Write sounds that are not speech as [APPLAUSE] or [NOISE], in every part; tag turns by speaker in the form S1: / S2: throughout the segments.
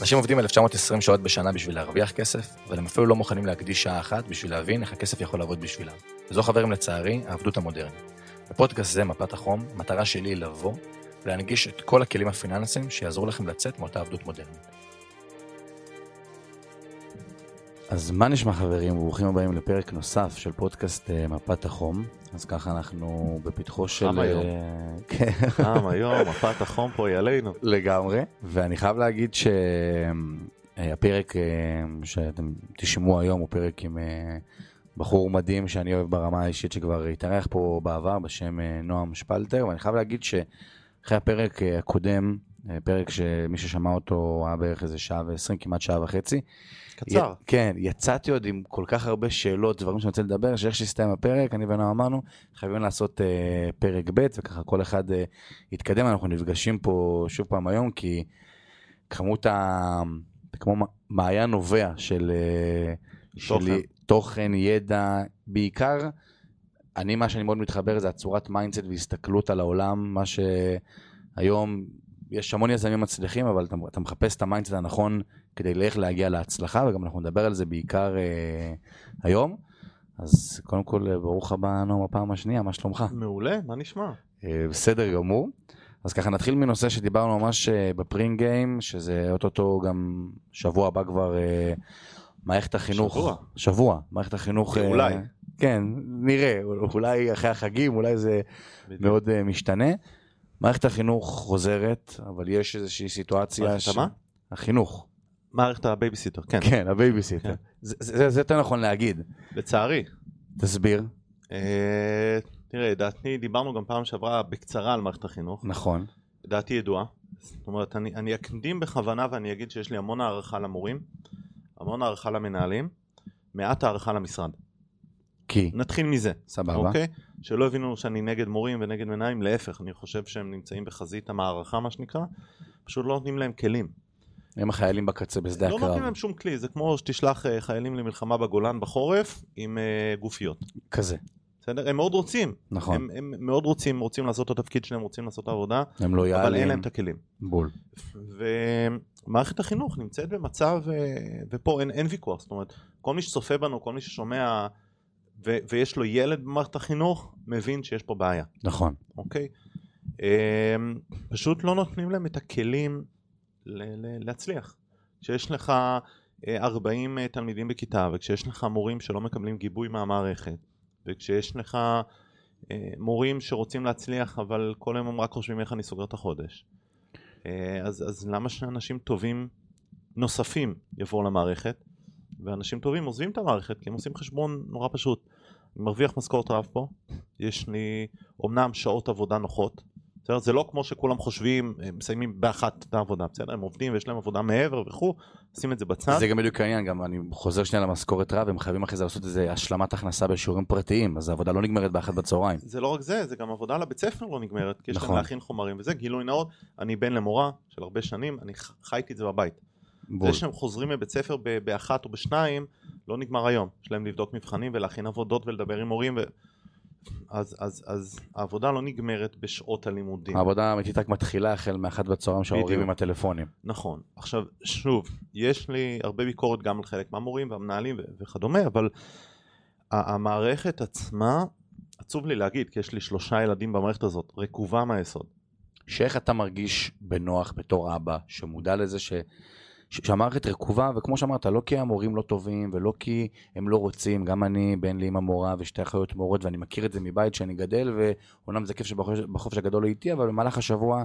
S1: אנשים עובדים 1920 שעות בשנה בשביל להרוויח כסף, אבל הם אפילו לא מוכנים להקדיש שעה אחת בשביל להבין איך הכסף יכול לעבוד בשבילם. וזו חברים לצערי, העבדות המודרנית. בפודקאסט זה, מפת החום, המטרה שלי היא לבוא ולהנגיש את כל הכלים הפיננסיים שיעזרו לכם לצאת מאותה עבדות מודרנית.
S2: אז מה נשמע חברים? ברוכים הבאים לפרק נוסף של פודקאסט אה, מפת החום. אז ככה אנחנו בפתחו של...
S3: חם היום.
S2: אה, כן,
S3: פעם היום, מפת החום פה היא עלינו.
S2: לגמרי. ואני חייב להגיד שהפרק שאתם תשמעו היום הוא פרק עם אה, בחור מדהים שאני אוהב ברמה האישית שכבר התארח פה בעבר בשם אה, נועם שפלטר, ואני חייב להגיד שאחרי הפרק אה, הקודם, אה, פרק שמי ששמע אותו היה בערך איזה שעה ועשרים, כמעט שעה וחצי,
S3: קצר.
S2: י- כן, יצאתי עוד עם כל כך הרבה שאלות, דברים שאני רוצה לדבר, שאיך שהסתיים הפרק, אני ונועם אמרנו, חייבים לעשות אה, פרק ב', וככה כל אחד אה, יתקדם, אנחנו נפגשים פה שוב פעם היום, כי כמות ה... זה כמו מ- מעיין נובע של, אה,
S3: תוכן.
S2: של תוכן, ידע, בעיקר, אני, מה שאני מאוד מתחבר זה הצורת מיינדסט והסתכלות על העולם, מה שהיום, יש המון יזמים מצליחים, אבל אתה, אתה מחפש את המיינדסט הנכון כדי לאיך להגיע להצלחה, וגם אנחנו נדבר על זה בעיקר אה, היום. אז קודם כל, אה, ברוך הבא, נועם, הפעם השנייה, מה שלומך?
S3: מעולה, מה נשמע?
S2: אה, בסדר גמור. אז ככה נתחיל מנושא שדיברנו ממש אה, בפרינג גיים, שזה אוטוטו גם שבוע הבא כבר אה, מערכת החינוך.
S3: שבוע.
S2: שבוע. מערכת החינוך. אה,
S3: אולי.
S2: כן, נראה, אולי אחרי החגים, אולי זה מאוד אה, משתנה. מערכת החינוך חוזרת, אבל יש איזושהי סיטואציה...
S3: מערכת המה?
S2: החינוך.
S3: מערכת הבייביסיטר, כן,
S2: כן, הבייביסיטר.
S3: כן.
S2: זה- זה זה יותר נכון להגיד.
S3: לצערי.
S2: תסביר.
S3: אה, תראה, דעתי, דיברנו גם פעם שעברה בקצרה על מערכת החינוך.
S2: נכון.
S3: דעתי ידועה. זאת אומרת, אני, אני אקדים בכוונה ואני אגיד שיש לי המון הערכה למורים, המון הערכה למנהלים, מעט הערכה למשרד.
S2: כי.
S3: נתחיל מזה.
S2: סבבה.
S3: אוקיי? שלא הבינו שאני נגד מורים ונגד מנהלים, להפך, אני חושב שהם נמצאים בחזית המערכה, מה שנקרא, פשוט לא נותנים להם כלים.
S2: הם החיילים בקצה בשדה
S3: לא נותנים
S2: הקרב.
S3: להם שום כלי, זה כמו שתשלח אה, חיילים למלחמה בגולן בחורף עם אה, גופיות.
S2: כזה.
S3: בסדר? הם מאוד רוצים,
S2: נכון.
S3: הם, הם מאוד רוצים, רוצים לעשות את התפקיד שלהם, רוצים לעשות את העבודה,
S2: הם לא יעלים.
S3: אבל אין להם את הכלים.
S2: בול.
S3: ומערכת החינוך נמצאת במצב, אה, ופה אין, אין ויכוח, זאת אומרת, כל מי שצופה בנו, כל מי ששומע ו, ויש לו ילד במערכת החינוך, מבין שיש פה בעיה.
S2: נכון.
S3: אוקיי? אמ, פשוט לא נותנים להם את הכלים ל- ל- להצליח. כשיש לך אה, 40 אה, תלמידים בכיתה, וכשיש לך מורים שלא מקבלים גיבוי מהמערכת, וכשיש לך אה, מורים שרוצים להצליח, אבל כל היום הם רק חושבים איך אני סוגר את החודש. אה, אז, אז למה שאנשים טובים נוספים יבואו למערכת, ואנשים טובים עוזבים את המערכת, כי הם עושים חשבון נורא פשוט. אני מרוויח משכורת רעב פה, יש לי אומנם שעות עבודה נוחות, בסדר? זה לא כמו שכולם חושבים, הם מסיימים באחת את העבודה, בסדר? הם עובדים ויש להם עבודה מעבר וכו', שים את זה בצד.
S2: זה גם בדיוק העניין, גם אני חוזר שנייה למשכורת רב, הם חייבים אחרי זה לעשות איזה השלמת הכנסה בשיעורים פרטיים, אז העבודה לא נגמרת באחת בצהריים.
S3: זה לא רק זה, זה גם עבודה לבית ספר לא נגמרת, כי יש
S2: נכון.
S3: להם להכין חומרים וזה, גילוי נאות, אני בן למורה של הרבה שנים, אני ח- חייתי את זה בבית.
S2: בול.
S3: זה שהם חוזרים מבית ספר ב- באחת או בשניים, לא נגמר היום. יש להם לבדוק מבחנים ולהכין עבודות ולדבר עם הורים, ו... אז, אז, אז העבודה לא נגמרת בשעות הלימודים.
S2: העבודה האמיתית רק מתחילה החל מאחת בצהריים שההורים
S3: בדיוק.
S2: עם הטלפונים.
S3: נכון. עכשיו, שוב, יש לי הרבה ביקורת גם על חלק מהמורים והמנהלים ו- וכדומה, אבל ה- המערכת עצמה, עצוב לי להגיד, כי יש לי שלושה ילדים במערכת הזאת, רקובה מהיסוד.
S2: שאיך אתה מרגיש בנוח בתור אבא, שמודע לזה ש... ש- שהמערכת רקובה, וכמו שאמרת, לא כי המורים לא טובים, ולא כי הם לא רוצים, גם אני, בן לי עם המורה, ושתי אחיות מורות, ואני מכיר את זה מבית שאני גדל, ואומנם זה כיף שבחופש בחופש הגדול היא איתי, אבל במהלך השבוע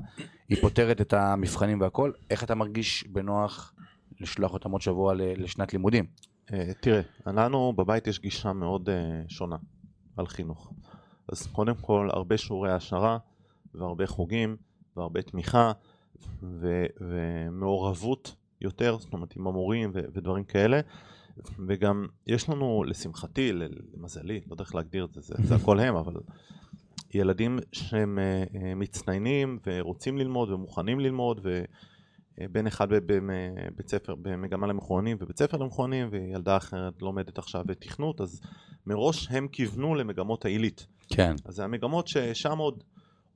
S2: היא פותרת את המבחנים והכל. איך אתה מרגיש בנוח לשלוח אותם עוד שבוע ל- לשנת לימודים?
S3: אה, תראה, לנו בבית יש גישה מאוד אה, שונה על חינוך. אז קודם כל, הרבה שיעורי העשרה, והרבה חוגים, והרבה תמיכה, ו- ומעורבות יותר, זאת אומרת עם המורים ו- ודברים כאלה. וגם יש לנו, לשמחתי, ל- למזלי, לא יודע איך להגדיר את זה, זה, זה הכל הם, אבל ילדים שהם אה, אה, מצטיינים ורוצים ללמוד ומוכנים ללמוד, ו... אה, בן אחד בב- בבית ספר, במגמה למכוענים ובית ספר למכוענים, וילדה אחרת לומדת עכשיו תכנות, אז מראש הם כיוונו למגמות העילית.
S2: כן.
S3: אז זה המגמות ששם עוד,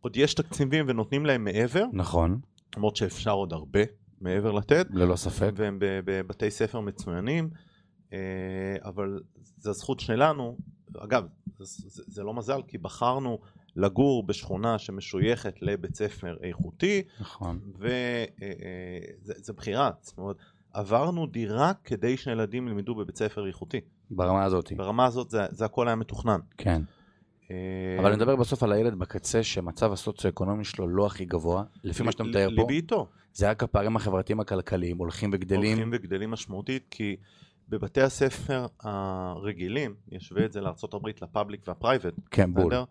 S3: עוד יש תקציבים ונותנים להם מעבר,
S2: נכון.
S3: למרות שאפשר עוד הרבה, מעבר לטד,
S2: ללא ספק.
S3: והם ב- בבתי ספר מצוינים, אה, אבל זו הזכות שלנו, אגב, זה, זה- זה לא מזל, כי בחרנו לגור בשכונה שמשויכת לבית ספר איכותי, אה,
S2: נכון.
S3: וזו בחירה, זאת אומרת, עברנו דירה כדי שילדים ילמדו בבית ספר איכותי.
S2: ברמה הזאת.
S3: ברמה הזאת זה, זה הכל היה מתוכנן.
S2: כן.
S3: אה,
S2: אבל אני מדבר בסוף על הילד בקצה שהמצב הסוציו-אקונומי שלו לא הכי גבוה, לפי מה שאתה מתאר פה,
S3: ליבי איתו.
S2: זה רק הפערים החברתיים הכלכליים הולכים
S3: הולכים
S2: וגדלים.
S3: וגדלים משמעותית, כי בבתי הספר הרגילים, נשווה את זה לארה"ב, לפאבליק והפרייבט,
S2: כן, בול.
S3: בסדר?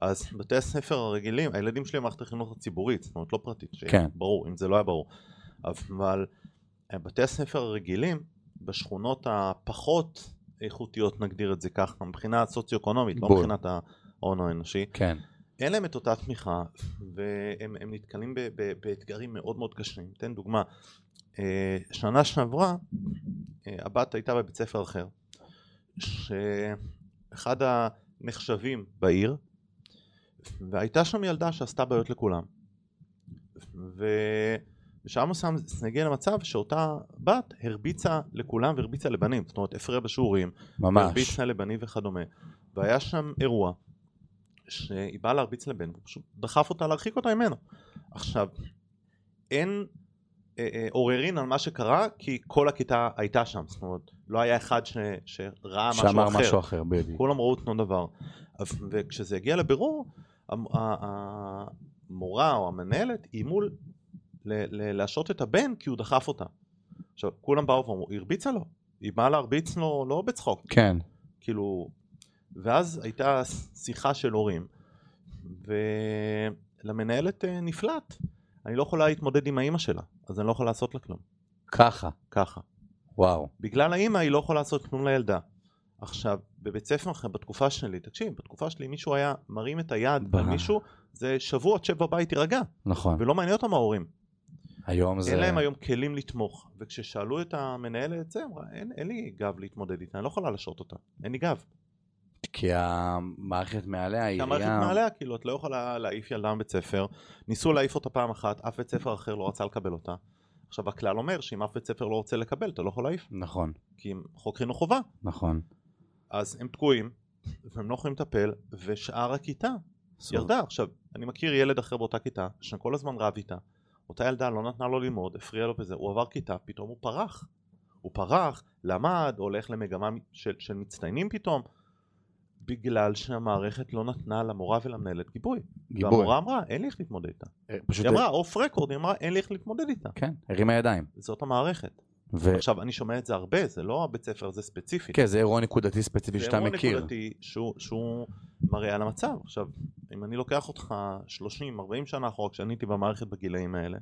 S3: אז בתי הספר הרגילים, הילדים שלי במערכת החינוך הציבורית, זאת אומרת לא פרטית,
S2: כן.
S3: כן. ברור, אם זה לא היה ברור. אבל בתי הספר הרגילים, בשכונות הפחות איכותיות, נגדיר את זה ככה, מבחינה סוציו-אקונומית, לא
S2: בול.
S3: מבחינת ההון האנושי,
S2: כן.
S3: אין להם את אותה תמיכה, והם הם נתקלים ב, ב, באתגרים מאוד מאוד קשים. אתן דוגמה, אה, שנה שעברה אה, הבת הייתה בבית ספר אחר, שאחד הנחשבים בעיר, והייתה שם ילדה שעשתה בעיות לכולם. ו... ושם מסוים זה הגיע למצב שאותה בת הרביצה לכולם והרביצה לבנים, זאת אומרת הפריעה בשיעורים,
S2: ממש.
S3: הרביצה לבנים וכדומה. והיה שם אירוע שהיא באה להרביץ לבן, הוא פשוט דחף אותה להרחיק אותה ממנו. עכשיו, אין אה, אה, עוררין על מה שקרה, כי כל הכיתה הייתה שם. זאת אומרת, לא היה אחד ש, שראה אה, משהו אחר.
S2: שאמר משהו אחר, בדיוק.
S3: כולם ראו אותו דבר. אז- וכשזה הגיע לבירור, המ- ה- ה- המורה או המנהלת איימו ל- ל- להשעות את הבן כי הוא דחף אותה. עכשיו, כולם באו ואמרו, היא הרביצה לו. היא באה להרביץ לו לא בצחוק.
S2: כן.
S3: כאילו, ואז הייתה שיחה של הורים, ולמנהלת אה, נפלט, אני לא יכולה להתמודד עם האימא שלה, אז אני לא יכול לעשות לה כלום,
S2: ככה.
S3: ככה.
S2: וואו.
S3: בגלל האימא היא לא יכולה לעשות כלום לילדה. עכשיו, בבית ספר אחר, בתקופה שלי, תקשיב, בתקופה שלי מישהו היה מרים את היד
S2: ב-
S3: על מישהו, זה שבוע תשב בבית תירגע,
S2: נכון.
S3: ולא מעניין אותם ההורים.
S2: היום זה...
S3: אין להם היום כלים לתמוך, וכששאלו את המנהלת, זה אמרה, אין, אין לי גב להתמודד איתה, אני לא יכולה לשעות אותה, אין לי גב.
S2: כי המערכת מעליה,
S3: כי
S2: העירייה...
S3: המערכת מעליה, כאילו, את לא יכולה להעיף ילדה מבית ספר. ניסו להעיף אותה פעם אחת, אף בית ספר אחר לא רצה לקבל אותה. עכשיו, הכלל אומר שאם אף בית ספר לא רוצה לקבל, אתה לא יכול להעיף,
S2: נכון,
S3: כי אם חוק חינוך חובה.
S2: נכון.
S3: אז הם תקועים, והם לא יכולים לטפל, ושאר הכיתה ירדה. עכשיו, אני מכיר ילד אחר באותה כיתה, שכל הזמן רב איתה. אותה ילדה לא נתנה לו ללמוד, הפריעה לו בזה, הוא עבר כיתה, פתאום הוא פרח. הוא פרח, למד, הולך למגמה של, של מצטיינים פתאום, בגלל שהמערכת לא נתנה למורה ולמנהלת גיבוי.
S2: גיבור.
S3: והמורה אמרה, אין לי איך להתמודד איתה.
S2: אה, פשוט...
S3: היא אמרה, אוף רקורד, היא אמרה, אין לי איך להתמודד איתה.
S2: כן, הרימה ידיים.
S3: זאת המערכת.
S2: ו...
S3: עכשיו, אני שומע את זה הרבה, זה לא הבית ספר, זה ספציפי.
S2: כן, זה אירוע נקודתי ספציפי שאתה
S3: זה אירוע
S2: מכיר.
S3: נקודתי שהוא, שהוא מראה על המצב. עכשיו, אם אני לוקח אותך 30-40 שנה אחורה, כשאני הייתי במערכת בגילאים האלה,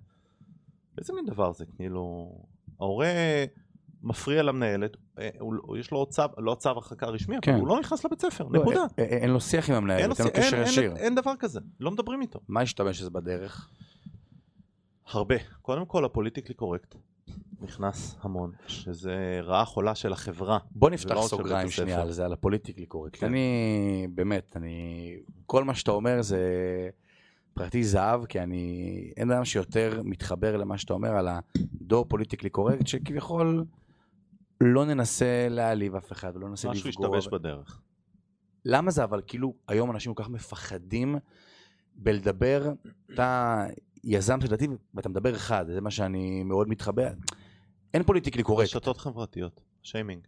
S3: איזה מין דבר זה? כאילו, ההורה מפריע למנהלת, אה, הוא, הוא- יש לו צו, לא צו הרחקה רשמי,
S2: כן.
S3: אבל הוא לא נכנס לבית ספר,
S2: לא,
S3: נקודה.
S2: אה, אה, אין לו שיח עם המנהל, אין לו
S3: אין,
S2: קשר ישיר.
S3: אין, אין דבר כזה, לא מדברים איתו.
S2: מה השתמש אז בדרך?
S3: הרבה. קודם כל הפוליטיקלי קורקט נכנס המון, שזה רעה חולה של החברה.
S2: בוא נפתח
S3: ולא רק של
S2: סוגריים
S3: בית הספר.
S2: שנייה על זה, על הפוליטיקלי קורקט.
S3: כן.
S2: אני, באמת, אני... כל מה שאתה אומר זה פרטי זהב, כי אני... אין אדם שיותר מתחבר למה שאתה אומר על הדור פוליטיקלי קורקט, שכביכול לא ננסה להעליב אף אחד, ולא ננסה
S3: משהו
S2: לפגוע.
S3: השתבש בדרך.
S2: למה זה אבל כאילו היום אנשים כל כך מפחדים בלדבר, אתה יזם של דתי ואתה מדבר אחד, זה מה שאני מאוד מתחבר. אין פוליטיקלי קורקט,
S3: רשתות חברתיות, שיימינג,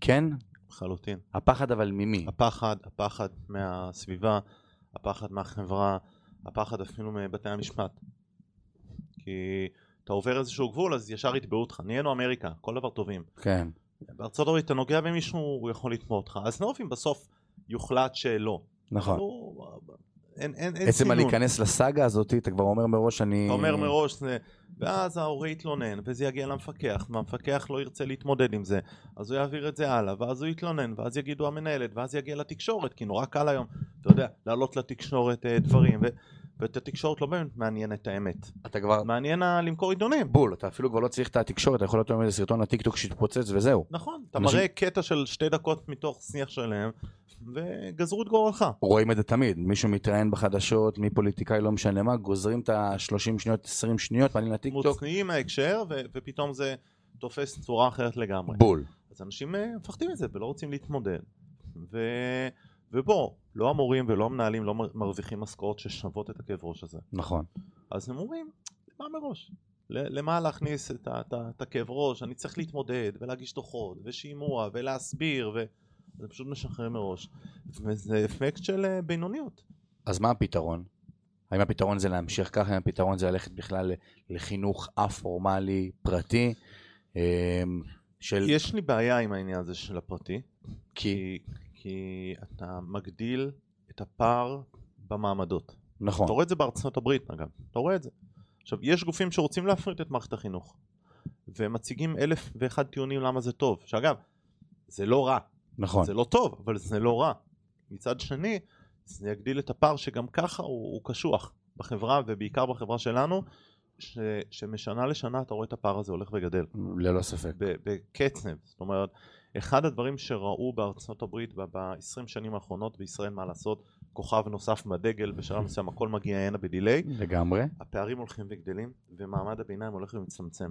S2: כן?
S3: לחלוטין.
S2: הפחד אבל ממי?
S3: הפחד, הפחד מהסביבה, הפחד מהחברה, הפחד אפילו מבתי המשפט. כי אתה עובר איזשהו גבול אז ישר יתבעו אותך, נהיינו אמריקה, כל דבר טובים.
S2: כן,
S3: בארצות הברית אתה נוגע במישהו, הוא יכול לתבוע אותך. אז נוב אם בסוף יוחלט שלא.
S1: אה.
S2: נכון.
S3: לא, אין, אין, אין
S2: עצם
S3: סינון.
S2: הלהיכנס לסאגה הזאת, אתה כבר אומר מראש אני...
S3: אתה
S1: אה.
S3: אומר מראש זה, ואז ההורה יתלונן, וזה יגיע למפקח, והמפקח לא ירצה להתמודד עם זה, אז הוא יעביר את זה הלאה, ואז הוא יתלונן, ואז יגידו המנהלת, ואז יגיע לתקשורת, כי נורא קל היום, אתה יודע, להעלות לתקשורת אה, דברים, ו- ואת התקשורת לא באמת מעניין את האמת.
S1: אתה כבר
S3: מעניין ה- למכור עיתונים.
S1: בול, אתה אפילו כבר לא צריך את התקשורת, אתה יכול לתאום איזה סרטון לטיקטוק שהתפוצץ וזהו.
S3: נכון, אתה
S1: אנשים-
S3: מראה קטע של שתי דקות מתוך שיח שלהם, וגזרו את גורלך.
S1: רואים את זה תמיד, מישהו מתראיין בחדשות, מי פוליטיקאי, לא משנה מה, גוזרים את ה-30 שניות, 20 שניות, מעלים לטיקטוק,
S3: מוצניעים מההקשר, ו- ופתאום זה תופס צורה אחרת לגמרי.
S1: בול.
S3: אז אנשים אה, מפחדים מזה ולא רוצים להתמודד. ו... ובוא, לא המורים ולא המנהלים לא מר- מרוויחים משכורות ששוות את הכאב ראש הזה.
S1: נכון.
S3: אז הם אומרים, למה מראש? ל- למה להכניס את ה- את ה- את הכאב ראש? אני צריך להתמודד ולהגיש דוחות ושימוע ולהסביר ו... זה פשוט משחרר מראש. וזה אפקט של אה, בינוניות.
S1: אז מה הפתרון? האם הפתרון זה להמשיך ככה, האם הפתרון זה ללכת בכלל לחינוך א-פורמלי, פרטי, אמ, של...
S3: יש לי בעיה עם העניין הזה של הפרטי.
S1: כי...
S3: כי, כי אתה מגדיל את הפער במעמדות. אתה
S1: נכון.
S3: רואה את זה בארצות הברית אגב, אתה רואה את זה. עכשיו, יש גופים שרוצים להפריט את מערכת החינוך, והם מציגים אלף ואחד טיעונים למה זה טוב, שאגב, זה לא רע,
S1: נכון.
S3: זה לא טוב, אבל זה לא רע. מצד שני, זה יגדיל את הפער שגם ככה הוא, הוא קשוח בחברה, ובעיקר בחברה שלנו, ש, שמשנה לשנה אתה רואה את הפער הזה הולך וגדל.
S1: ללא ספק.
S3: ב- בקצב. זאת אומרת, אחד הדברים שראו בארצות הברית ב-20 שנים האחרונות, בישראל מה לעשות, כוכב נוסף בדגל, בשלב מסוים הכל מגיע הנה בדיליי,
S1: לגמרי.
S3: הפערים הולכים וגדלים, ומעמד הביניים הולך ומצטמצם.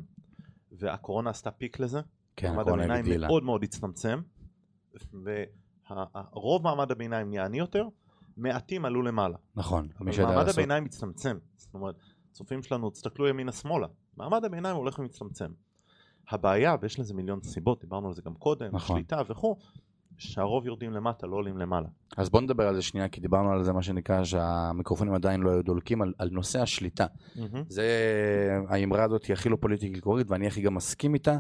S3: והקורונה עשתה פיק לזה,
S1: כן,
S3: מעמד
S1: הקורונה
S3: הביניים
S1: הגדילה.
S3: מאוד מאוד הצטמצם, ורוב מעמד הביניים נהיה עני יותר, מעטים עלו למעלה.
S1: נכון. מי
S3: אבל
S1: שיודע
S3: מעמד
S1: לעשות...
S3: הביניים מצטמצם. זאת אומרת, צופים שלנו, תסתכלו ימינה-שמאלה. מעמד הביניים הולך ומצטמצם. הבעיה, ויש לזה מיליון סיבות, דיברנו על זה גם קודם,
S1: נכון.
S3: נכון. שליטה וכו', שהרוב יורדים למטה, לא עולים למעלה.
S1: אז בוא נדבר על זה שנייה, כי דיברנו על זה, מה שנקרא, שהמיקרופונים עדיין לא היו דולקים, על, על נושא השליטה. זה, האמרה הזאת היא הכי לא פוליטיקלי קורית, ואני הכי גם מסכים איתה.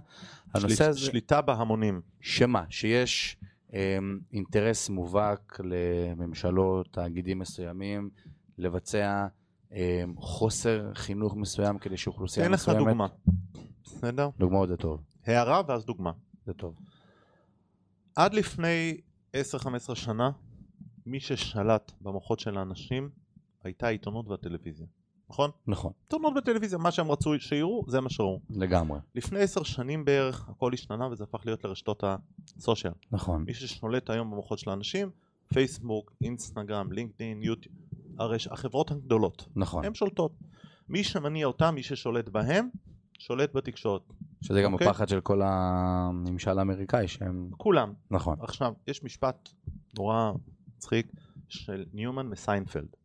S1: הנושא
S3: שליט-
S1: הזה,
S3: שליטה בהמונים.
S1: שמה, שיש אה, אינטרס מובהק לממשלות, תאגידים מסוימים, לבצע אה, חוסר חינוך מסוים כדי שאוכלוסייה
S3: אתן לך
S1: כן, מסוימת...
S3: דוגמה, בסדר?
S1: דוגמאות זה טוב,
S3: הערה ואז דוגמה.
S1: זה טוב.
S3: עד לפני 10-15 שנה, מי ששלט במוחות של האנשים הייתה העיתונות והטלוויזיה, נכון?
S1: נכון,
S3: עיתונות וטלוויזיה, מה שהם רצו שיראו, זה מה שראו.
S1: לגמרי,
S3: לפני עשר שנים בערך הכל השתנה וזה הפך להיות לרשתות הסושיאל.
S1: נכון.
S3: מי ששולט היום במוחות של האנשים, פייסבוק, אינסטגרם, לינקדאין, יוטיוב, הרש... החברות הגדולות,
S1: נכון,
S3: הן שולטות. מי שמניע אותם, מי ששולט בהם, שולט בתקשורת.
S1: שזה גם
S3: אוקיי.
S1: הפחד של כל הממשל האמריקאי שהם,
S3: כולם.
S1: נכון,
S3: עכשיו, יש משפט נורא מצחיק של ניומן מסיינפלד.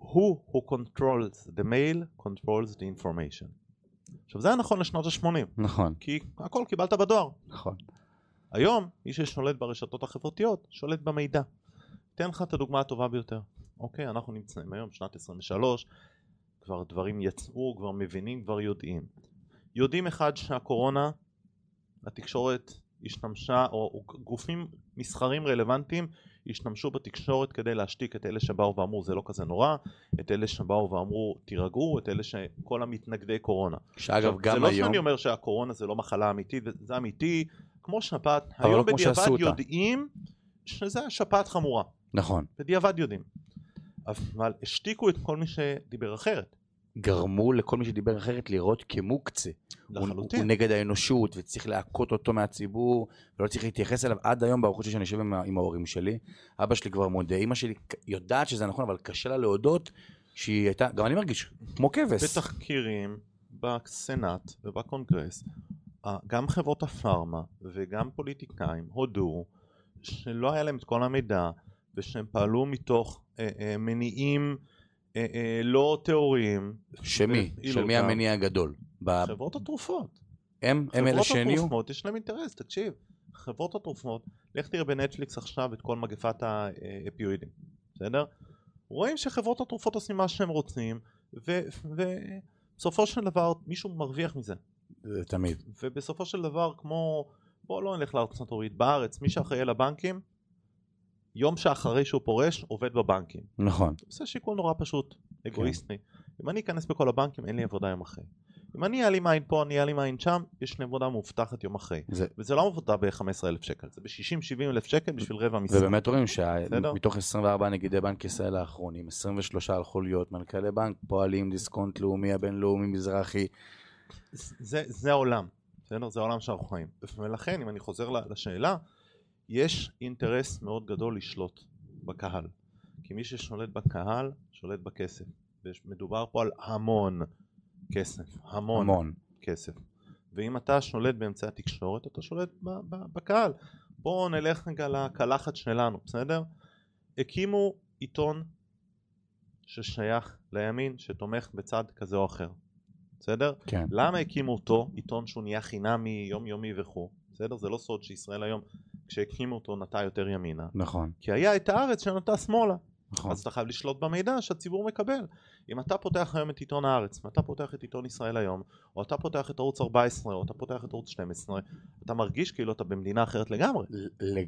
S3: Who who controls the mail controls the information. עכשיו זה היה נכון לשנות ה-80,
S1: נכון,
S3: כי הכל קיבלת בדואר.
S1: נכון,
S3: היום, מי ששולט ברשתות החברתיות, שולט במידע. אתן לך את הדוגמה הטובה ביותר. אוקיי, אנחנו נמצאים היום, שנת 23, כבר דברים יצאו, כבר מבינים, כבר יודעים. יודעים אחד שהקורונה, התקשורת השתמשה, או גופים מסחרים רלוונטיים השתמשו בתקשורת כדי להשתיק את אלה שבאו ואמרו זה לא כזה נורא, את אלה שבאו ואמרו תירגעו, את אלה שכל המתנגדי קורונה.
S1: שאגב
S3: עכשיו,
S1: גם
S3: זה לא שאני
S1: היום,
S3: אומר שהקורונה זה לא מחלה אמיתית, זה אמיתי, כמו שפעת,
S1: אבל לא
S3: היום
S1: כמו שעשו
S3: בדיעבד
S1: אותה.
S3: יודעים שזה היה שפעת חמורה,
S1: נכון,
S3: בדיעבד יודעים. אבל השתיקו את כל מי שדיבר אחרת,
S1: גרמו לכל מי שדיבר אחרת לראות כמוקצה, הוא, הוא
S3: לחלוטין.
S1: נגד האנושות וצריך להכות אותו מהציבור ולא צריך להתייחס אליו עד היום בארוחות שלי שאני יושב עם, ה- עם ההורים שלי אבא שלי כבר מודה אימא שלי ק- יודעת שזה נכון אבל קשה לה להודות שהיא הייתה גם אני מרגיש כמו כבש
S3: בתחקירים בסנאט ובקונגרס, אה, גם חברות הפארמה וגם פוליטיקאים הודו שלא היה להם את כל המידע ושהם פעלו מתוך אה, אה, מניעים אה, אה, לא טהוריים.
S1: שמי
S3: והפעילו
S1: של מי
S3: אותם.
S1: המניע הגדול ב-
S3: חברות התרופות.
S1: הם הם אלה
S3: חברות
S1: שהניעו
S3: התרופות יש להם אינטרס, תקשיב, חברות התרופות, לך תראה בנטפליקס עכשיו את כל מגפת האפיואידים, בסדר? רואים שחברות התרופות עושים מה שהם רוצים, ובסופו של דבר מישהו מרוויח מזה,
S1: זה תמיד
S3: ובסופו של דבר כמו, בוא לא נלך לארצות הברית, בארץ, מי שאחראי לבנקים, יום שאחרי שהוא פורש עובד בבנקים.
S1: נכון
S3: זה שיקול נורא פשוט, אגואיסטי. אם אני אכנס בכל הבנקים אין לי עבודה יום אחרי. אם אני אעלים עין פה, אני אעלים עין שם, יש לי עבודה מאובטחת יום אחרי.
S2: זה-
S3: וזה לא עבודה ב-15,000 שקל, זה ב-60-70 אלף שקל בשביל רבע משרה.
S2: ובאמת רואים
S3: בסדר.
S2: שמתוך 24 נגידי בנק ישראל האחרונים, 23 הלכו להיות מנכ"לי בנק, פועלים, דיסקונט לאומי, הבינלאומי, מזרחי.
S3: זה, זה העולם, בסדר? זה העולם שאנחנו חיים. ולכן, אם אני חוזר ל- לשאלה, יש אינטרס מאוד גדול לשלוט בקהל. כי מי ששולט בקהל, שולט בכסף. ומדובר פה על המון כסף. המון, המון
S2: המון.
S3: כסף. ואם אתה שולט באמצעי התקשורת, אתה שולט ב- ב- בקהל. בואו נלך רגע לקלחת שלנו, בסדר? הקימו עיתון ששייך לימין, שתומך בצד כזה או אחר. בסדר?
S2: כן.
S3: למה הקימו אותו, עיתון שהוא נהיה חינמי, יומיומי וכו', בסדר? זה לא סוד שישראל היום, כשהקימו אותו, נטה יותר ימינה.
S2: נכון.
S3: כי היה את הארץ שנטה שמאלה.
S2: נכון.
S3: אז אתה חייב לשלוט במידע שהציבור מקבל. אם אתה פותח היום את עיתון הארץ, ואתה פותח את עיתון ישראל היום, או אתה פותח את ערוץ 14, או אתה פותח את ערוץ 12, אתה מרגיש כאילו אתה במדינה אחרת לגמרי.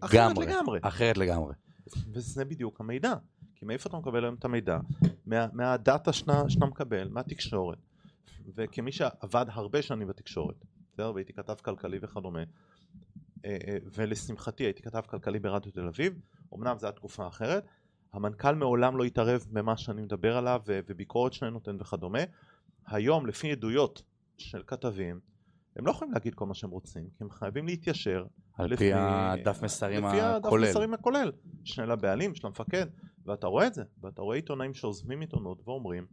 S3: אחרת
S2: לגמרי.
S3: לגמרי.
S2: אחרת לגמרי.
S3: וזה בדיוק המידע. כי מאיפה אתה מקבל היום את המידע? מה, מהדאטה שאתה, שאתה מקבל, מהתקשורת. וכמי שעבד הרבה שנים בתקשורת, בסדר? והייתי כתב כלכלי וכדומה, אה, אה, ולשמחתי הייתי כתב כלכלי ברדיו תל אביב, אמנם זו הייתה תקופה אחרת, המנכ"ל מעולם לא התערב במה שאני מדבר עליו ו- וביקורת שאני נותן וכדומה. היום לפי עדויות של כתבים, הם לא יכולים להגיד כל מה שהם רוצים, כי הם חייבים להתיישר
S2: על
S3: לפי-
S2: פי הדף מסרים
S3: לפי הדף
S2: הכולל.
S3: מסרים הכולל של הבעלים, של המפקד, ואתה רואה את זה, ואתה רואה עיתונאים שעוזבים עיתונות ואומרים,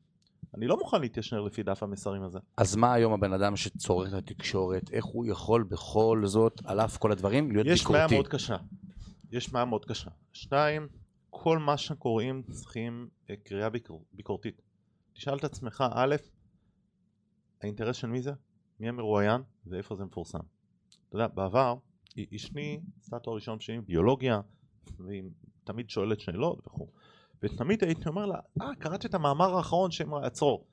S3: אני לא מוכן להתיישר לפי דף המסרים הזה.
S2: אז מה היום הבן אדם שצורך את התקשורת, איך הוא יכול בכל זאת, על אף כל הדברים, להיות
S3: יש בעיה
S2: ביקורתי?
S3: מאוד קשה. יש בעיה מאוד קשה. שתיים, כל מה שקוראים צריכים אה, קריאה ביקור, ביקורתית. תשאל את עצמך, א', האינטרס של מי זה? מי המרואיין ואיפה זה מפורסם. אתה יודע, בעבר, א- אשתי עשתה תואר ראשון שלי ביולוגיה, והיא תמיד שואלת שאלות וכו'. ותמיד הייתי אומר לה, אה, קראתי את המאמר האחרון שהם עצרו.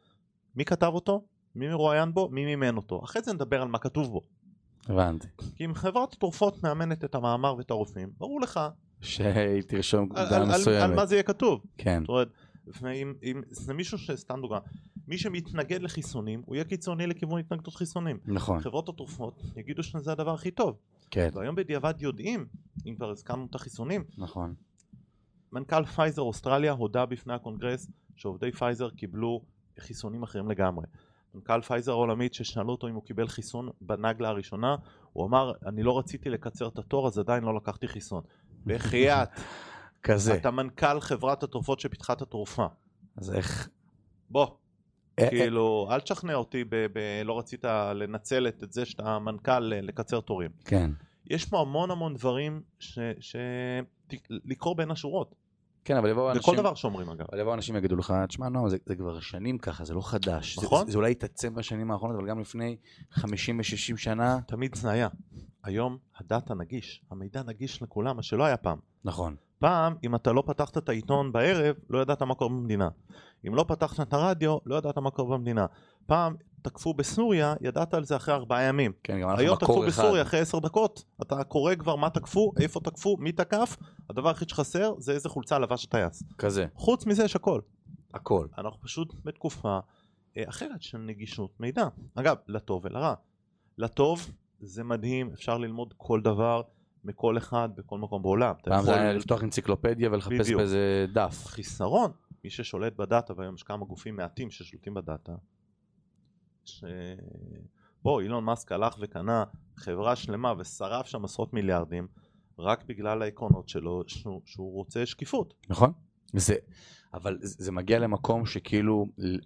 S3: מי כתב אותו? מי מרואיין בו? מי מימן אותו? אחרי זה נדבר על מה כתוב בו.
S2: הבנתי.
S3: כי אם חברת תרופות מאמנת את המאמר ואת הרופאים, ברור לך
S2: שהיא תרשום
S3: על,
S2: דעה
S3: על, על, על
S2: מסוימת.
S3: מה זה יהיה כתוב.
S2: כן.
S3: זאת אומרת, ואם, אם, זה מישהו שסתם דוגמה, מי שמתנגד לחיסונים, הוא יהיה קיצוני לכיוון התנגדות חיסונים.
S2: נכון.
S3: חברות התרופות יגידו שזה הדבר הכי טוב,
S2: כן.
S3: והיום בדיעבד יודעים, אם כבר הזכרנו את החיסונים,
S2: נכון.
S3: מנכ"ל פייזר אוסטרליה הודה בפני הקונגרס שעובדי פייזר קיבלו חיסונים אחרים לגמרי. מנכ"ל פייזר העולמית ששאלו אותו אם הוא קיבל חיסון בנגלה הראשונה, הוא אמר אני לא רציתי לקצר את התור אז עדיין לא לקחתי
S2: [LAUGHS]
S3: חיסון. בחייאת,
S2: כזה.
S3: אתה מנכ"ל חברת התרופות שפיתחה את התרופה.
S2: אז איך...
S3: בוא,
S2: אה, אה,
S3: כאילו אל תשכנע אותי ב- ב- לא רצית לנצל את את זה שאתה מנכ"ל אה, לקצר תורים.
S2: כן.
S3: יש פה המון המון דברים ש... ש... ת- לקרוא בין השורות,
S2: כן, אבל יבואו אנשים...
S3: בכל דבר שאומרים אגב.
S2: אבל יבואו אנשים יגידו לך, תשמע נועם, זה, זה כבר שנים ככה, זה לא חדש. זה-
S3: נכון.
S2: זה, זה אולי התעצם בשנים האחרונות, אבל גם לפני 50 ו-60 שנה.
S3: תמיד זה היה. היום הדאטה נגיש, המידע נגיש לכולם, מה שלא היה פעם.
S2: נכון.
S3: פעם, אם אתה לא פתחת את העיתון בערב, לא ידעת מה קורה במדינה. אם לא פתחת את הרדיו, לא ידעת מה קורה במדינה. פעם תקפו בסוריה, ידעת על זה אחרי ארבעה ימים.
S2: כן, גם אנחנו
S3: היום תקפו
S2: מקור אחד.
S3: בסוריה אחרי עשר דקות, אתה קורא כבר מה תקפו, איפה תקפו, מי תקף, הדבר היחיד שחסר זה איזה חולצה לבש הטייס.
S2: כזה,
S3: חוץ מזה יש הכל.
S2: הכל.
S3: אנחנו פשוט בתקופה אה, אחרת של נגישות מידע. אגב, לטוב ולרע. לטוב זה מדהים, אפשר ללמוד כל דבר מכל אחד בכל מקום בעולם. אתה
S2: פעם זה
S3: יכול-
S2: היה לפתוח אנציקלופדיה ולחפש
S3: נכון. בדיוק.
S2: באיזה דף.
S3: חיסרון, מי ששולט בדאטה, והיום יש כמה גופים מעטים ששולטים בדאטה, ש... בוא, אילון מאסק הלך וקנה חברה שלמה ושרף שם עשרות מיליארדים רק בגלל העקרונות שלו שהוא, שהוא רוצה שקיפות.
S2: נכון. זה, אבל זה זה מגיע למקום שכאילו ל-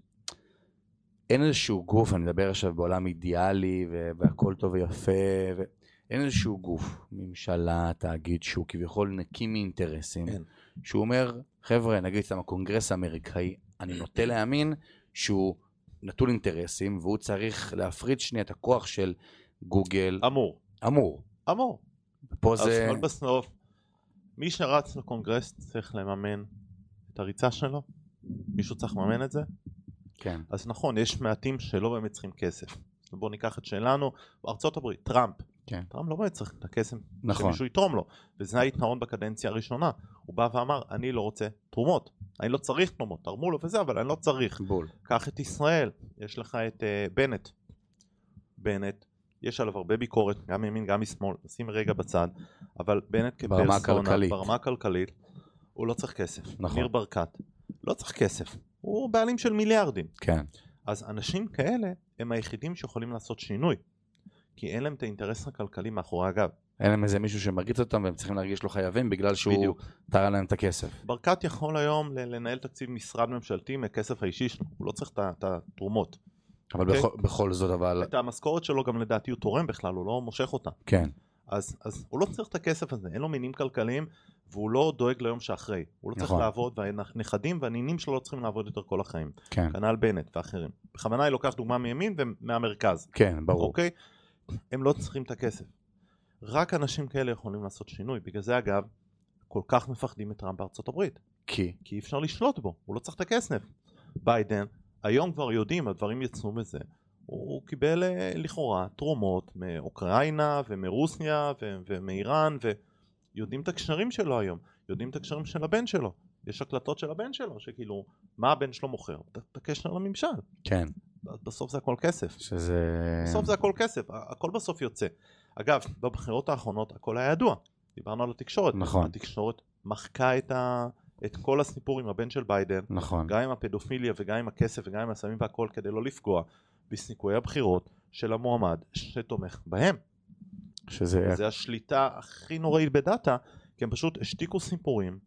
S2: אין איזשהו גוף, אני מדבר עכשיו בעולם אידיאלי ו- והכל טוב ויפה, ו... אין איזשהו גוף, ממשלה, תאגיד, שהוא כביכול נקי מאינטרסים,
S3: אין.
S2: שהוא אומר, חבר'ה, נגיד סתם הקונגרס האמריקאי, אני נוטה להאמין שהוא נטול אינטרסים והוא צריך להפריד שנייה את הכוח של גוגל,
S3: אמור,
S2: אמור.
S3: אמור.
S2: פה
S3: אז
S2: זה...
S3: אבל בסוף, מי שרץ לקונגרס צריך לממן את הריצה שלו, מישהו צריך לממן את זה,
S2: כן,
S3: אז נכון, יש מעטים שלא באמת צריכים כסף. אז בואו ניקח את שלנו, בארצות הברית, טראמפ.
S2: כן.
S3: טראמפ לא באמת צריך את הכסף
S2: נכון.
S3: שמישהו יתרום לו, וזה היתרון בקדנציה הראשונה. הוא בא ואמר, אני לא רוצה תרומות, אני לא צריך תרומות, תרמו לו וזה, אבל אני לא צריך.
S2: בול.
S3: קח את ישראל, יש לך את uh, בנט, בנט, יש עליו הרבה ביקורת, גם מימין, גם משמאל, נשים רגע בצד, אבל בנט
S2: ברמה
S3: כפרסונה,
S2: הכלכלית.
S3: ברמה הכלכלית, הוא לא צריך כסף.
S2: נכון.
S3: ניר ברקת, לא צריך כסף, הוא בעלים של מיליארדים.
S2: כן,
S3: אז אנשים כאלה הם היחידים שיכולים לעשות שינוי, כי אין להם את האינטרס הכלכלי מאחורי הגב.
S2: אין להם איזה מישהו שמרגיץ אותם והם צריכים להרגיש לא חייבים בגלל שהוא
S3: בדיוק.
S2: טרה להם את הכסף.
S3: ברקת יכול היום ל- לנהל תקציב משרד ממשלתי מהכסף האישי שלו, הוא לא צריך את ה- את התרומות.
S2: אבל
S3: אוקיי.
S2: בכל- בכל זאת, אבל
S3: את המשכורת שלו גם לדעתי הוא תורם בכלל, הוא לא מושך אותה.
S2: כן.
S3: אז, אז הוא לא צריך את הכסף הזה, אין לו מינים כלכליים, והוא לא דואג ליום שאחרי. הוא לא צריך
S2: נכון.
S3: לעבוד, והנכדים והנינים שלו לא צריכים לעבוד יותר כל החיים.
S2: כן,
S3: כנ"ל בנט ואחרים. בכוונה היא לוקחת דוגמה מימין ומהמרכז.
S2: כן, ברור.
S3: אוקיי? הם לא צריכים את הכסף. רק אנשים כאלה יכולים לעשות שינוי. בגלל זה אגב, כל כך מפחדים מטראמפ בארצות הברית.
S2: כי,
S3: כי אי אפשר לשלוט בו, הוא לא צריך את הכסף. ביידן, היום כבר יודעים, הדברים יצאו מזה. הוא הוא קיבל אה, לכאורה תרומות מאוקראינה ומרוסיה ו- ומאיראן ויודעים את הקשרים שלו היום, יודעים את הקשרים של הבן שלו. יש הקלטות של הבן שלו, שכאילו, מה הבן שלו מוכר? את- את הקשר לממשל.
S2: כן,
S3: בסוף זה הכל כסף.
S2: שזה... כן.
S3: בסוף זה הכל כסף, ה- הכל בסוף יוצא. אגב, בבחירות האחרונות הכל היה ידוע, דיברנו על התקשורת.
S2: נכון.
S3: התקשורת מחקה את, ה... את כל הסיפור עם הבן של ביידן,
S2: נכון,
S3: גם עם הפדופיליה וגם עם הכסף וגם עם הסמים והכל, כדי לא לפגוע בסיכויי הבחירות של המועמד שתומך בהם.
S2: שזה...
S3: זה השליטה הכי נוראית בדאטה, כי הם פשוט השתיקו סיפורים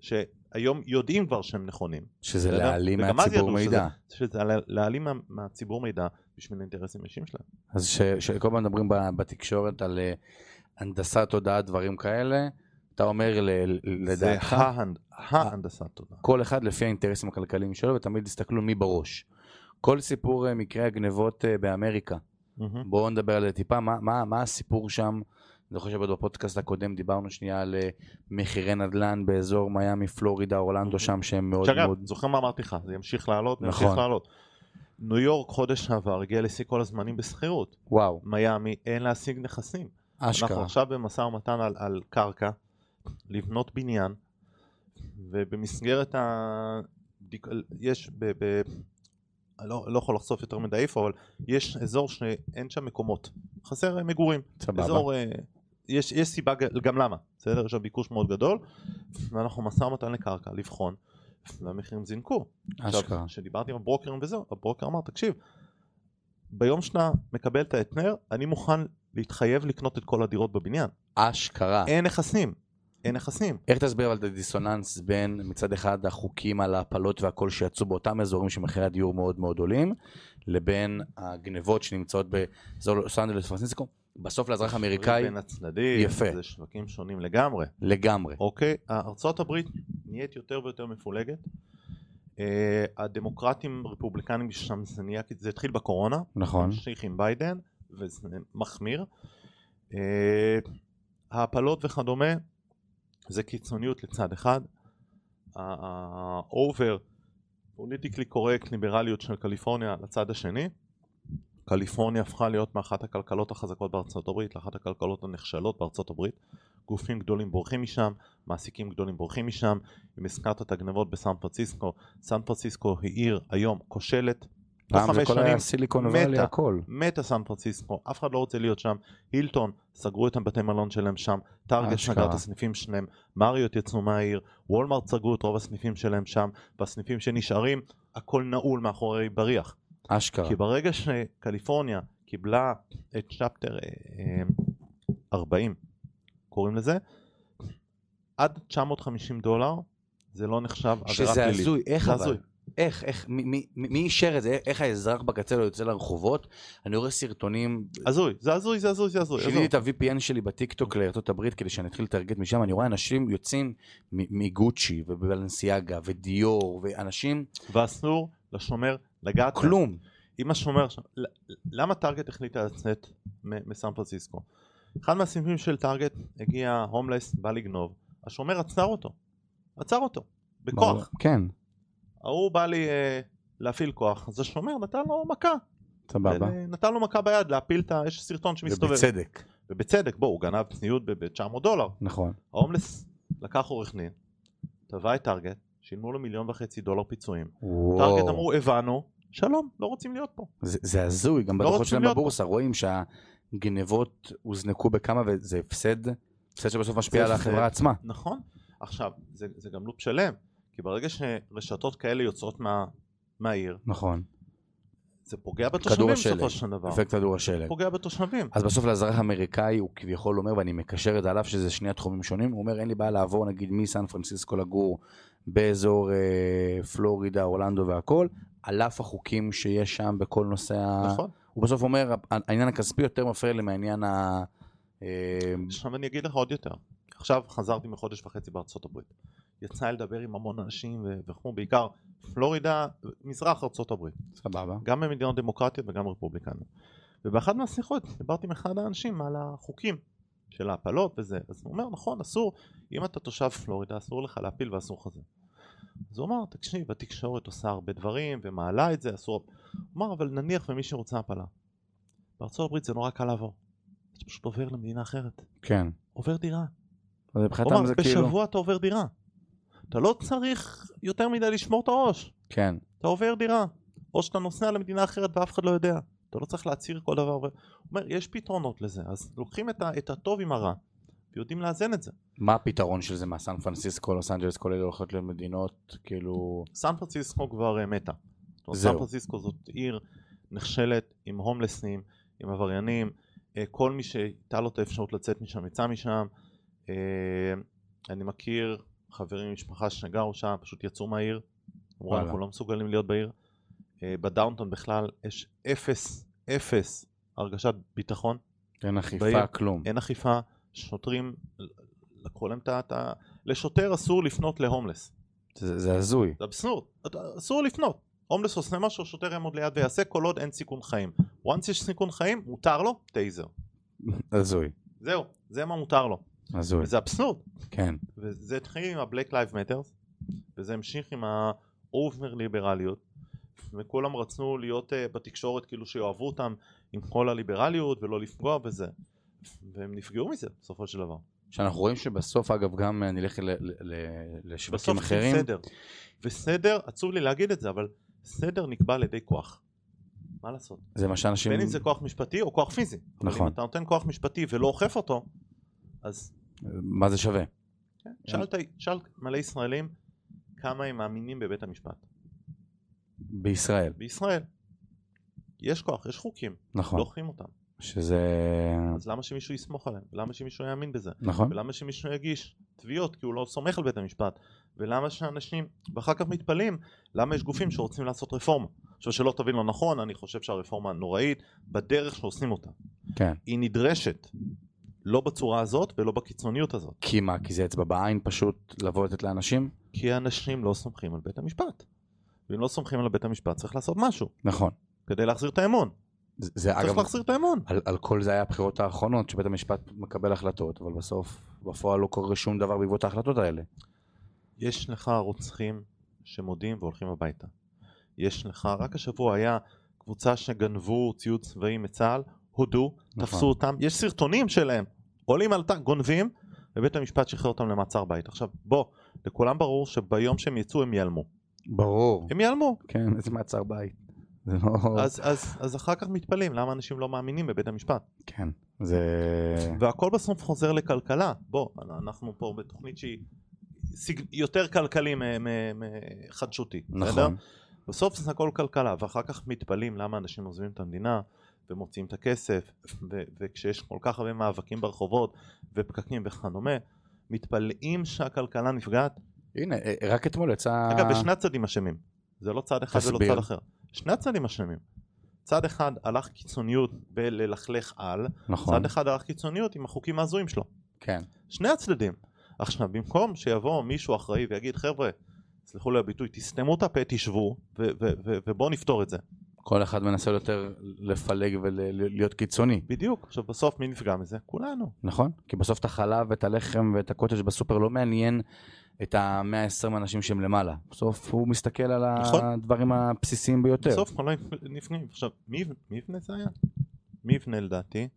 S3: שהיום יודעים כבר שהם נכונים.
S2: שזה
S3: בסדר?
S2: להעלים
S3: וגם אז
S2: מהציבור
S3: ידעו
S2: מידע.
S3: שזה לה- להעלים מה- מהציבור מידע בשביל האינטרסים האישיים שלהם.
S2: אז ש- שכל פעם מדברים ב- בתקשורת על אה, הנדסת תודעה, דברים כאלה, אתה אומר ל- ל-
S3: זה
S2: לדעתך, אה.
S3: ההנד- ההנדסת תודעה.
S2: כל אחד לפי האינטרסים הכלכליים שלו, ותמיד תסתכלו מי בראש. כל סיפור אה, מקרי הגנבות אה, באמריקה,
S3: מהמם.
S2: בואו נדבר על זה טיפה, מה, מה, מה הסיפור שם? אני חושב שעוד בפודקאסט הקודם דיברנו שנייה על אה, מחירי נדל"ן באזור מיאמי, פלורידה, אורלנדו
S3: אוקיי.
S2: שם, שהם מאוד
S3: שאגב,
S2: מאוד...
S3: זוכר מה אמרתי לך, זה ימשיך לעלות, זה
S2: נכון.
S3: ימשיך לעלות. ניו יורק חודש שעבר הגיע לשיא כל הזמנים בשכירות,
S2: וואו,
S3: מיאמי אין להשיג נכסים. אנחנו
S2: אשכרה.
S3: עכשיו במשא ומתן על, על קרקע, לבנות בניין, ובמסגרת ה... יש ב... ב... אני לא, לא יכול לחשוף יותר מדי איפה, אבל יש אזור שאין שם מקומות, חסר אה, מגורים.
S2: סבבה.
S3: אזור, אה, יש, יש סיבה ג- גם למה, בסדר? יש שם ביקוש מאוד גדול, ואנחנו משא ומתן לקרקע, לבחון, והמחירים זינקו.
S2: אשכרה.
S3: כשדיברתי עם הברוקרים וזהו, הברוקר אמר, תקשיב, ביום שאתה מקבל את ההתנר, אני מוכן להתחייב לקנות את כל הדירות בבניין.
S2: אשכרה.
S3: אין נכסים, אין נכסים.
S2: איך תסביר אבל את הדיסוננס בין מצד אחד החוקים על ההפלות והכל שיצאו באותם אזורים שמחירי הדיור מאוד מאוד עולים, לבין הגנבות שנמצאות באזור לוס אנגלס ופרנסיסקו, בסוף לאזרח האמריקאי
S3: בין הצדדים,
S2: יפה.
S3: זה שווקים שונים לגמרי.
S2: לגמרי.
S3: אוקיי, ארצות הברית נהיית יותר ויותר מפולגת. אה, הדמוקרטים, רפובליקנים שם, זה נהיה, זה התחיל בקורונה,
S2: נכון.
S3: ממשיך עם ביידן, וזה מחמיר. אה, ההפלות וכדומה, זה קיצוניות לצד אחד. האובר, פוליטיקלי קורקט, ליברליות של קליפורניה לצד השני. קליפורניה הפכה להיות מאחת הכלכלות החזקות בארצות הברית לאחת הכלכלות הנחשלות בארצות הברית. גופים גדולים בורחים משם, מעסיקים גדולים בורחים משם. אם הזכרת את הגנבות בסן פרנסיסקו, סן פרנסיסקו היא עיר היום כושלת. תוך
S2: פעם זה
S3: חמש
S2: כל
S3: שנים
S2: היה סיליקון
S3: מתה.
S2: וואלי הכל.
S3: מתה סן פרנסיסקו, אף אחד לא רוצה להיות שם, הילטון, סגרו את הבתי מלון שלהם שם, טארגט
S2: אשכרה.
S3: סגר את הסניפים שלהם, מריות יצאו מהעיר, וולמרט סגרו את רוב הסניפים שלהם שם, והסניפים שנשארים, הכל נעול מאחורי בריח.
S2: אשכרה.
S3: כי ברגע שקליפורניה קיבלה את צ'פטר אה, אה, 40, קוראים לזה, עד 950 דולר, זה לא נחשב עבירה פלילית.
S2: שזה הזוי, איך
S3: זה
S2: אבל?
S3: הזוי.
S2: איך, איך, מי- מי מי אישר את זה? איך האזרח בקצה לא יוצא לרחובות? אני רואה סרטונים,
S3: הזוי, זה הזוי, זה הזוי, זה הזוי.
S2: שיניתי
S3: עזוב.
S2: את ה-VPN שלי בטיקטוק לארצות הברית כדי שאני אתחיל לטרגט משם, אני רואה אנשים יוצאים מ- מגוצ'י ובלנסיאגה ודיור ואנשים,
S3: ואסור לשומר לגעת בהם.
S2: כלום.
S3: אם השומר שם, ל- למה טארגט החליטה לצאת מ- מסן פרנסיסקו? אחד מהסניפים של טארגט הגיע הומלס, בא לגנוב, השומר עצר אותו, עצר אותו, בכוח.
S2: כן,
S3: ההוא בא לי אה, להפעיל כוח, אז השומר נתן לו מכה,
S2: סבבה.
S3: אה, נתן לו מכה ביד להפיל את ה... יש סרטון שמסתובב,
S2: ובצדק,
S3: ובצדק, בוא, הוא גנב ציוד ב-900 דולר,
S2: נכון.
S3: ההומלס לקח עורך דין, תבע את טארגט, שילמו לו מיליון וחצי דולר פיצויים,
S2: וואו.
S3: טארגט אמרו הבנו שלום, לא רוצים להיות פה.
S2: זה, זה הזוי, גם
S3: לא
S2: בדוחות
S3: רוצים
S2: שלהם
S3: להיות
S2: בבורסה רואים שהגנבות הוזנקו בכמה וזה הפסד, הפסד שבסוף משפיע
S3: זה
S2: על
S3: הפסד.
S2: החברה עצמה.
S3: נכון. עכשיו, זה, זה גם לופ שלם, כי ברגע שרשתות כאלה יוצאות מה, מהעיר,
S2: נכון,
S3: זה פוגע בתושבים
S2: השלג.
S3: בסופו של דבר.
S2: אפקט כדור השלג.
S3: פוגע בתושבים.
S2: אז בסוף לאזרח האמריקאי הוא כביכול אומר, ואני מקשר את זה על אף שזה שני התחומים שונים, הוא אומר אין לי בעיה לעבור נגיד מסן פרנסיסקו לגור באזור אה, פלורידה, אורלנדו והכל, על אף החוקים שיש שם בכל נושא
S1: אה.
S2: ה...
S3: נכון.
S2: הוא בסוף אומר, העניין הכספי יותר מפריע לי מהעניין ה... אה,
S3: עכשיו אני אגיד לך עוד יותר. עכשיו חזרתי מחודש וחצי בארצות הברית. יצא לי לדבר עם המון אנשים, ו- וכמו בעיקר פלורידה, מזרח ארצות הברית.
S2: סבבה.
S3: גם במדינות דמוקרטיות וגם רפובליקניות. ובאחת מהשיחות דיברתי עם אחד האנשים על החוקים של ההפלות וזה, אז הוא אומר נכון אסור, אם אתה תושב פלורידה אסור לך להפיל ואסור לך זה. אז הוא אמר תקשיב התקשורת עושה הרבה דברים ומעלה את זה אסור, הוא אמר אבל נניח ומי שרוצה הפלה. בארצות הברית זה נורא קל לעבור, אתה פשוט עובר למדינה אחרת,
S2: כן.
S3: עובר דירה.
S2: אז
S3: הוא
S2: מבחינתם
S3: אמר
S2: זה
S3: בשבוע
S2: כאילו...
S3: אתה עובר דירה, אתה לא צריך יותר מדי לשמור את הראש.
S2: כן.
S3: אתה עובר דירה, או שאתה נוסע למדינה אחרת ואף אחד לא יודע. אתה לא צריך להצהיר כל דבר. הוא אומר, יש פתרונות לזה, אז לוקחים את, ה- את הטוב עם הרע, ויודעים לאזן את זה.
S2: מה הפתרון של זה מהסן פרנסיסקו, לוס אנג'לס, כל אלה הולכות למדינות, כאילו...
S3: סן פרנסיסקו כבר אה, מתה. זאת אומרת,
S2: זהו.
S3: סן פרנסיסקו זאת עיר נחשלת עם הומלסים, עם עבריינים, אה, כל מי שהייתה לו את האפשרות לצאת משם יצא משם. אה, אני מכיר חברים ממשפחה שגרו שם, פשוט יצאו מהעיר, אמרו
S2: וואלה.
S3: אנחנו לא מסוגלים להיות בעיר. אה, בדאונטון בכלל יש אפס, אפס הרגשת ביטחון,
S2: אין אכיפה,
S3: בעיר.
S2: כלום.
S3: אין אכיפה, שוטרים, לקחו להם את ה- את ה... לשוטר אסור לפנות להומלס.
S2: זה זה הזוי.
S3: זה אבסורד, אתה- אסור לפנות. הומלס עושה משהו, שוטר יעמוד ליד ויעשה כל עוד אין סיכון חיים. once יש סיכון חיים, מותר לו טייזר.
S2: הזוי.
S3: זהו, זה מה מותר לו.
S2: הזוי.
S3: וזה אבסורד.
S2: כן.
S3: וזה התחיל עם ה-Black Lives Matter, וזה המשיך עם האובר ליברליות, וכולם רצו להיות uh, בתקשורת כאילו שיאהבו אותם עם כל הליברליות ולא לפגוע בזה, והם נפגעו מזה בסופו של דבר.
S2: שאנחנו רואים שבסוף, אגב, גם אה, נלך ל- ל- ל- לשווקים
S3: בסוף צריכים
S2: אחרים.
S3: סדר. וסדר, עצוב לי להגיד את זה, אבל סדר נקבע על ידי כוח. מה לעשות?
S2: זה מה שאנשים...
S3: בין אם זה כוח משפטי או כוח פיזי. נכון. אבל
S2: נכון.
S3: אם אתה נותן כוח משפטי ולא אוכף אותו, אז
S2: מה זה שווה?
S3: כן, שאלת, שאל מלא ישראלים כמה הם מאמינים בבית המשפט.
S2: בישראל.
S3: בישראל. יש כוח, יש חוקים, לא
S2: נכון.
S3: אוכפים אותם.
S2: שזה...
S3: אז למה שמישהו יסמוך עליהם? למה שמישהו יאמין בזה?
S2: נכון.
S3: ולמה שמישהו יגיש תביעות כי הוא לא סומך על בית המשפט? ולמה שאנשים, ואחר כך מתפלאים, למה יש גופים שרוצים לעשות רפורמה? עכשיו שלא תבין לא נכון, אני חושב שהרפורמה נוראית בדרך שעושים אותה.
S2: כן.
S3: היא נדרשת. לא בצורה הזאת ולא בקיצוניות הזאת.
S2: כי מה? כי זה אצבע בעין פשוט לבוא לתת לאנשים?
S3: כי האנשים לא סומכים על בית המשפט. ואם לא סומכים על בית המשפט צריך לעשות משהו
S2: נכון.
S3: כדי להחזיר את האמון.
S2: זה- זה
S3: צריך
S2: אגב...
S3: להחזיר את האמון.
S2: על, על כל זה היה הבחירות האחרונות, שבית המשפט מקבל החלטות, אבל בסוף, בפועל לא קורה שום דבר בעקבות ההחלטות האלה.
S3: יש לך רוצחים שמודים והולכים הביתה. יש לך, רק השבוע היה קבוצה שגנבו ציוד צבאי מצה"ל, הודו,
S2: נכון.
S3: תפסו אותם, יש סרטונים שלהם, עולים על טנק, גונבים, ובית המשפט שחרר אותם למעצר בית. עכשיו בוא, לכולם ברור שביום שהם יצאו הם ייעלמו.
S2: ברור.
S3: הם ייעלמו.
S2: כן, [LAUGHS] זה מעצר בית. זה לא...
S3: אז, אז, אז אחר כך מתפלאים למה אנשים לא מאמינים בבית המשפט.
S2: כן, זה...
S3: והכל בסוף חוזר לכלכלה. בוא, אנחנו פה בתוכנית שהיא סג- יותר כלכלי מחדשותי.
S2: נכון.
S3: בסוף זה הכל כלכלה, ואחר כך מתפלאים למה אנשים עוזבים את המדינה ומוציאים את הכסף, ו- וכשיש כל כך הרבה מאבקים ברחובות ופקקים וכדומה, מתפלאים שהכלכלה נפגעת.
S2: הנה, אה, רק אתמול יצא...
S3: אגב, בשני הצדדים אשמים, זה לא צד אחד ולא
S2: תסביר.
S3: צד אחר. שני הצדדים אשמים. צד אחד הלך קיצוניות בללכלך על,
S2: נכון,
S3: צד אחד הלך קיצוניות עם החוקים ההזויים שלו.
S2: כן.
S3: שני הצדדים. עכשיו, במקום שיבוא מישהו אחראי ויגיד, חבר'ה, סלחו לי הביטוי, תסתמו את הפה, תשבו, ו- ו- ו- ובואו נפתור את זה.
S2: כל אחד מנסה יותר לפלג ולהיות קיצוני,
S3: בדיוק. עכשיו, בסוף מי נפגע מזה? כולנו.
S2: נכון? כי בסוף את החלב ואת הלחם ואת הקוטג' בסופר לא מעניין את ה-120 אנשים שהם למעלה. בסוף הוא מסתכל על
S3: נכון.
S2: הדברים הבסיסיים ביותר.
S3: בסוף כולנו נפגעים. עכשיו, מי מי יבנה זה היה? מי יבנה לדעתי?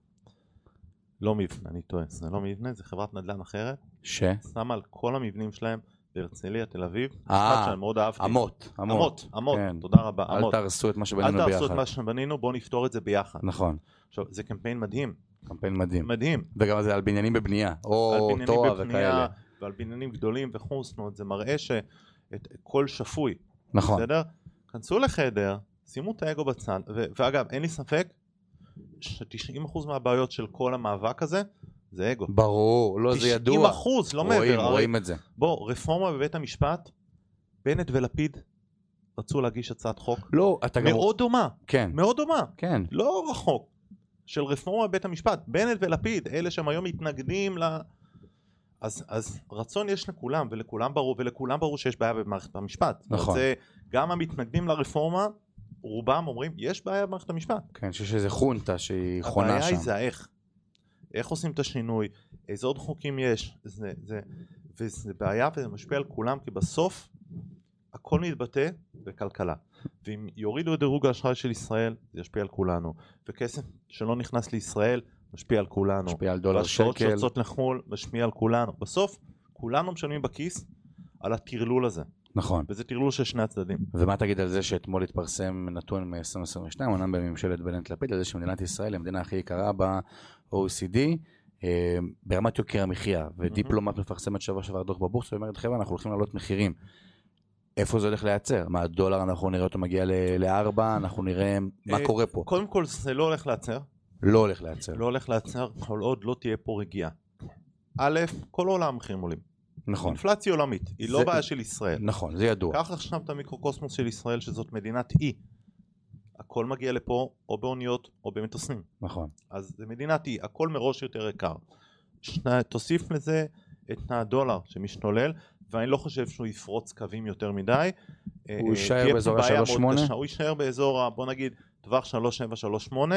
S3: לא מבנה, אני טועה, זה לא מבנה, זה חברת נדל"ן אחרת,
S2: ש...
S3: שמה על כל המבנים שלהם בהרצליה, תל אביב.
S2: אה,
S3: משפט שאני מאוד אהבתי.
S2: אמות, אמות.
S3: אמות, אמות,
S2: כן.
S3: תודה רבה,
S2: אל
S3: אמות.
S2: תהרסו את מה
S3: אל
S2: שבנינו
S3: תעשו את
S2: ביחד.
S3: מה שבנינו, בואו נפתור את זה ביחד.
S2: נכון,
S3: עכשיו, זה קמפיין מדהים,
S2: קמפיין מדהים.
S3: מדהים.
S2: וגם זה על בניינים בבנייה,
S3: על
S2: או
S3: בניינים
S2: תואר
S3: בבנייה
S2: וכאלה.
S3: ועל בניינים גדולים וכו', זאת אומרת, זה מראה שהכל שפוי,
S2: נכון,
S3: בסדר? כנסו לחדר, שימו את האגו בצד, ו- ואגב, אין לי ספק ש-90% מהבעיות של כל המאבק הזה זה אגו.
S2: ברור, לא זה ידוע.
S3: 90% לא
S2: רואים,
S3: מעבר. הרי-
S2: רואים את זה.
S3: בוא, רפורמה בבית המשפט, בנט ולפיד רצו להגיש הצעת חוק
S2: לא, אתה גם...
S3: מאוד דומה,
S2: כן,
S3: מאוד דומה,
S2: כן.
S3: לא רחוק, של רפורמה בבית המשפט, בנט ולפיד, אלה שהם היום מתנגדים ל... אז, אז רצון יש לכולם, ולכולם ברור, ולכולם ברור שיש בעיה במערכת המשפט. זאת אומרת,
S2: נכון.
S3: זה, גם המתנגדים לרפורמה, רובם אומרים, יש בעיה במערכת המשפט.
S2: כן, אני חושב שזה חונטה שהיא חונה
S3: הבעיה היא
S2: שם.
S3: זה האיך. איך עושים את השינוי, איזה עוד חוקים יש, זה, זה, וזה בעיה וזה משפיע על כולם, כי בסוף הכל מתבטא בכלכלה. ואם יורידו את דירוג האשראי של ישראל, זה ישפיע על כולנו. וכסף שלא נכנס לישראל, משפיע על כולנו.
S2: משפיע על דולר
S3: והשעות
S2: שקל.
S3: שיוצאות לחו"ל, משפיע על כולנו. בסוף, כולנו משלמים בכיס על הטרלול הזה,
S2: נכון.
S3: וזה טרלול של שני הצדדים.
S2: ומה תגיד על זה שאתמול התפרסם נתון מ-2022, אומנם בממשלת בנט-לפיד, על זה שמדינת ישראל היא המדינה הכי יקרה ב-OECD אה, ברמת יוקר המחיה, ודיפלומט מפרסמת שבוע שעבר דוח בבורסה, ואומרת חבר'ה אנחנו הולכים להעלות מחירים. איפה זה הולך להיעצר? מה הדולר אנחנו נראה אותו מגיע ל- לארבע, אנחנו נראה מה
S3: אה,
S2: קורה פה.
S3: קודם כל, זה לא הולך להצר,
S2: לא הולך להיעצר,
S3: לא הולך להצר כל עוד לא תהיה פה רגיעה. א', כל העולם המחירים עולים.
S2: נכון,
S3: אינפלציה עולמית, היא
S2: זה-
S3: לא בעיה של ישראל.
S2: נכון, זה ידוע.
S3: קח עכשיו את המיקרוקוסמוס של ישראל שזאת מדינת אי. הכל מגיע לפה או באוניות או במטוסים.
S2: נכון,
S3: אז זה מדינת אי, הכל מראש יותר יקר. שני, תוסיף לזה את הדולר שמשתולל, ואני לא חושב שהוא יפרוץ קווים יותר מדי. אה, אה,
S2: יישאר
S3: תהיה פה
S2: באזור
S3: בעיה מאוד
S2: ה-3.8?
S3: קשה. הוא יישאר באזור, ה- בוא נגיד, טווח 3738,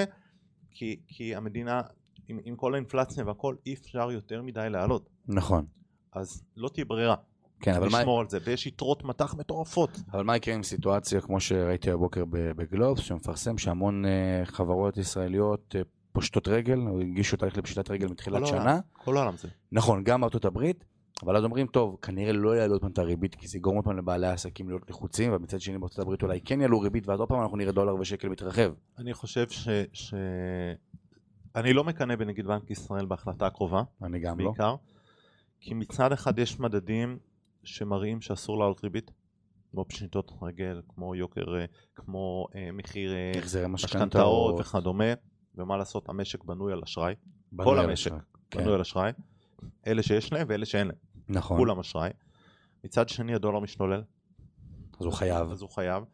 S3: כי, כי המדינה, עם, עם כל האינפלציה והכל, אי אפשר יותר מדי לעלות.
S2: נכון.
S3: אז לא תהיה ברירה.
S2: כן, אבל מה,
S3: לשמור על זה, ויש יתרות מטח מטורפות.
S2: אבל מה יקרה עם סיטואציה כמו שראיתי הבוקר ב- בגלובס, שמפרסם שהמון אה, חברות ישראליות אה, פושטות רגל, או הגישו תהליך לפשיטת רגל מתחילת
S3: כל
S2: שנה.
S3: העולם. כל העולם זה.
S2: נכון, גם ארצות הברית, אבל אז אומרים, טוב, כנראה לא יעלו עוד פעם את הריבית, כי זה יגרום עוד פעם לבעלי העסקים להיות לחוצים, ומצד שני בארצות הברית אולי כן יעלו ריבית, ואז עוד פעם אנחנו נראה דולר ושקל מתרחב.
S3: אני חושב ש... ש... אני לא מקנא בנגיד בנק ישראל בהחלטה הקרובה,
S2: אני גם לא.
S3: בעיקר, כי מצד אחד יש מדדים שמראים שאסור לעלות ריבית, כמו פשיטות רגל, כמו יוקר, אה, כמו אה, מחיר אה,
S2: החזרי משכנתאות,
S3: משכנתאות וכדומה, ומה לעשות, המשק בנוי על אשראי,
S2: בנוי
S3: כל
S2: על
S3: המשק.
S2: אשראי. כן,
S3: בנוי על אשראי, אלה שיש להם ואלה שאין להם,
S2: נכון,
S3: כולם אשראי. מצד שני הדולר משתולל,
S2: אז הוא חייב.
S3: אז הוא חייב.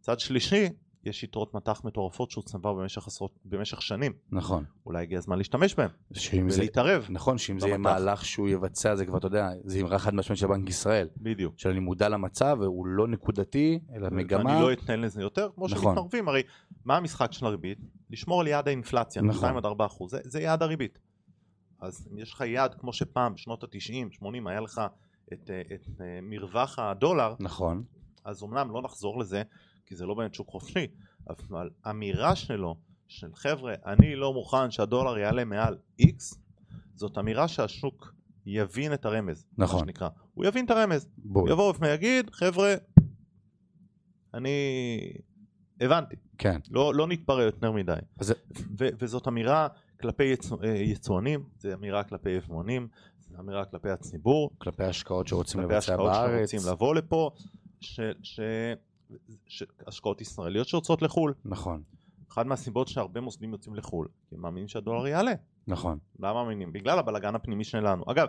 S3: מצד שלישי, יש יתרות מטח מטורפות שהוא צבר במשך, עשרות, במשך שנים,
S2: נכון.
S3: אולי הגיע הזמן להשתמש בהן
S2: שאם זה-
S3: ולהתערב.
S2: נכון, שאם זה יהיה
S3: במטח.
S2: מהלך שהוא יבצע, זה כבר, אתה יודע, זה אמרה חד משמעית של בנק ישראל.
S3: בדיוק.
S2: של אני מודע למצב והוא לא נקודתי אלא מגמה
S3: ואני לא אתן לזה יותר, כמו
S2: נכון.
S3: שמתערבים, הרי מה המשחק של הריבית? לשמור על יעד האינפלציה,
S2: נכון.
S3: 2 עד 4 אחוז, זה, זה יעד הריבית. אז אם יש לך יעד כמו שפעם, שנות ה-90, 80, היה לך את, אה, את, את מרווח הדולר,
S2: נכון
S3: אז אמנם לא נחזור לזה, כי זה לא באמת שוק חופשי, אבל אמירה שלו, של חבר'ה, אני לא מוכן שהדולר יעלה מעל X, זאת אמירה שהשוק יבין את הרמז, מה
S2: נכון
S3: שנקרא. הוא יבין את הרמז,
S2: בול
S3: יבוא ויגיד, חבר'ה, אני הבנתי,
S2: כן
S3: לא, לא נתפרע יותר מדי.
S2: אז-
S3: ו- וזאת אמירה כלפי יצוא- אה, יצואנים, זו אמירה כלפי יבואנים, זו אמירה כלפי הציבור,
S2: כלפי ההשקעות שרוצים
S3: כלפי
S2: לבצע
S3: השקעות
S2: בארץ
S3: שרוצים לבוא לפה, ש, ש, ש, השקעות ישראליות שיוצאות לחו"ל.
S2: נכון
S3: אחת מהסיבות שהרבה מוסדים יוצאים לחו"ל, כי הם מאמינים שהדולר יעלה.
S2: נכון
S3: למה מאמינים? בגלל הבלגן הפנימי שלנו. אגב,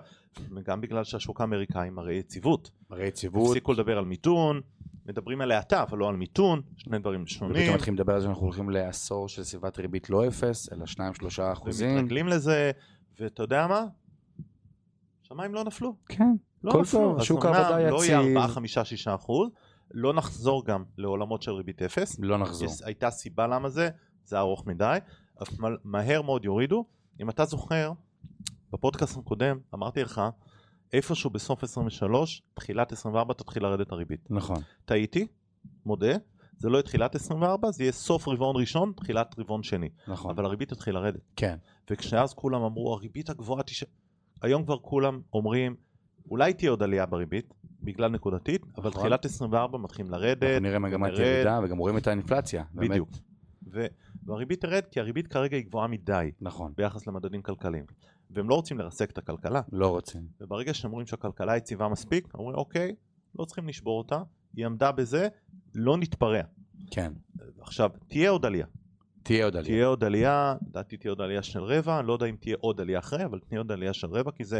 S3: וגם בגלל שהשוק האמריקאי מראה יציבות.
S2: הרי יציבות
S3: הפסיקו לדבר על מיתון, מדברים על האטה אבל לא על מיתון, שני דברים
S2: ופתאום
S3: שונים,
S2: מתחילים לדבר על זה שאנחנו הולכים לעשור של סביבת ריבית לא אפס אלא שניים שלושה אחוזים
S3: ומתרגלים לזה, ואתה יודע מה? שמיים לא נפלו.
S2: כן
S3: לא
S2: הכל
S3: נפלו.
S2: טוב,
S3: אז
S2: שוק
S3: אמנם
S2: העבודה
S3: לא
S2: יציב.
S3: יהיה 4, 5, 6 אחוז, לא נחזור גם לעולמות של ריבית אפס.
S2: לא נחזור
S3: יש, הייתה סיבה למה זה, זה ארוך מדי, אבל מה- מהר מאוד יורידו. אם אתה זוכר, בפודקאסט הקודם אמרתי לך, איפשהו בסוף 23, תחילת 24 תתחיל לרדת הריבית.
S2: נכון
S3: טעיתי, מודה, זה לא יהיה תחילת 24, זה יהיה סוף רבעון ראשון, תחילת רבעון שני.
S2: נכון
S3: אבל הריבית תתחיל לרדת.
S2: כן
S3: וכשאז כולם אמרו, הריבית הגבוהה תשאר... היום כבר כולם אומרים, אולי תהיה עוד עלייה בריבית, בגלל נקודתית, אבל
S2: נכון.
S3: תחילת 24 מתחילים
S2: אנחנו
S3: לרדת,
S2: נראה מגמת
S3: נרד.
S2: ירידה וגם רואים את האינפלציה. באמת.
S3: בדיוק. ו- והריבית תרד כי הריבית כרגע היא גבוהה מדי
S2: נכון,
S3: ביחס למדדים כלכליים. והם לא רוצים לרסק את הכלכלה,
S2: לא רוצים.
S3: וברגע שהם רואים שהכלכלה יציבה מספיק, אומרים אוקיי, לא צריכים לשבור אותה, היא עמדה בזה, לא נתפרע.
S2: כן.
S3: עכשיו, תהיה עוד עלייה.
S2: תהיה עוד עלייה.
S3: תהיה עוד עלייה, לדעתי תהיה עוד עלייה של רבע, אני לא יודע אם תהיה עוד עלייה אחרי, אבל תהיה עוד עלייה של רבע, כי זה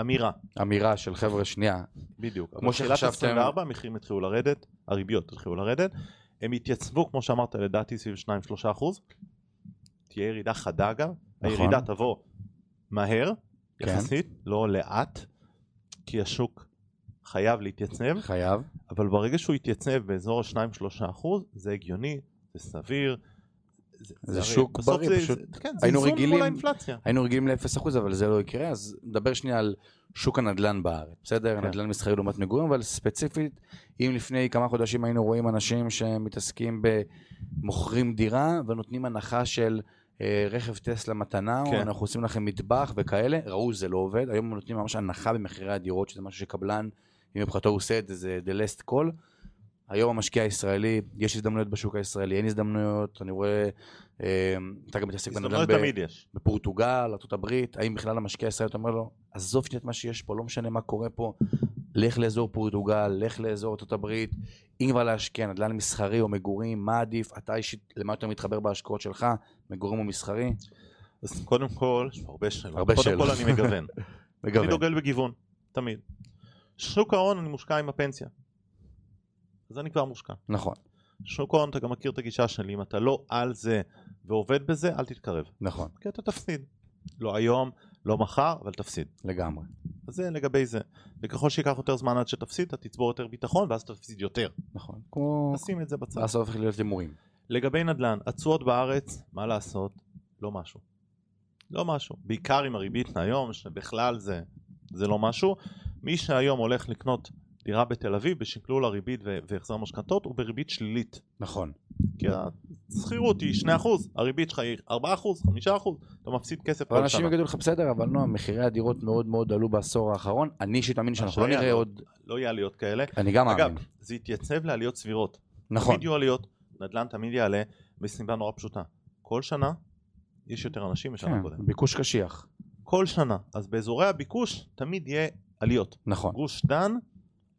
S3: אמירה,
S2: אמירה של חבר'ה שנייה,
S3: כן. בדיוק.
S2: כמו
S3: אבל תחילת
S2: שחשבתם-
S3: 24 המחירים התחילו לרדת, הריביות התחילו לרדת, הם התייצבו, כמו שאמרת, לדעתי סביב 2-3 אחוז, תהיה ירידה חדה גם, הירידה תבוא מהר,
S2: נכון. כן.
S3: יחסית, לא לאט, כי השוק חייב להתייצב,
S2: חייב.
S3: אבל ברגע שהוא יתייצב באזור ה-2-3 אחוז, זה הגיוני, זה סביר.
S2: זה
S3: הרי
S2: שוק
S3: בסוף
S2: בריא,
S3: זה-
S2: פשוט
S3: זה- כן, זה
S2: היינו
S3: איזון
S2: רגילים-
S3: מול האינפלציה.
S2: היינו רגילים ל-0%, אבל זה לא יקרה, אז נדבר שנייה על שוק הנדל"ן בארץ, בסדר?
S3: כן.
S2: נדל"ן מסחרי לעומת מגורים, אבל ספציפית, אם לפני כמה חודשים היינו רואים אנשים שמתעסקים במוכרים דירה ונותנים הנחה של אה, רכב טסלה מתנה, או
S3: כן.
S2: אנחנו עושים לכם מטבח וכאלה, ראו זה לא עובד, היום הם נותנים ממש הנחה במחירי הדירות, שזה משהו שקבלן, אם מבחינתו הוא עושה את זה, זה the last call. היום המשקיע הישראלי, יש הזדמנויות בשוק הישראלי, אין הזדמנויות, אני רואה, אה, אתה גם מתעסק בנדל"ן
S3: הזדמנויות
S2: ב-
S3: תמיד יש.
S2: בפורטוגל, ארה"ב, האם בכלל המשקיע הישראלי אתה אומר לו, עזוב שנייה את מה שיש פה, לא משנה מה קורה פה, לך לאזור פורטוגל, לך לאזור ארה"ב, אם כבר להשקיע נדל"ן מסחרי או מגורים, מה עדיף, אתה אישית, למה יותר מתחבר בהשקעות שלך, מגורים או מסחרי?
S3: אז קודם כל, יש פה הרבה שאלות.
S2: הרבה
S3: קודם כל
S2: שאלות. [LAUGHS]
S3: אני מגוון. אני
S2: מגוון.
S3: דוגל בגיוון, תמיד. שוק ההון אני מושקע עם הפנסיה. אז אני כבר מושקע.
S2: נכון,
S3: שוק ההון, אתה גם מכיר את הגישה שלי, אם אתה לא על זה ועובד בזה, אל תתקרב.
S2: נכון,
S3: כי אתה תפסיד. לא היום, לא מחר, אבל תפסיד.
S2: לגמרי.
S3: אז זה לגבי זה. וככל שייקח יותר זמן עד שתפסיד, אתה תצבור יותר ביטחון ואז תפסיד יותר.
S2: נכון, כמו...
S3: נשים את זה בצד.
S2: אז הופך להיות הימורים.
S3: לגבי נדל"ן, התשואות בארץ, מה לעשות? לא משהו. לא משהו. בעיקר עם הריבית היום, שבכלל זה, זה לא משהו. מי שהיום הולך לקנות דירה בתל אביב בשקלול הריבית ו- והחזר משכנתות, הוא בריבית שלילית.
S2: נכון,
S3: כי השכירות היא 2%, הריבית שלך היא 4%, 5%, אתה מפסיד כסף
S2: אבל
S3: כל
S2: אנשים
S3: שנה.
S2: יגידו לך בסדר, אבל נועם, מחירי הדירות מאוד מאוד עלו בעשור האחרון, אני אישית מאמין שאנחנו לא
S3: השעיה,
S2: נראה
S3: לא.
S2: עוד,
S3: לא יהיה עליות כאלה.
S2: אני גם
S3: אגב,
S2: מאמין,
S3: זה יתייצב לעליות סבירות.
S2: נכון,
S3: תמיד יהיו עליות, נדל"ן תמיד יעלה, מסיבה נורא פשוטה. כל שנה יש יותר אנשים משנה
S2: כן,
S3: קודם.
S2: ביקוש קשיח,
S3: כל שנה. אז באזורי הביקוש תמיד יהיה עליות.
S2: נכון,
S3: גוש דן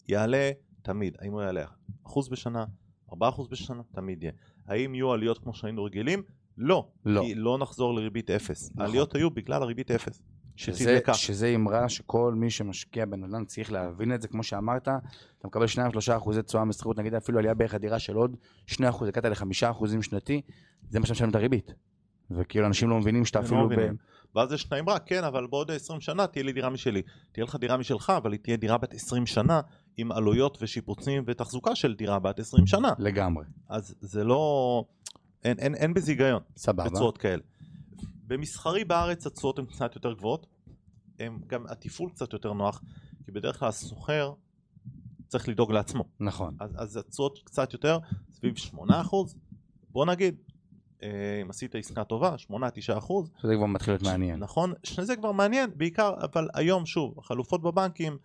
S3: יעלה תמיד, האם הוא יעלה אחוז בשנה, ארבעה אחוז בשנה, תמיד יהיה. האם יהיו עליות כמו שהיינו רגילים? לא,
S2: לא.
S3: כי לא נחזור לריבית אפס.
S2: נכון.
S3: העליות היו בגלל הריבית אפס.
S2: שזה,
S3: שתדלקה.
S2: שזה אמרה שכל מי שמשקיע בנדל"ן צריך להבין את זה, כמו שאמרת, אתה מקבל 2-3 אחוזי תשואה משכירות, נגיד אפילו עלייה בערך הדירה של עוד 2 אחוז, הגעת ל-5 אחוזים שנתי, זה מה שאתה משלם את הריבית. וכאילו אנשים לא מבינים שאתה
S3: הם לא
S2: אפילו... ב...
S3: מבינים. ואז יש את האמרה, כן, אבל בעוד 20 שנה תהיה לי דירה משלי. תהיה לך דירה משלך, אבל היא תהיה דירה בת 20 שנה, עם עלויות ושיפוצים ותחזוקה של דירה בת 20 שנה.
S2: לגמרי,
S3: אז זה לא... אין, אין, אין בזה היגיון.
S2: סבבה.
S3: בתשואות כאלה. במסחרי בארץ התשואות הן קצת יותר גבוהות, הם גם התפעול קצת יותר נוח, כי בדרך כלל הסוחר צריך לדאוג לעצמו,
S2: נכון,
S3: אז, אז התשואות קצת יותר, סביב 8%, בוא נגיד, אה, אם עשית עסקה טובה, 8-9%,
S2: זה כבר מתחיל להיות מעניין.
S3: נכון? שזה כבר מעניין, בעיקר, אבל היום שוב, החלופות בבנקים,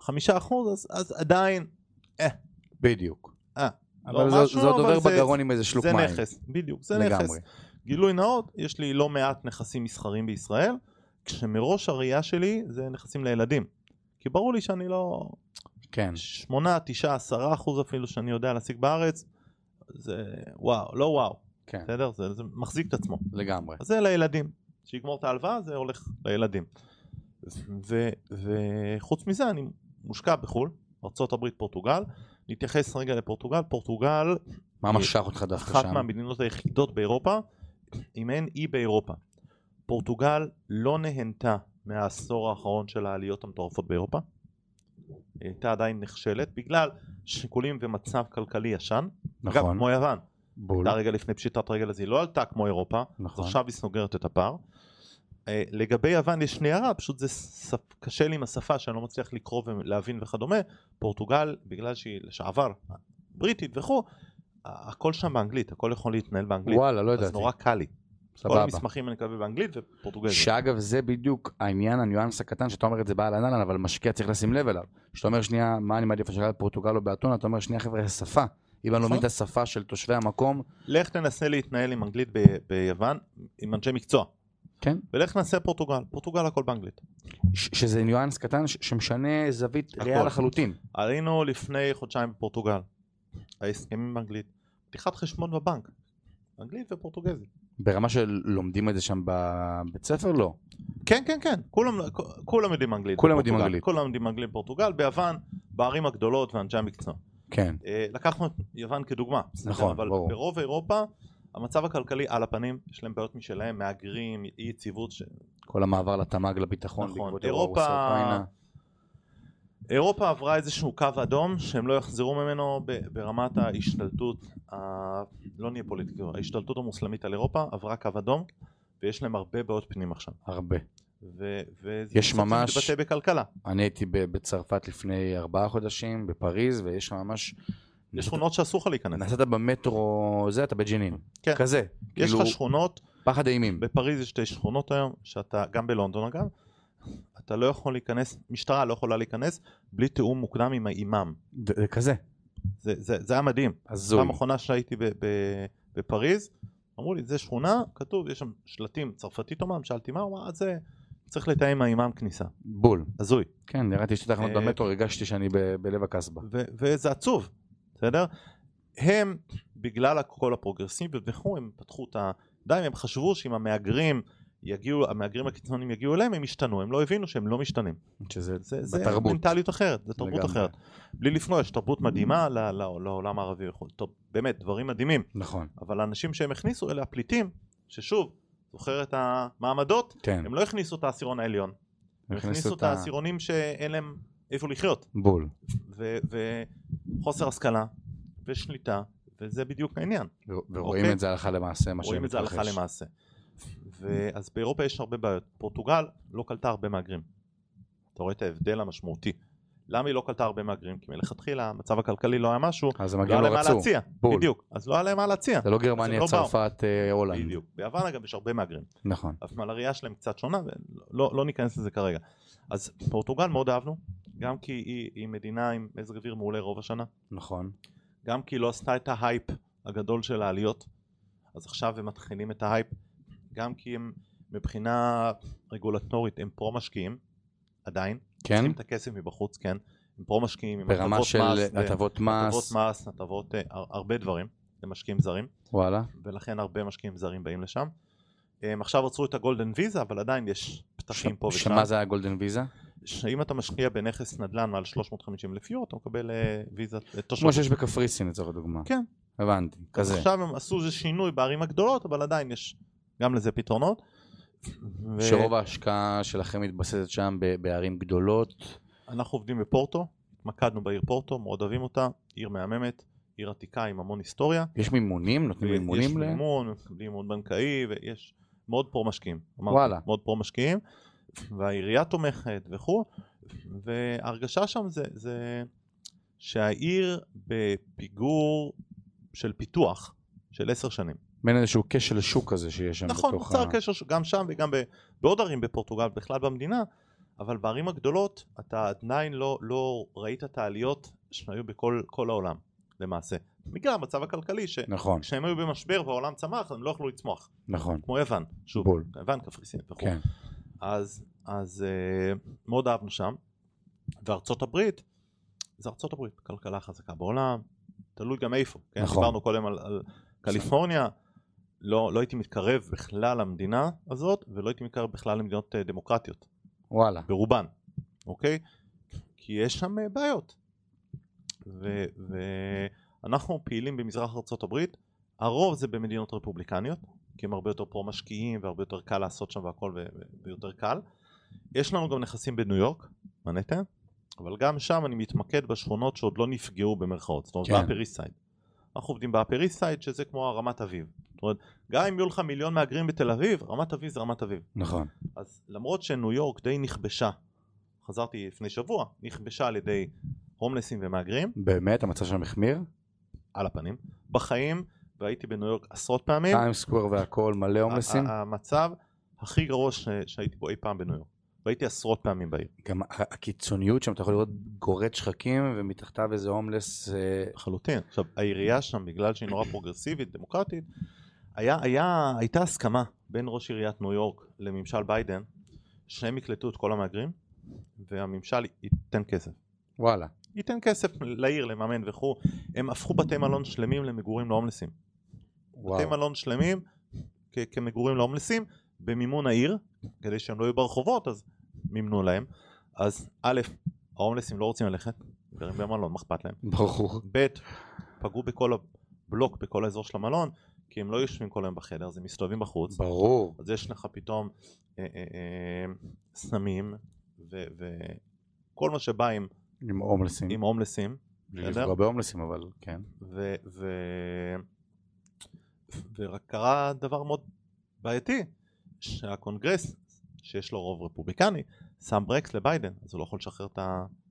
S3: 5%, אז, אז עדיין
S2: בדיוק.
S3: אה,
S2: אבל
S3: לא
S2: זה-
S3: משהו,
S2: זה עוד
S3: אבל
S2: עובר
S3: זה-
S2: בגרון עם איזה שלוק
S3: זה
S2: מים.
S3: נכס, בדיוק, זה נכס.
S2: לגמרי.
S3: גילוי נאות, יש לי לא מעט נכסים מסחרים בישראל, כשמראש הראייה שלי זה נכסים לילדים. כי ברור לי שאני לא...
S2: כן,
S3: 8, 9, 10 אחוז אפילו שאני יודע להשיג בארץ, זה וואו, לא וואו,
S2: כן,
S3: בסדר? זה, זה מחזיק את עצמו.
S2: לגמרי.
S3: אז זה לילדים. שיגמור את ההלוואה זה הולך לילדים. ו- וחוץ מזה אני מושקע בחו"ל, ארה"ב, פורטוגל. נתייחס רגע לפורטוגל. פורטוגל
S2: מה משך אותך דווקא
S3: אחת
S2: שם?
S3: מהמדינות היחידות באירופה, אם אין אי באירופה. פורטוגל לא נהנתה מהעשור האחרון של העליות המטורפות באירופה. היא הייתה עדיין נכשלת בגלל שיקולים ומצב כלכלי ישן. אגב,
S2: נכון,
S3: כמו יוון,
S2: בול,
S3: הייתה רגע לפני פשיטת רגל אז היא לא עלתה כמו אירופה, אז
S2: נכון,
S3: עכשיו היא סוגרת את הפער. אה, לגבי יוון יש לי הערה, פשוט זה ס- קשה לי עם השפה שאני לא מצליח לקרוא ולהבין וכדומה. פורטוגל, בגלל שהיא לשעבר בריטית וכו', ה- הכל שם באנגלית, הכל יכול להתנהל באנגלית.
S2: וואלה, לא
S3: אז
S2: ידעתי.
S3: נורא קל לי. כל
S2: סבבה.
S3: המסמכים אני מקבל באנגלית ופורטוגזית.
S2: שאגב, זה בדיוק העניין, הניואנס הקטן, שאתה אומר את זה בעל ענן, אבל משקיע צריך לשים לב אליו. שאתה אומר, שנייה, מה אני מעדיף לשחרר פורטוגל או באתונה, אתה אומר, שנייה, חבר'ה, השפה. אם
S3: נכון.
S2: אני לומד את השפה של תושבי המקום,
S3: לך תנסה להתנהל עם אנגלית ב- ביוון, עם אנשי מקצוע,
S2: כן,
S3: ולך תנסה פורטוגל, פורטוגל הכל באנגלית.
S2: ש- שזה ניואנס קטן ש- שמשנה זווית
S3: הכל.
S2: ריאה לחלוטין.
S3: עלינו לפני חודשיים בפורטוגל, ההסכמים באנגלית, פתיחת חשבון בבנק, אנגלית ופורטוגזית.
S2: ברמה של לומדים את זה שם בבית ספר? לא.
S3: כן, כן, כן, כולם, כ- כולם יודעים אנגלית.
S2: כולם יודעים
S3: בפורטוגל.
S2: אנגלית.
S3: כולם יודעים אנגלית בפורטוגל, ביוון, בערים הגדולות ואנשי המקצוע.
S2: כן.
S3: אה, לקחנו את יוון כדוגמה, בסדר,
S2: נכון,
S3: אבל
S2: ברור.
S3: ברוב אירופה המצב הכלכלי על הפנים, יש להם בעיות משלהם, מהגרים, אי יציבות, ש...
S2: כל המעבר לתמ"ג, לביטחון,
S3: נכון.
S2: בעקבות
S3: אירופה-
S2: אירופה, אוקראינה.
S3: אירופה עברה איזשהו קו אדום שהם לא יחזרו ממנו ב- ברמת ההשתלטות, ה... לא נהיה פוליטיקה, ההשתלטות המוסלמית על אירופה עברה קו אדום ויש להם הרבה בעיות פנים עכשיו.
S2: הרבה.
S3: ו... וזה
S2: יש
S3: בסוף זה
S2: ממש-
S3: מתבטא בכלכלה.
S2: אני הייתי ב- בצרפת לפני ארבעה חודשים, בפריז, ויש שם ממש...
S3: יש שכונות שאסור לך להיכנס.
S2: נסעת במטרו, זה, אתה בג'נין.
S3: נכון. כן.
S2: כזה.
S3: יש
S2: כאילו,
S3: לך שכונות,
S2: פחד אימים.
S3: בפריז יש שתי שכונות היום, שאתה, גם בלונדון אגב, אתה לא יכול להיכנס, משטרה לא יכולה להיכנס בלי תיאום מוקדם עם האימאם.
S2: זה זה כזה.
S3: זה, זה, אה, זה היה מדהים.
S2: הזוי.
S3: פעם אחרונה שהייתי ב- ב- בפריז, אמרו לי, זה שכונה, כתוב, יש שם שלטים, צרפתית אומנם, שאלתי מה, הוא אמר, "אז זה, צריך לתאם עם האימאם כניסה.
S2: בול.
S3: הזוי.
S2: כן, ירדתי שתי תחנות
S3: אה,
S2: במטרו, הרגשתי שאני ב- בלב הקסבה.
S3: ו- וזה עצוב, בסדר? הם, בגלל הכל הפרוגרסיבי וכו', הם פתחו את הידיים, הם חשבו שאם המהגרים יגיעו, המהגרים הקיצוניים יגיעו אליהם, הם ישתנו, הם לא הבינו שהם לא משתנים.
S2: שזה
S3: זה, זה
S2: בתרבות.
S3: מנטליות אחרת, זה תרבות
S2: לגמרי.
S3: אחרת. בלי לפגוע, יש תרבות מדהימה ל- ל- לעולם הערבי וכו', טוב, באמת, דברים מדהימים,
S2: נכון.
S3: אבל האנשים שהם הכניסו אלה הפליטים, ששוב, זוכר את המעמדות,
S2: כן.
S3: הם לא הכניסו את העשירון העליון, הם הכניסו את
S2: ה-
S3: העשירונים שאין להם איפה לחיות,
S2: בול.
S3: ו- וחוסר השכלה, ושליטה, וזה בדיוק העניין,
S2: ו- ורואים
S3: אוקיי.
S2: את זה הלכה למעשה, מה שמתרחש.
S3: רואים את זה הלכה למעשה. ואז באירופה יש הרבה בעיות, פורטוגל לא קלטה הרבה מהגרים, אתה רואה את ההבדל המשמעותי. למה היא לא קלטה הרבה מהגרים? כי מלכתחילה המצב הכלכלי לא היה משהו,
S2: אז
S3: לא היה
S2: המגרים
S3: להם
S2: לא
S3: מה
S2: רצו.
S3: להציע,
S2: בול.
S3: בדיוק, אז לא היה להם מה להציע,
S2: זה לא
S3: אז
S2: גרמניה,
S3: הם לא באו.
S2: צרפת, אה, הולנד.
S3: בדיוק, ביוון אגב יש הרבה מהגרים.
S2: נכון.
S3: אף מהראייה שלהם קצת שונה ולא לא, לא ניכנס לזה כרגע אז פורטוגל מאוד אהבנו גם כי היא, היא מדינה עם מזג אוויר מעולה רוב השנה
S2: נכון.
S3: גם כי היא לא עשתה את ההייפ הגדול של העליות אז עכשיו הם מתחילים את ההייפ גם כי הם מבחינה רגולטורית הם פרו משקיעים עדיין
S2: כן?
S3: צריכים את הכסף מבחוץ כן הם פרו משקיעים עם
S2: ברמה
S3: הטבות
S2: של
S3: מס, ו-
S2: הטבות
S3: הטבות
S2: מס,
S3: מס הטבות אה, הר- הרבה דברים למשקיעים זרים
S2: וואלה.
S3: ולכן הרבה משקיעים זרים באים לשם. הם עכשיו עצרו את הגולדן ויזה, אבל עדיין יש פתחים
S2: ש-
S3: פה ושם.
S2: שמה זה היה גולדן ויזה?
S3: שאם אתה משקיע בנכס נדל"ן מעל 350 אלף יורו, אתה מקבל אה, ויזת אה, תושבות.
S2: כמו שיש בקפריסין לצורך הדוגמה.
S3: כן.
S2: הבנתי,
S3: אז
S2: כזה.
S3: עכשיו הם עשו איזה שינוי בערים הגדולות, אבל עדיין יש גם לזה פתרונות. ו-
S2: שרוב ההשקעה שלכם מתבססת שם ב- בערים גדולות.
S3: אנחנו עובדים בפורטו, התמקדנו בעיר פורטו, מאוד אוהבים אותה, עיר מהממת, עיר עתיקה עם המון היסטוריה.
S2: יש מימונים? נותנים
S3: יש
S2: מימונים? ל-
S3: מימון, מקבלים מימון בנקאי, ויש מאוד פרו משקיעים. אמרתי,
S2: וואלה.
S3: מאוד פרו משקיעים, והעירייה תומכת וכו', וההרגשה שם זה, זה שהעיר בפיגור של פיתוח של עשר שנים.
S2: מעין איזשהו כשל שוק כזה שיש שם
S3: אוקיי. נכון,
S2: בתוך
S3: נוצר קשר ש- גם שם וגם ב- בעוד ערים בפורטוגל, בכלל במדינה, אבל בערים הגדולות אתה עדיין לא, לא ראית את העליות שהיו בכל כל העולם, למעשה. בגלל המצב הכלכלי, ש...
S2: נכון,
S3: כשהם היו במשבר והעולם צמח, הם לא יכלו לצמוח,
S2: נכון.
S3: כמו יוון, שוב,
S2: בול.
S3: יוון, קפריסין וכו'.
S2: כן.
S3: אז, אז אה, מאוד אהבנו שם, וארצות הברית, זה ארצות הברית, כלכלה חזקה בעולם, תלוי גם איפה, כן?
S2: נכון.
S3: דיברנו קודם על, על קליפורניה, לא, לא הייתי מתקרב בכלל למדינה הזאת, ולא הייתי מתקרב בכלל למדינות אה, דמוקרטיות,
S2: וואלה.
S3: ברובן, אוקיי? כי יש שם אה, בעיות. ו- ואנחנו פעילים במזרח ארה"ב, הרוב זה במדינות רפובליקניות, כי הם הרבה יותר פרו משקיעים והרבה יותר קל לעשות שם והכל ו- ו- ויותר קל. יש לנו גם נכסים בניו יורק, מנהטן, אבל גם שם אני מתמקד בשכונות שעוד לא נפגעו במרכאות, זאת אומרת
S2: כן.
S3: כן. באפריסייד. אנחנו עובדים באפריסייד שזה כמו רמת אביב. זאת אומרת, גם אם יהיו לך מיליון מהגרים בתל אביב, רמת אביב זה רמת אביב.
S2: נכון.
S3: אז למרות שניו יורק די נכבשה, חזרתי לפני שבוע, נכבשה על ידי הומלסים ומהגרים,
S2: באמת? המצב שם החמיר?
S3: על הפנים, בחיים, והייתי בניו יורק עשרות פעמים.
S2: טיים סקוור והכל, מלא הומלסים.
S3: ה- ה- המצב הכי גרוע ש- שהייתי בו אי פעם בניו יורק. והייתי עשרות פעמים בעיר.
S2: גם ה- הקיצוניות שם, אתה יכול לראות גורד שחקים ומתחתיו איזה הומלס. אה,
S3: לחלוטין. עכשיו, העירייה שם, בגלל שהיא נורא פרוגרסיבית, דמוקרטית, היה, היה, הייתה הסכמה בין ראש עיריית ניו יורק לממשל ביידן, שהם יקלטו את כל המהגרים, והממשל ייתן כסף.
S2: וואלה.
S3: ייתן כסף לעיר לממן וכו'. הם הפכו בתי מלון שלמים למגורים להומלסים. בתי
S2: וואו.
S3: מלון שלמים כ- כמגורים להומלסים במימון העיר, כדי שהם לא יהיו ברחובות, אז מימנו להם. אז א', ההומלסים לא רוצים ללכת, גרים במלון, מה אכפת להם?
S2: ברור.
S3: ב', פגעו בכל הבלוק, בכל האזור של המלון, כי הם לא יושבים כל היום בחדר, אז הם מסתובבים בחוץ.
S2: ברור.
S3: אז יש לך פתאום אה, אה, אה, סמים ו- וכל מה שבא עם,
S2: עם הומלסים.
S3: עם הומלסים,
S2: בלי
S3: בסדר?
S2: לפגוע בהומלסים, אבל כן.
S3: ו... ו... ורק קרה דבר מאוד בעייתי, שהקונגרס, שיש לו רוב רפובליקני, שם ברקס לביידן, אז הוא לא יכול לשחרר את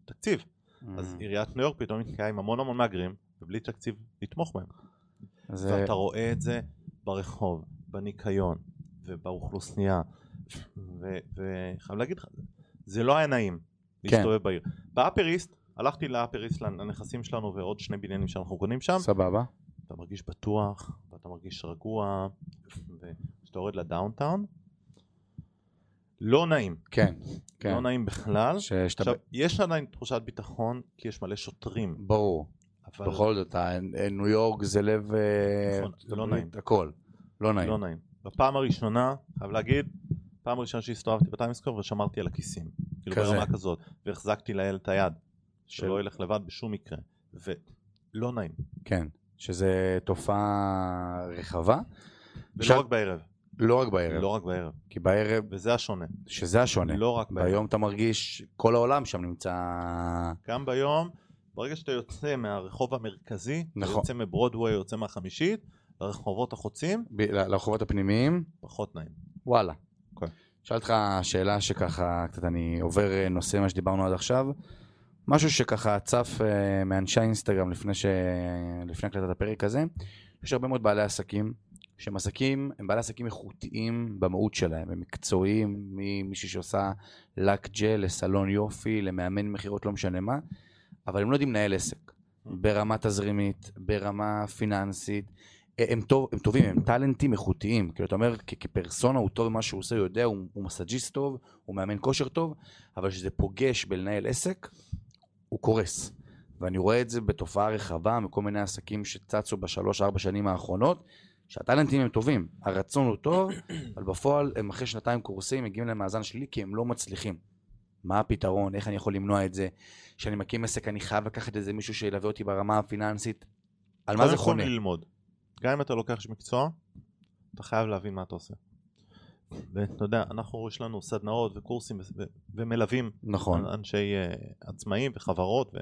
S3: התקציב.
S2: Mm.
S3: אז עיריית ניו יורק פתאום נתקעה עם המון המון מהגרים, ובלי תקציב לתמוך בהם.
S2: אז, אה,
S3: ואתה רואה את זה ברחוב, בניקיון, ובאוכלוסייה, וחייב להגיד לך, זה לא היה נעים להסתובב בעיר. באפריסט, הלכתי לאפריסט, לנכסים שלנו ועוד שני בניינים שאנחנו קונים שם,
S2: סבבה.
S3: אתה מרגיש בטוח, ואתה מרגיש רגוע, וכשאתה יורד לדאונטאון, לא נעים,
S2: כן. כן.
S3: לא נעים בכלל.
S2: ש- שאתה-
S3: עכשיו, יש עדיין תחושת ביטחון, כי יש מלא שוטרים,
S2: ברור.
S3: אבל
S2: בכל זאת, אה, אה, ניו יורק זה לב... אה,
S3: נכון,
S2: ארצות
S3: לא
S2: הברית,
S3: נעים.
S2: הכל. לא נעים.
S3: לא נעים. בפעם הראשונה, חייב להגיד, פעם ראשונה שהסתובבתי בטיימסקור ושמרתי על הכיסים. כאילו
S2: כזה.
S3: ברמה כזאת, והחזקתי לילד את היד,
S2: של-
S3: שלא ילך לבד בשום מקרה, ולא נעים,
S2: כן. שזה תופעה רחבה, עכשיו-
S3: ולא רק בערב,
S2: לא רק בערב.
S3: לא רק בערב,
S2: כי בערב,
S3: וזה השונה,
S2: שזה השונה.
S3: לא רק בערב.
S2: ביום אתה מרגיש, כל העולם שם נמצא...
S3: גם ביום, ברגע שאתה יוצא מהרחוב המרכזי,
S2: נכון.
S3: נכון. יוצא מברודוויי, יוצא מהחמישית, לרחובות החוצים,
S2: ב- ל- לרחובות הפנימיים,
S3: פחות נעים.
S2: וואלה.
S3: אוקיי.
S2: אשאל אותך שאלה שככה, קצת אני עובר אה, נושא מה שדיברנו עד עכשיו. משהו שככה צף אה, מאנשי האינסטגרם לפני, ש... לפני הקלטת הפרק הזה. יש הרבה מאוד בעלי עסקים, שהם עסקים, הם בעלי עסקים איכותיים במהות שלהם, הם מקצועיים, ממישהי שעושה לק ג'ל לסלון יופי, למאמן מכירות, לא משנה מה, אבל הם לא יודעים לנהל עסק. ברמה תזרימית, ברמה פיננסית, הם, טוב, הם טובים, הם טאלנטים איכותיים. כאילו, אתה אומר, כ- כפרסונה הוא טוב במה שהוא עושה, הוא יודע, הוא, הוא מסאג'יסט טוב, הוא מאמן כושר טוב, אבל כשזה פוגש בלנהל עסק, הוא קורס. ואני רואה את זה בתופעה רחבה מכל מיני עסקים שצצו בשלוש-ארבע שנים האחרונות, שהטאלנטים הם טובים, הרצון הוא טוב, אבל בפועל הם אחרי שנתיים קורסים מגיעים למאזן שלילי כי הם לא מצליחים. מה הפתרון, איך אני יכול למנוע את זה, כשאני מקים עסק אני חייב לקחת איזה מישהו שילווה אותי ברמה הפיננסית, על מה זה
S3: קודם כל
S2: חונה?
S3: ללמוד. גם אם אתה לוקח איש מקצוע, אתה חייב להבין מה אתה עושה. ואתה יודע, אנחנו יש לנו סדנאות וקורסים ו- ו- ומלווים
S2: נכון.
S3: אנשי אה, עצמאים וחברות ו...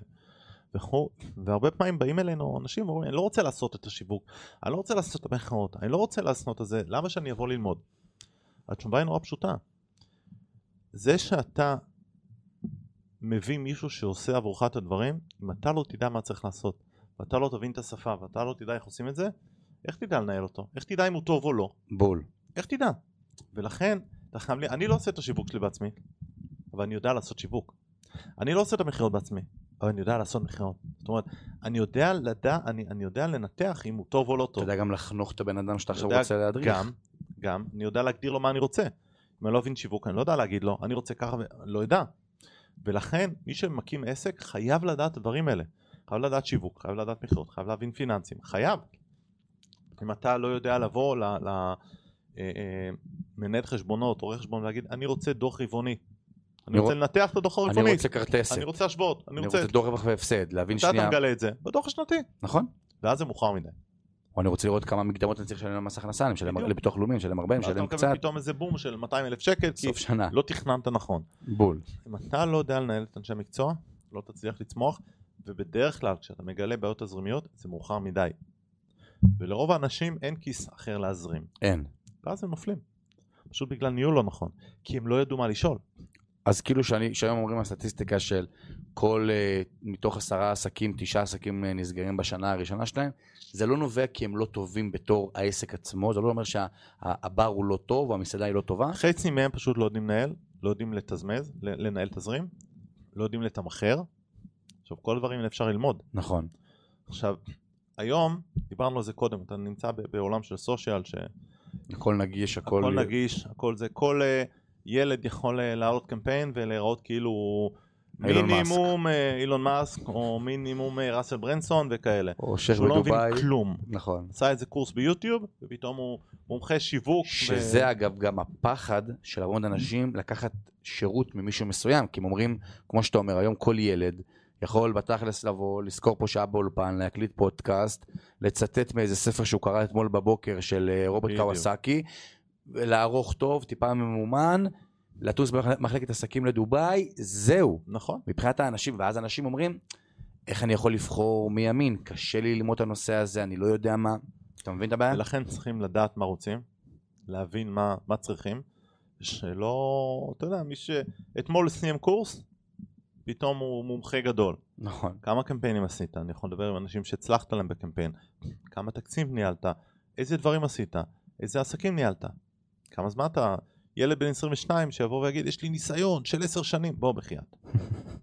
S3: וכו', והרבה פעמים באים אלינו אנשים ואומרים, אני לא רוצה לעשות את השיווק, אני לא רוצה לעשות את המכירות, אני לא רוצה לעשות את זה, למה שאני אבוא ללמוד? התשובה היא נורא פשוטה. זה שאתה מביא מישהו שעושה עבורך את הדברים, אם אתה לא תדע מה צריך לעשות, ואתה לא תבין את השפה, ואתה לא תדע איך עושים את זה, איך תדע לנהל אותו? איך תדע אם הוא טוב או לא?
S2: בול.
S3: איך תדע? ולכן, אתה חייב לי, אני לא עושה את השיווק שלי בעצמי, אבל אני יודע לעשות שיווק. אני לא עושה את המכירות בעצמי, אבל אני יודע לעשות מכירות. זאת אומרת, אני יודע, לדע, אני, אני יודע לנתח אם הוא טוב או לא
S2: אתה
S3: טוב.
S2: יודע גם לחנוך את הבן אדם שאתה
S3: אתה
S2: עכשיו
S3: יודע
S2: רוצה להדריך.
S3: גם, גם, אני יודע להגדיר לו מה אני רוצה. אם אני לא מבין שיווק, אני לא יודע להגיד לו, אני רוצה ככה, ו- לא יודע. ולכן, מי שמקים עסק חייב לדעת את הדברים האלה. חייב לדעת שיווק, חייב לדעת מכירות, חייב להבין פיננסים, חייב. אם אתה לא יודע לבוא למנהל אה, חשבונות, עורך חשבון, ולהגיד, אני רוצה דוח רבעוני.
S2: אני
S3: אני
S2: רוצ-
S3: רוצה לנתח את הדוח
S2: אני
S3: הרבעוני,
S2: רוצה כרטסת.
S3: אני רוצה השוואות, אני רוצה...
S2: דור רווח והפסד, להבין
S3: מתי אתה
S2: שנייה.
S3: מגלה את זה? בדוח השנתי.
S2: נכון.
S3: ואז זה מאוחר מדי.
S2: או אני רוצה לראות כמה מקדמות אני צריך לשלם למס הכנסה, אני משלם
S3: בדיוק.
S2: לביטוח לאומי, אני משלם הרבה, אני
S3: ואז
S2: משלם
S3: אתה מקבל
S2: קצת,
S3: פתאום איזה בום של 200 אלף שקל, כי
S2: סוף שנה.
S3: לא תכננת נכון.
S2: בול.
S3: אם אתה לא יודע לנהל את אנשי המקצוע, לא תצליח לצמוח, ובדרך כלל כשאתה מגלה בעיות תזרימיות, זה מאוחר מדי. ולרוב האנשים אין כיס אחר להזרים,
S2: אין.
S3: ואז הם נופלים. פשוט בגלל ניהול לא נכון, כי הם לא ידעו מה לשאול.
S2: אז כאילו שאני, שהיום אומרים הסטטיסטיקה של כל, אה, מתוך עשרה עסקים, תשעה עסקים אה, נסגרים בשנה הראשונה שלהם, זה לא נובע כי הם לא טובים בתור העסק עצמו, זה לא אומר שהבר הוא לא טוב, או המסעדה היא לא טובה,
S3: חצי מהם פשוט לא יודעים לנהל, לא יודעים לתזמז, ל- לנהל תזרים, לא יודעים לתמחר. עכשיו, כל הדברים האלה אפשר ללמוד.
S2: נכון.
S3: עכשיו, היום, דיברנו על זה קודם, אתה נמצא ב- בעולם של סושיאל, שהכל
S2: הכל נגיש, הכל...
S3: נגיש, הכל זה, כל אה, ילד יכול אה, להעלות קמפיין ולהיראות כאילו הוא
S2: אילון מאסק.
S3: מינימום אה, אילון מאסק, או מינימום אה, ראסל ברנסון וכאלה.
S2: או שייח
S3: שהוא לא מבין
S2: בדובאי.
S3: כלום.
S2: נכון.
S3: עשה איזה קורס ביוטיוב, ופתאום הוא מומחה שיווק.
S2: שזה אגב גם הפחד של המון אנשים לקחת שירות ממישהו מסוים, כי הם אומרים, כמו שאתה אומר, היום כל ילד יכול בתכלס לבוא, לזכור פה שעה באולפן, להקליט פודקאסט, לצטט מאיזה ספר שהוא קרא אתמול בבוקר של אה, רוברט
S3: בדיוק.
S2: קוואסקי, לערוך טוב, טיפה ממומן, לטוס במחלקת עסקים לדובאי, זהו.
S3: נכון.
S2: מבחינת האנשים, ואז אנשים אומרים, איך אני יכול לבחור מימין? קשה לי ללמוד את הנושא הזה, אני לא יודע מה. אתה מבין את הבעיה?
S3: ולכן צריכים לדעת מה רוצים, להבין מה, מה צריכים, שלא, אתה יודע, מי שאתמול סיים קורס, פתאום הוא מומחה גדול.
S2: נכון.
S3: כמה קמפיינים עשית? אני יכול לדבר עם אנשים שהצלחת להם בקמפיין. כמה תקציב ניהלת? איזה דברים עשית? איזה עסקים ניהלת? כמה זמן אתה? ילד בן 22 שיבוא ויגיד, יש לי ניסיון של 10 שנים. בוא, בחייאת.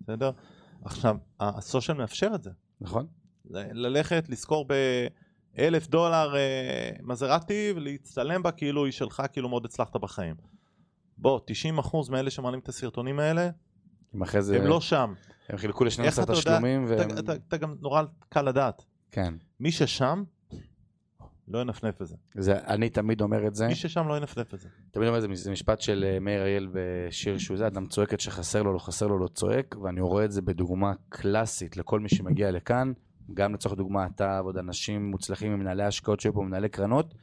S3: בסדר? עכשיו, ה- הסושיאל מאפשר את זה.
S2: נכון?
S3: ל- ללכת לשכור באלף דולר אה, מזרטי ולהצטלם בה כאילו היא שלך כאילו מאוד הצלחת בחיים. בוא, 90% מאלה שמעלים את הסרטונים האלה,
S2: אם אחרי זה...
S3: הם לא שם.
S2: הם חילקו לשני
S3: איך
S2: עשרה
S3: אתה יודע?
S2: תשלומים והם...
S3: אתה- אתה אתה גם נורא קל לדעת.
S2: כן.
S3: מי ששם, לא ינפנף את זה.
S2: זה, אני תמיד אומר את זה,
S3: מי ששם לא ינפנף את זה.
S2: תמיד אומר את זה, זה משפט של אה, מאיר אריאל בשיר שהוא זה, אדם צועק את שחסר לו, לא חסר לו, לא צועק, ואני רואה את זה בדוגמה קלאסית לכל מי שמגיע לכאן, גם לצורך דוגמה אתה ועוד אנשים מוצלחים ממנהלי השקעות שהיו פה, מנהלי קרנות,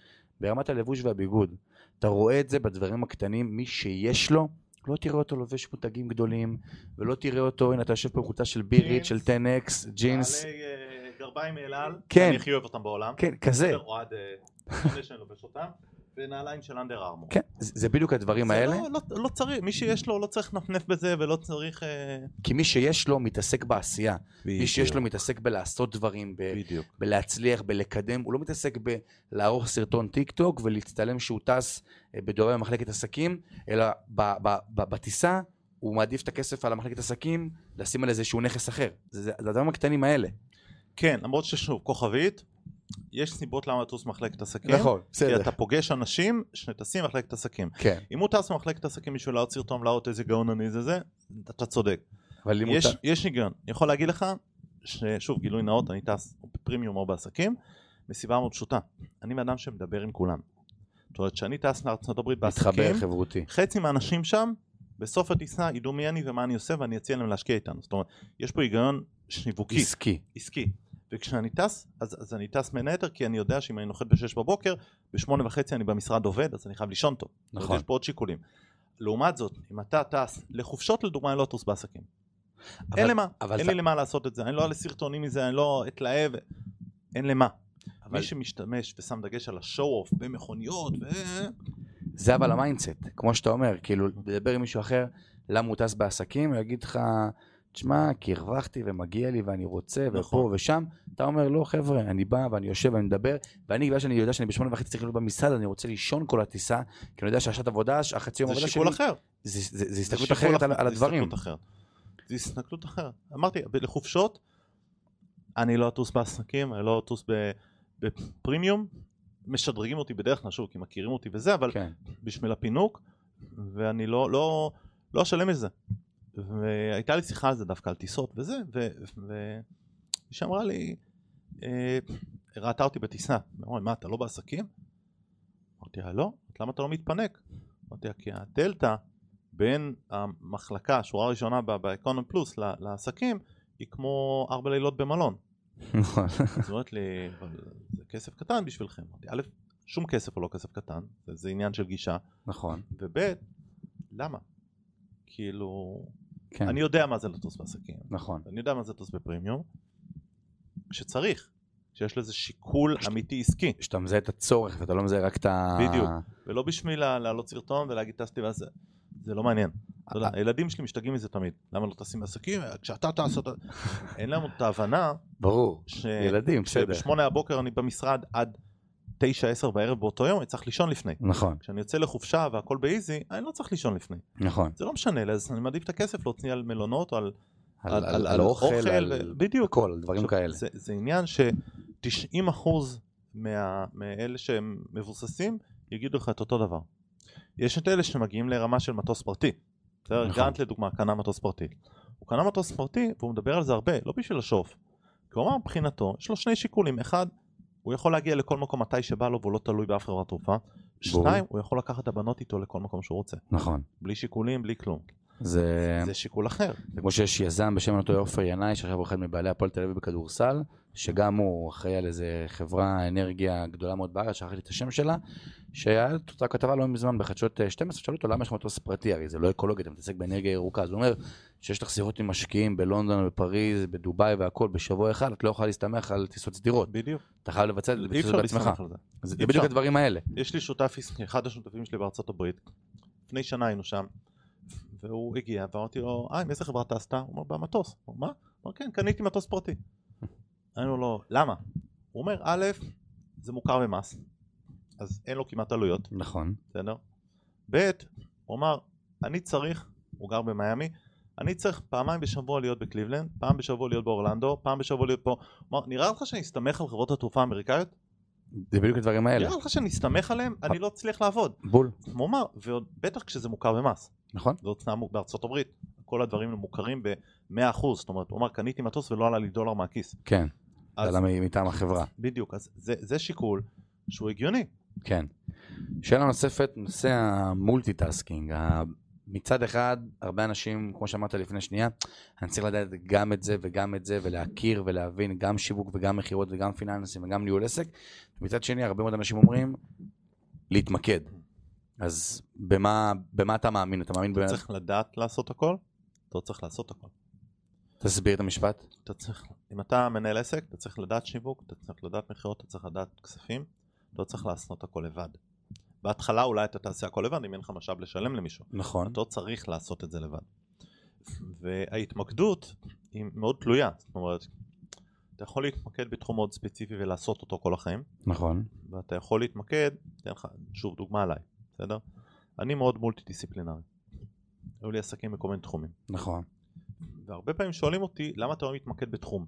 S2: ברמת הלבוש והביגוד. אתה רואה את זה בדברים הקטנים, מי שיש לו, לא תראה אותו לובש מותגים גדולים, ולא תראה אותו, הנה אתה יושב פה עם חולצה של בירית,
S3: ג'ינס,
S2: של 10x, ג'ינס,
S3: בעלי, אה, גרביים מאל על,
S2: כן.
S3: אני הכי אוהב אותם בעולם.
S2: כן, כזה,
S3: בסדר, אוהד, אה, לפני שאני לובש אותם, ונעליים של אנדר ארמור.
S2: כן, זה זה בדיוק הדברים
S3: זה
S2: האלה.
S3: לא- לא- לא צריך, מי שיש לו לא צריך לנפנף בזה ולא צריך... אה,
S2: כי מי שיש לו מתעסק בעשייה, מי שיש לו
S3: בדיוק,
S2: מתעסק בלעשות דברים, ב-
S3: בדיוק.
S2: בלהצליח, בלקדם, הוא לא מתעסק בלערוך סרטון טיק טוק ולהצטלם שהוא טס אה, בדורי במחלקת עסקים, אלא ב- ב- ב- בטיסה הוא מעדיף את הכסף על המחלקת עסקים, לשים על איזשהו נכס אחר. זה זה- זה הדברים הקטנים האלה.
S3: כן, למרות ששוב, כוכבית, יש סיבות למה לטוס מחלקת עסקים.
S2: נכון,
S3: כי אתה פוגש אנשים שטסים מחלקת עסקים.
S2: כן,
S3: אם הוא טס במחלקת עסקים בשביל להוציא סרטון להראות איזה גאון אני זה זה, אתה צודק.
S2: אבל אם הוא
S3: יש,
S2: ת-
S3: יש היגיון. אני יכול להגיד לך, ששוב, גילוי נאות, אני טס או בפרימיום או בעסקים, מסיבה מאוד פשוטה. אני בן אדם שמדבר עם כולם. זאת אומרת, כשאני טס לארצות הברית בעסקים,
S2: מתחבר חברותי.
S3: חצי מהאנשים שם, בסוף הטיסה ידעו מי אני ומה אני עושה ואני אציע להם להשקיע איתנו. זאת אומרת, יש פה היגיון שיווקי.
S2: עסקי.
S3: עסקי. וכשאני טס, אז, אז אני טס בין היתר, כי אני יודע שאם אני נוחת ב-6 בבוקר, ב-8 וחצי אני במשרד עובד, אז אני חייב לישון טוב.
S2: נכון.
S3: זאת אומרת, יש פה עוד שיקולים. לעומת זאת, אם אתה טס לחופשות לדוגמה, אני לא טוס בעסקים.
S2: אבל-
S3: אין למה,
S2: אבל
S3: אין
S2: זה-
S3: לי למה לעשות את זה, אני לא אעלה סרטונים מזה, אני לא אתלהב, אין למה.
S2: אבל-
S3: מי שמשתמש ושם דגש על השואו-אוף במכוניות, ו...
S2: זה אבל המיינדסט, כמו שאתה אומר, כאילו, לדבר עם מישהו אחר, למה הוא טס בעסקים, הוא יגיד לך, תשמע, כי הרווחתי ומגיע לי ואני רוצה, ופה
S3: נכון.
S2: ושם, אתה אומר, לא חבר'ה, אני בא ואני יושב ואני מדבר, ואני, בגלל שאני יודע שאני בשמונה וחצי צריך להיות במשרד, אני רוצה לישון כל הטיסה, כי אני יודע שהשעת עבודה, החצי יום
S3: זה
S2: עבודה
S3: שיקול
S2: שלי,
S3: אחר.
S2: זה- זה זה
S3: זה
S2: הסתכלות
S3: שיקול
S2: אחרת על
S3: אחר,
S2: על
S3: זה
S2: הדברים.
S3: הסתכלות אחרת. זה הסתכלות אחרת. אמרתי, ב- לחופשות, אני לא אטוס בעסקים, אני לא אטוס ב- בפרימיום. משדרגים אותי בדרך כלל, שוב, כי מכירים אותי וזה, אבל
S2: כן. [LAUGHS]
S3: בשביל הפינוק, ואני לא, לא, לא אשלם את זה. והייתה לי שיחה על זה דווקא, על טיסות וזה, ו- ו- היא שאמרה לי, אה, ראתה אותי בטיסה, אמרה לי, מה, אתה לא בעסקים? אמרתי לה, לא, למה אתה לא מתפנק? אמרתי לה, כי הדלתא בין המחלקה, השורה הראשונה ב- באקונום פלוס ל- לעסקים, היא כמו ארבע לילות במלון.
S2: נכון.
S3: אז היא אומרת לי, אבל זה כסף קטן בשבילכם. אמרתי, א', שום כסף הוא לא כסף קטן, זה, זה עניין של גישה.
S2: נכון.
S3: וב' למה? כאילו,
S2: כן.
S3: אני יודע מה זה לטוס בעסקים,
S2: נכון.
S3: אני יודע מה זה לטוס בפרימיום, כשצריך, כשיש לזה שיקול אמיתי עסקי,
S2: שאתה מזהה את הצורך ואתה לא מזהה רק את ה... אה,
S3: בדיוק. ולא בשביל לה- להעלות סרטון ולהגיד טסתי ואז זה, זה לא מעניין. אתה יודע, הילדים שלי משתגעים מזה תמיד. למה לא טסים עסקים? כשאתה טס, אתה...
S2: [LAUGHS]
S3: אין להם את ההבנה
S2: ברור.
S3: ש...
S2: ילדים, בסדר.
S3: שבשמונה הבוקר אני במשרד עד תשע, עשר בערב באותו יום, אני צריך לישון לפני.
S2: נכון,
S3: כשאני יוצא לחופשה והכל באיזי, אני לא צריך לישון לפני.
S2: נכון.
S3: זה לא משנה, אז אני מעדיף את הכסף להוציא על מלונות או על,
S2: על- על על אוכל, על כן.
S3: בדיוק.
S2: כאילו הכל, על דברים
S3: עכשיו,
S2: כאלה.
S3: זה, זה עניין ש-90% מה, מאלה שהם מבוססים יגידו לך את אותו דבר. יש את אלה שמגיעים לרמה של מטוס פרטי. בסדר?
S2: נכון.
S3: גרנט לדוגמה קנה מטוס פרטי. הוא קנה מטוס פרטי והוא מדבר על זה הרבה, לא בשביל השוף. כי הוא אמר מבחינתו, יש לו שני שיקולים, אחד, הוא יכול להגיע לכל מקום מתי שבא לו והוא לא תלוי באף חברת תעופה. שניים, הוא יכול לקחת את הבנות איתו לכל מקום שהוא רוצה.
S2: נכון.
S3: בלי שיקולים, בלי כלום.
S2: זה...
S3: זה שיקול אחר.
S2: זה כמו שיש יזם בשם אותו עופר ינאי, שעכשיו הוא אחד מבעלי הפועל תל אביב בכדורסל, שגם הוא אחראי על איזה חברה אנרגיה גדולה מאוד בארץ, שכחתי את השם שלה, שהיה את אותה כתבה לא מזמן בחדשות אה, 12, שאלו אותו למה יש לך מטוס פרטי, הרי זה לא אקולוגי, אתה מתעסק באנרגיה ירוקה, אז הוא אומר שיש לך שיחות עם משקיעים בלונדון, בפריז, בדובאי והכל, בשבוע אחד את לא יכולה להסתמך על טיסות סדירות,
S3: בדיוק.
S2: אתה חייב לבצע את זה
S3: אי
S2: בטיסות
S3: אפשר
S2: בעצמך,
S3: להסתמך על זה.
S2: זה
S3: אי
S2: בדיוק
S3: אפשר.
S2: הדברים האלה,
S3: יש לי שותף עסקי, אחד השותפים שלי בארצות הברית, לפני שנה היינו שם, והוא הגיע ואמרתי לו, אה, עם איזה חברה טסת? הוא אומר, במטוס. הוא אומר, מה? הוא אומר, כן, קניתי מטוס פרטי. אמרנו לו, למה? הוא אומר, א', זה מוכר במס, אז אין לו כמעט עלויות,
S2: נכון,
S3: בסדר? ב', הוא אמר, אני צריך, הוא גר במיאמי, אני צריך פעמיים בשבוע להיות בקליבלנד, פעם בשבוע להיות באורלנדו, פעם בשבוע להיות פה. הוא אמר, נראה לך שאני אסתמך על חברות התעופה האמריקאיות?
S2: זה בדיוק הדברים האלה,
S3: נראה לך שאני אסתמך עליהן? אני לא אצליח לעבוד.
S2: בול,
S3: הוא אמר, ועוד בטח כשזה מוכר במס,
S2: נכון,
S3: זה הוצאה מוכ- בארצות הברית, כל הדברים הם מוכרים ב-100%, זאת אומרת, הוא אמר, קניתי מטוס ולא עלה לי דולר מהכיס.
S2: כן, זה
S3: אז
S2: עלה מ- מטעם החברה.
S3: בדיוק, אז זה, זה שיקול שהוא הגיוני.
S2: כן. שאלה נוספת, נושא המולטיטאסקינג. ה- מצד אחד, הרבה אנשים, כמו שאמרת לפני שנייה, אני צריך לדעת גם את זה וגם את זה, ולהכיר ולהבין גם שיווק וגם מכירות וגם פיננסים וגם ניהול עסק. מצד שני, הרבה מאוד אנשים אומרים, להתמקד. אז במה, במה אתה מאמין? אתה מאמין ב...
S3: אתה צריך לדעת לעשות הכל, אתה לא צריך לעשות הכל.
S2: תסביר את המשפט.
S3: אתה צריך, אם אתה מנהל עסק, אתה צריך לדעת שיווק, אתה צריך לדעת מכירות, אתה צריך לדעת כספים, אתה לא צריך לעשות הכל לבד. בהתחלה אולי אתה תעשה הכל לבד, אם אין לך משאב לשלם למישהו.
S2: נכון.
S3: אתה לא צריך לעשות את זה לבד. וההתמקדות היא מאוד תלויה, זאת אומרת, אתה יכול להתמקד בתחום מאוד ספציפי ולעשות אותו כל החיים,
S2: נכון.
S3: ואתה יכול להתמקד, אתן לך שוב דוגמה עליי, בסדר? אני מאוד מולטי דיסציפלינרי. היו לי עסקים בכל מיני תחומים,
S2: נכון.
S3: והרבה פעמים שואלים אותי למה אתה לא מתמקד בתחום.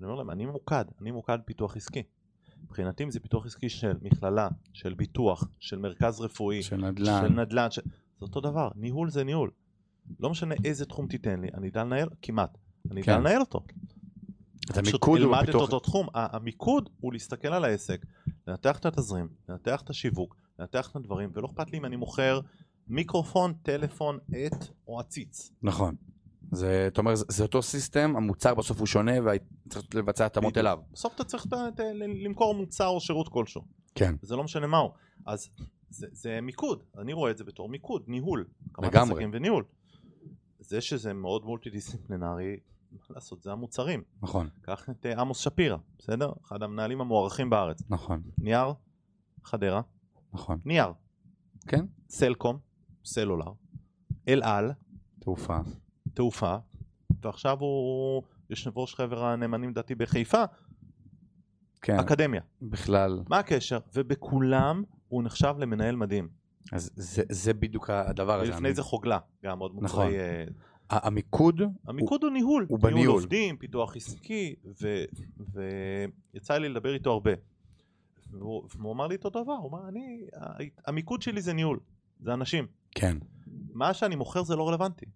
S3: אני אומר להם, אני ממוקד, אני ממוקד פיתוח עסקי. מבחינתי אם זה פיתוח עסקי של מכללה, של ביטוח, של מרכז רפואי,
S2: של נדל"ן.
S3: של נדל"ן, ש... זה אותו דבר, ניהול זה ניהול. לא משנה איזה תחום תיתן לי, אני אדע לנהל, כמעט, אני אדע
S2: כן.
S3: לנהל אותו.
S2: את
S3: פשוט
S2: המיקוד הוא
S3: אלמד את
S2: בפיתוח...
S3: אותו תחום, ה- המיקוד הוא להסתכל על העסק, לנתח את התזרים, לנתח את השיווק, לנתח את הדברים, ולא אכפת לי אם אני מוכר מיקרופון, טלפון, עט או עציץ.
S2: נכון. זה, אתה אומר, זה, זה אותו סיסטם, המוצר בסוף הוא שונה וצריך לבצע התאמות
S3: בדיוק.
S2: אליו.
S3: בסוף אתה צריך את ה- את ה- ל- למכור מוצר או שירות כלשהו,
S2: כן.
S3: וזה לא משנה מהו. אז זה, זה מיקוד, אני רואה את זה בתור מיקוד, ניהול. הקמת
S2: לגמרי.
S3: עסקים וניהול. זה שזה מאוד מולטי דיסציפלינרי, מה לעשות, זה המוצרים.
S2: נכון,
S3: קח את אה, עמוס שפירא, בסדר? אחד המנהלים המוערכים בארץ.
S2: נכון,
S3: נייר, חדרה,
S2: נכון.
S3: נייר.
S2: כן.
S3: סלקום, סלולר, אל על,
S2: תעופה.
S3: תעופה, ועכשיו הוא יושב ראש חבר הנאמנים דתי בחיפה,
S2: כן,
S3: אקדמיה.
S2: בכלל.
S3: מה הקשר? ובכולם הוא נחשב למנהל מדהים.
S2: אז זה, זה בדיוק הדבר הזה.
S3: ולפני זה חוגלה, גם עוד
S2: נכון.
S3: מוצרי... אה,
S2: ה- המיקוד,
S3: המיקוד הוא ניהול.
S2: הוא בניהול.
S3: ניהול עובדים, פיתוח עסקי, ו- ויצא לי לדבר איתו הרבה. והוא, והוא אמר לי את אותו דבר, הוא אמר, אני, ה- המיקוד שלי זה ניהול, זה אנשים.
S2: כן,
S3: מה שאני מוכר זה לא רלוונטי.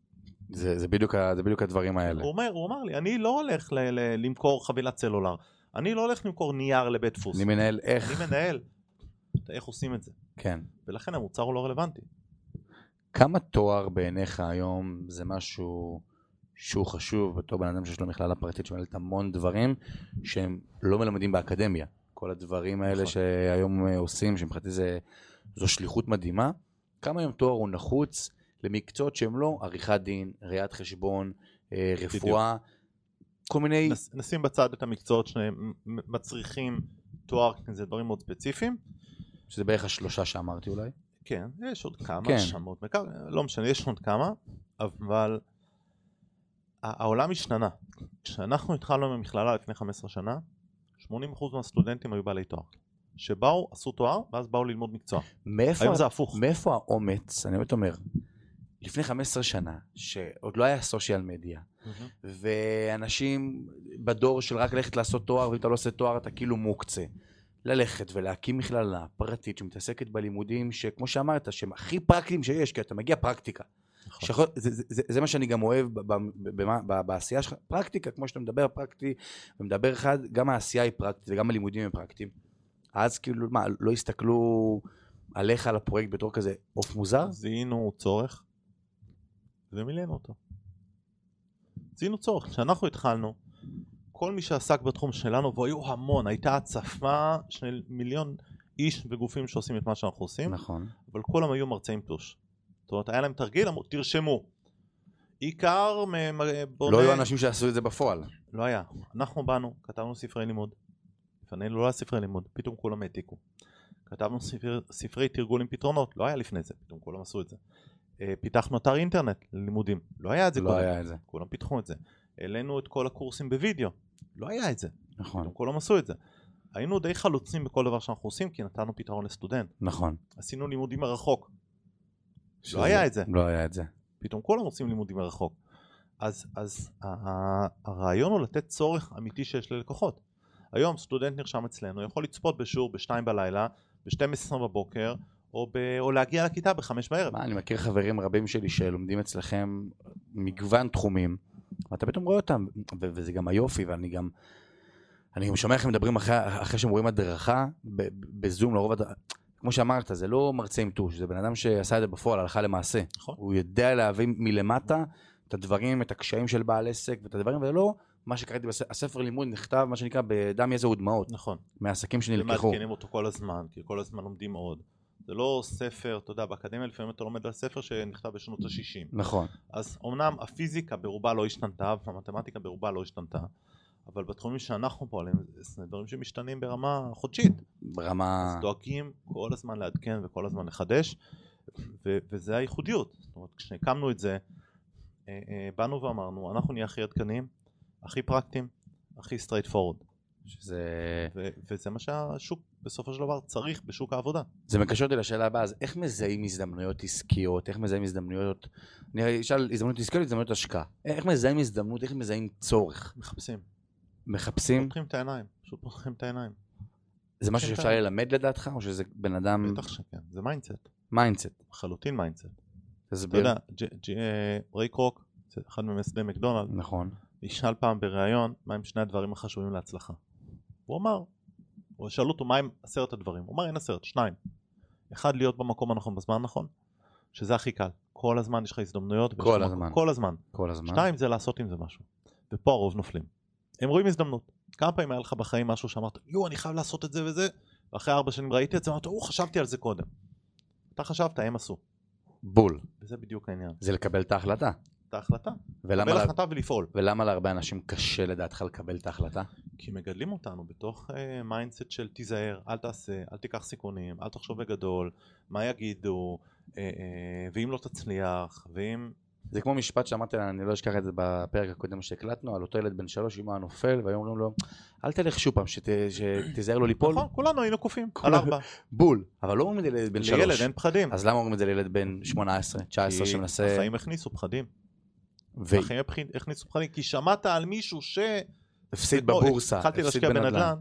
S2: זה, זה, בדיוק, ה- זה בדיוק הדברים האלה.
S3: הוא אומר, הוא אמר לי, אני לא הולך ל- ל- למכור חבילת סלולר, אני לא הולך למכור נייר לבית דפוס.
S2: אני מנהל איך,
S3: אני מנהל. איך עושים את זה?
S2: כן.
S3: ולכן המוצר הוא לא רלוונטי.
S2: כמה תואר בעיניך היום זה משהו שהוא חשוב בתור בן אדם שיש לו מכללה פרטית שמנהלת המון דברים שהם לא מלמדים באקדמיה. כל הדברים האלה
S3: נכון.
S2: שהיום אה, עושים, שמבחינתי זה- זו שליחות מדהימה. כמה היום תואר הוא נחוץ למקצועות שהם לא עריכת דין, ראיית חשבון, אה, רפואה, כל מיני...
S3: נס- נשים בצד את המקצועות שמצריכים תואר, כי זה דברים מאוד ספציפיים.
S2: שזה בערך השלושה שאמרתי אולי.
S3: כן, יש עוד כמה
S2: כן.
S3: כן. שמות, מקר... לא משנה, יש עוד כמה, אבל ה- העולם השתנה. כשאנחנו התחלנו עם המכללה לפני 15 שנה, 80% מהסטודנטים היו בעלי תואר. שבאו, עשו תואר, ואז באו ללמוד מקצוע.
S2: מאיפה,
S3: היום זה הפוך.
S2: מאיפה האומץ, אני באמת אומר, לפני 15 שנה, שעוד לא היה סושיאל מדיה,
S3: מהמם.
S2: ואנשים בדור של רק ללכת לעשות תואר, ואם אתה לא עושה תואר אתה כאילו מוקצה. ללכת ולהקים מכללה פרטית שמתעסקת בלימודים שכמו שאמרת, שהם הכי פרקטיים שיש, כי אתה מגיע פרקטיקה.
S3: נכון.
S2: שיכול, זה, זה, זה, זה מה שאני גם אוהב ב, ב, ב, ב, ב, בעשייה שלך, פרקטיקה, כמו שאתה מדבר פרקטי, ומדבר אחד, גם העשייה היא פרקטית וגם הלימודים הם פרקטיים. אז כאילו, מה, לא הסתכלו עליך, על הפרויקט בתור כזה עוף מוזר?
S3: זיהינו צורך ומילאנו אותו. זיהינו צורך. כשאנחנו התחלנו, כל מי שעסק בתחום שלנו, והיו המון, הייתה הצפה של מיליון איש וגופים שעושים את מה שאנחנו עושים,
S2: נכון.
S3: אבל כולם היו מרצי עם תוש. זאת אומרת, היה להם תרגיל, אמרו, תרשמו. עיקר, מ- מ- בונה...
S2: לא היו אנשים שעשו את זה בפועל.
S3: לא היה. אנחנו באנו, כתבנו ספרי לימוד. לפנינו לא היה ספרי לימוד, פתאום כולם העתיקו. כתבנו ספר, ספרי תרגול עם פתרונות, לא היה לפני זה, פתאום כולם עשו את זה. אה, פיתחנו אתר אינטרנט ללימודים, לא היה את זה
S2: לא
S3: קודם,
S2: היה את זה.
S3: כולם פיתחו את זה. העלינו את כל הקורסים בווידאו, לא היה את זה,
S2: נכון.
S3: פתאום כולם עשו את זה. היינו די חלוצים בכל דבר שאנחנו עושים, כי נתנו פתרון לסטודנט.
S2: נכון.
S3: עשינו לימודים מרחוק, לא
S2: שזה-
S3: היה את זה.
S2: לא היה את זה.
S3: פתאום כולם עושים לימודים מרחוק. אז, אז ה- ה- הרעיון הוא לתת צורך אמיתי שיש ללקוחות. היום סטודנט נרשם אצלנו, יכול לצפות בשיעור ב-2 בלילה, ב-12 בבוקר, או, ב- או להגיע לכיתה ב-5 בערב.
S2: מה, אני מכיר חברים רבים שלי שלומדים אצלכם מגוון תחומים, ואתה פתאום רואה אותם, ו- וזה גם היופי, ואני גם... אני גם שומע איך הם מדברים אחרי, אחרי שהם רואים הדרכה, ב- בזום לרוב... הד- כמו שאמרת, זה לא מרצה עם טוש, זה בן אדם שעשה את זה בפועל, הלכה למעשה.
S3: נכון.
S2: הוא יודע להביא מלמטה את הדברים, את הקשיים של בעל עסק ואת הדברים, ולא מה שקראתי בספר לימוד נכתב, מה שנקרא, בדם, יזע ודמעות,
S3: נכון,
S2: מהעסקים שנלקחו.
S3: ומעדכנים אותו כל הזמן, כי כל הזמן לומדים עוד. זה לא ספר, אתה יודע, באקדמיה לפעמים אתה לומד על ספר שנכתב בשנות ה-60.
S2: נכון,
S3: אז אמנם הפיזיקה ברובה לא השתנתה והמתמטיקה ברובה לא השתנתה, אבל בתחומים שאנחנו פועלים זה דברים שמשתנים ברמה חודשית.
S2: ברמה...
S3: אז דואגים כל הזמן לעדכן וכל הזמן לחדש ו- וזה הייחודיות זאת אומרת כשהקמנו את זה אה, אה, באנו ואמרנו אנחנו נהיה הכי עדכניים הכי פרקטיים הכי סטרייט פורד
S2: שזה...
S3: וזה מה שהשוק בסופו של דבר צריך בשוק העבודה
S2: זה מקשר אותי לשאלה הבאה, אז איך מזהים הזדמנויות עסקיות, איך מזהים הזדמנויות, אני אשאל הזדמנות עסקיות, הזדמנות השקעה, איך מזהים הזדמנות, איך מזהים צורך,
S3: מחפשים
S2: מחפשים,
S3: פותחים את העיניים פשוט פותחים את העיניים
S2: זה משהו שאפשר
S3: כן.
S2: ללמד לדעתך, או שזה בן אדם,
S3: בטח שכן זה מיינדסט
S2: מיינדסט,
S3: לחלוטין מיינדסט אתה
S2: תסביר,
S3: יודע ג'- ג'- אה, ריי קרוק זה אחד ממייסדי מקדונלד
S2: נכון,
S3: נשאל פעם בריאיון מה הם שני הדברים החשובים להצלחה. הוא אמר, הוא שאלו אותו מה הם עשרת הדברים, הוא אמר אין עשרת, שניים. אחד להיות במקום הנכון בזמן הנכון, שזה הכי קל, כל הזמן יש לך הזדמנויות, ויש
S2: כל
S3: לך מקום-
S2: הזמן.
S3: כל הזמן.
S2: כל הזמן,
S3: שניים זה לעשות עם זה משהו, ופה הרוב נופלים. הם רואים הזדמנות, כמה פעמים היה לך בחיים משהו שאמרת יואו אני חייב לעשות את זה וזה, ואחרי ארבע שנים ראיתי את זה, אמרת או חשבתי על זה קודם. אתה חשבת, הם עשו,
S2: בול,
S3: וזה בדיוק העניין,
S2: זה לקבל את ההחלטה,
S3: את ההחלטה,
S2: ולמה
S3: קבל
S2: לה-
S3: החלטה ולפעול.
S2: ולמה להרבה אנשים קשה לדעתך לקבל את ההחלטה?
S3: כי מגדלים אותנו בתוך uh, מיינדסט של תיזהר, אל תעשה, אל תיקח סיכונים, אל תחשוב בגדול, מה יגידו, uh, uh, ואם לא תצליח, ואם...
S2: זה כמו משפט שאמרתי לה, אני לא אשכח את זה בפרק הקודם שהקלטנו, על אותו ילד בן שלוש, אם הוא היה נופל, והיו אומרים לו, אל תלך שוב פעם, שת- שתיזהר לו ליפול,
S3: נכון, כולנו היינו קופים,
S2: כל-
S3: על ארבע.
S2: בול. אבל לא אומרים את זה לילד בן
S3: לילד
S2: שלוש.
S3: אין פחדים.
S2: אז למה אומרים את זה לילד בן 18, 19
S3: כי
S2: שמנסה...
S3: החיים הכניסו פחדים.
S2: ו-
S3: החיים הפח- הכניסו פחדים, כי שמעת על מישהו ש...
S2: הפסיד
S3: כמו,
S2: בבורסה,
S3: לא, התחלתי
S2: הפסיד
S3: להשקיע בנדל"ן.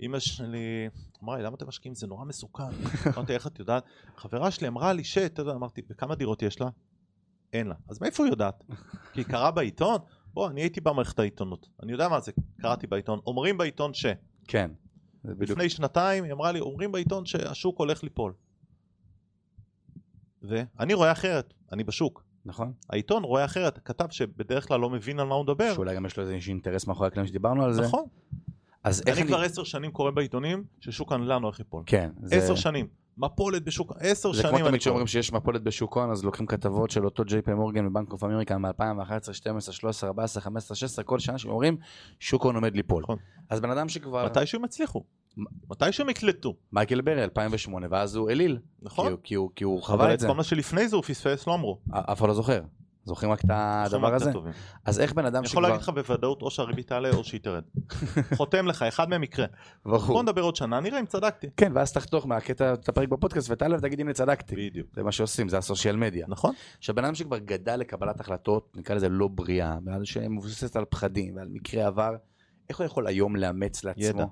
S3: אמא שלי אמרה לי, למה אתם משקיעים? זה נורא מסוכן. [LAUGHS] אמרתי, איך את יודעת? חברה שלי אמרה לי ש... אתה יודע, אמרתי, וכמה דירות יש לה? אין לה. אז מאיפה היא יודעת? כי היא קראה בעיתון? בוא, אני הייתי במערכת העיתונות. אני יודע מה זה, קראתי בעיתון. אומרים בעיתון ש...
S2: כן. זה בדיוק.
S3: לפני שנתיים היא אמרה לי, אומרים בעיתון שהשוק הולך ליפול. ואני רואה אחרת, אני בשוק.
S2: נכון?
S3: העיתון רואה אחרת, כתב שבדרך כלל לא מבין על מה הוא מדבר.
S2: שאולי גם יש לו איזה אינטרס מאחורי הקלעים שדיברנו על זה.
S3: נכון.
S2: אז איך
S3: אני כבר עשר שנים קורא בעיתונים ששוק הנדל"ן הולך ליפול.
S2: כן. זה-
S3: עשר שנים. מפולת בשוק, עשר
S2: זה
S3: שנים
S2: כמו
S3: אני
S2: תמיד
S3: קורא.
S2: שאומרים שיש מפולת בשוק הון, אז לוקחים כתבות של אותו ג'יי פי מורגן ובנק אוף אמריקה מ-2011, 12, 13, 14, 15, 16, כל שנה שאומרים שוק הון עומד ליפול.
S3: נכון.
S2: אז בן אדם שכבר...
S3: מתישהו הם יצליחו. מתי שהם יקלטו,
S2: מייקל ברי 2008, ואז הוא אליל, כי
S3: נכון?
S2: הוא- כי הוא- כי הוא
S3: אבל
S2: חווה את זה,
S3: כל מה שלפני זה הוא פספס, לא אמרו.
S2: אף אחד לא זוכר, זוכרים רק את הדבר הזה?
S3: טובים.
S2: אז איך בן אדם
S3: אני יכול
S2: שכבר,
S3: להגיד לך בוודאות או שהריבית תעלה או שהיא
S2: [LAUGHS]
S3: תרד. חותם לך, אחד מהם יקרה. בוא
S2: ברור,
S3: נדבר עוד שנה, נראה אם צדקתי.
S2: כן, ואז תחתוך מהקטע, את הפרק בפודקאסט ותעלה ותגיד הנה צדקתי,
S3: בדיוק.
S2: זה מה שעושים, זה הסושיאל מדיה.
S3: נכון?
S2: עכשיו, בן אדם שכבר גדל לקבלת החלטות, נקרא לזה לא בריאה, בן אדם שמבוססת על פחדים ועל מקרי עבר, איך הוא יכול היום לאמץ לעצמו?
S3: ידע.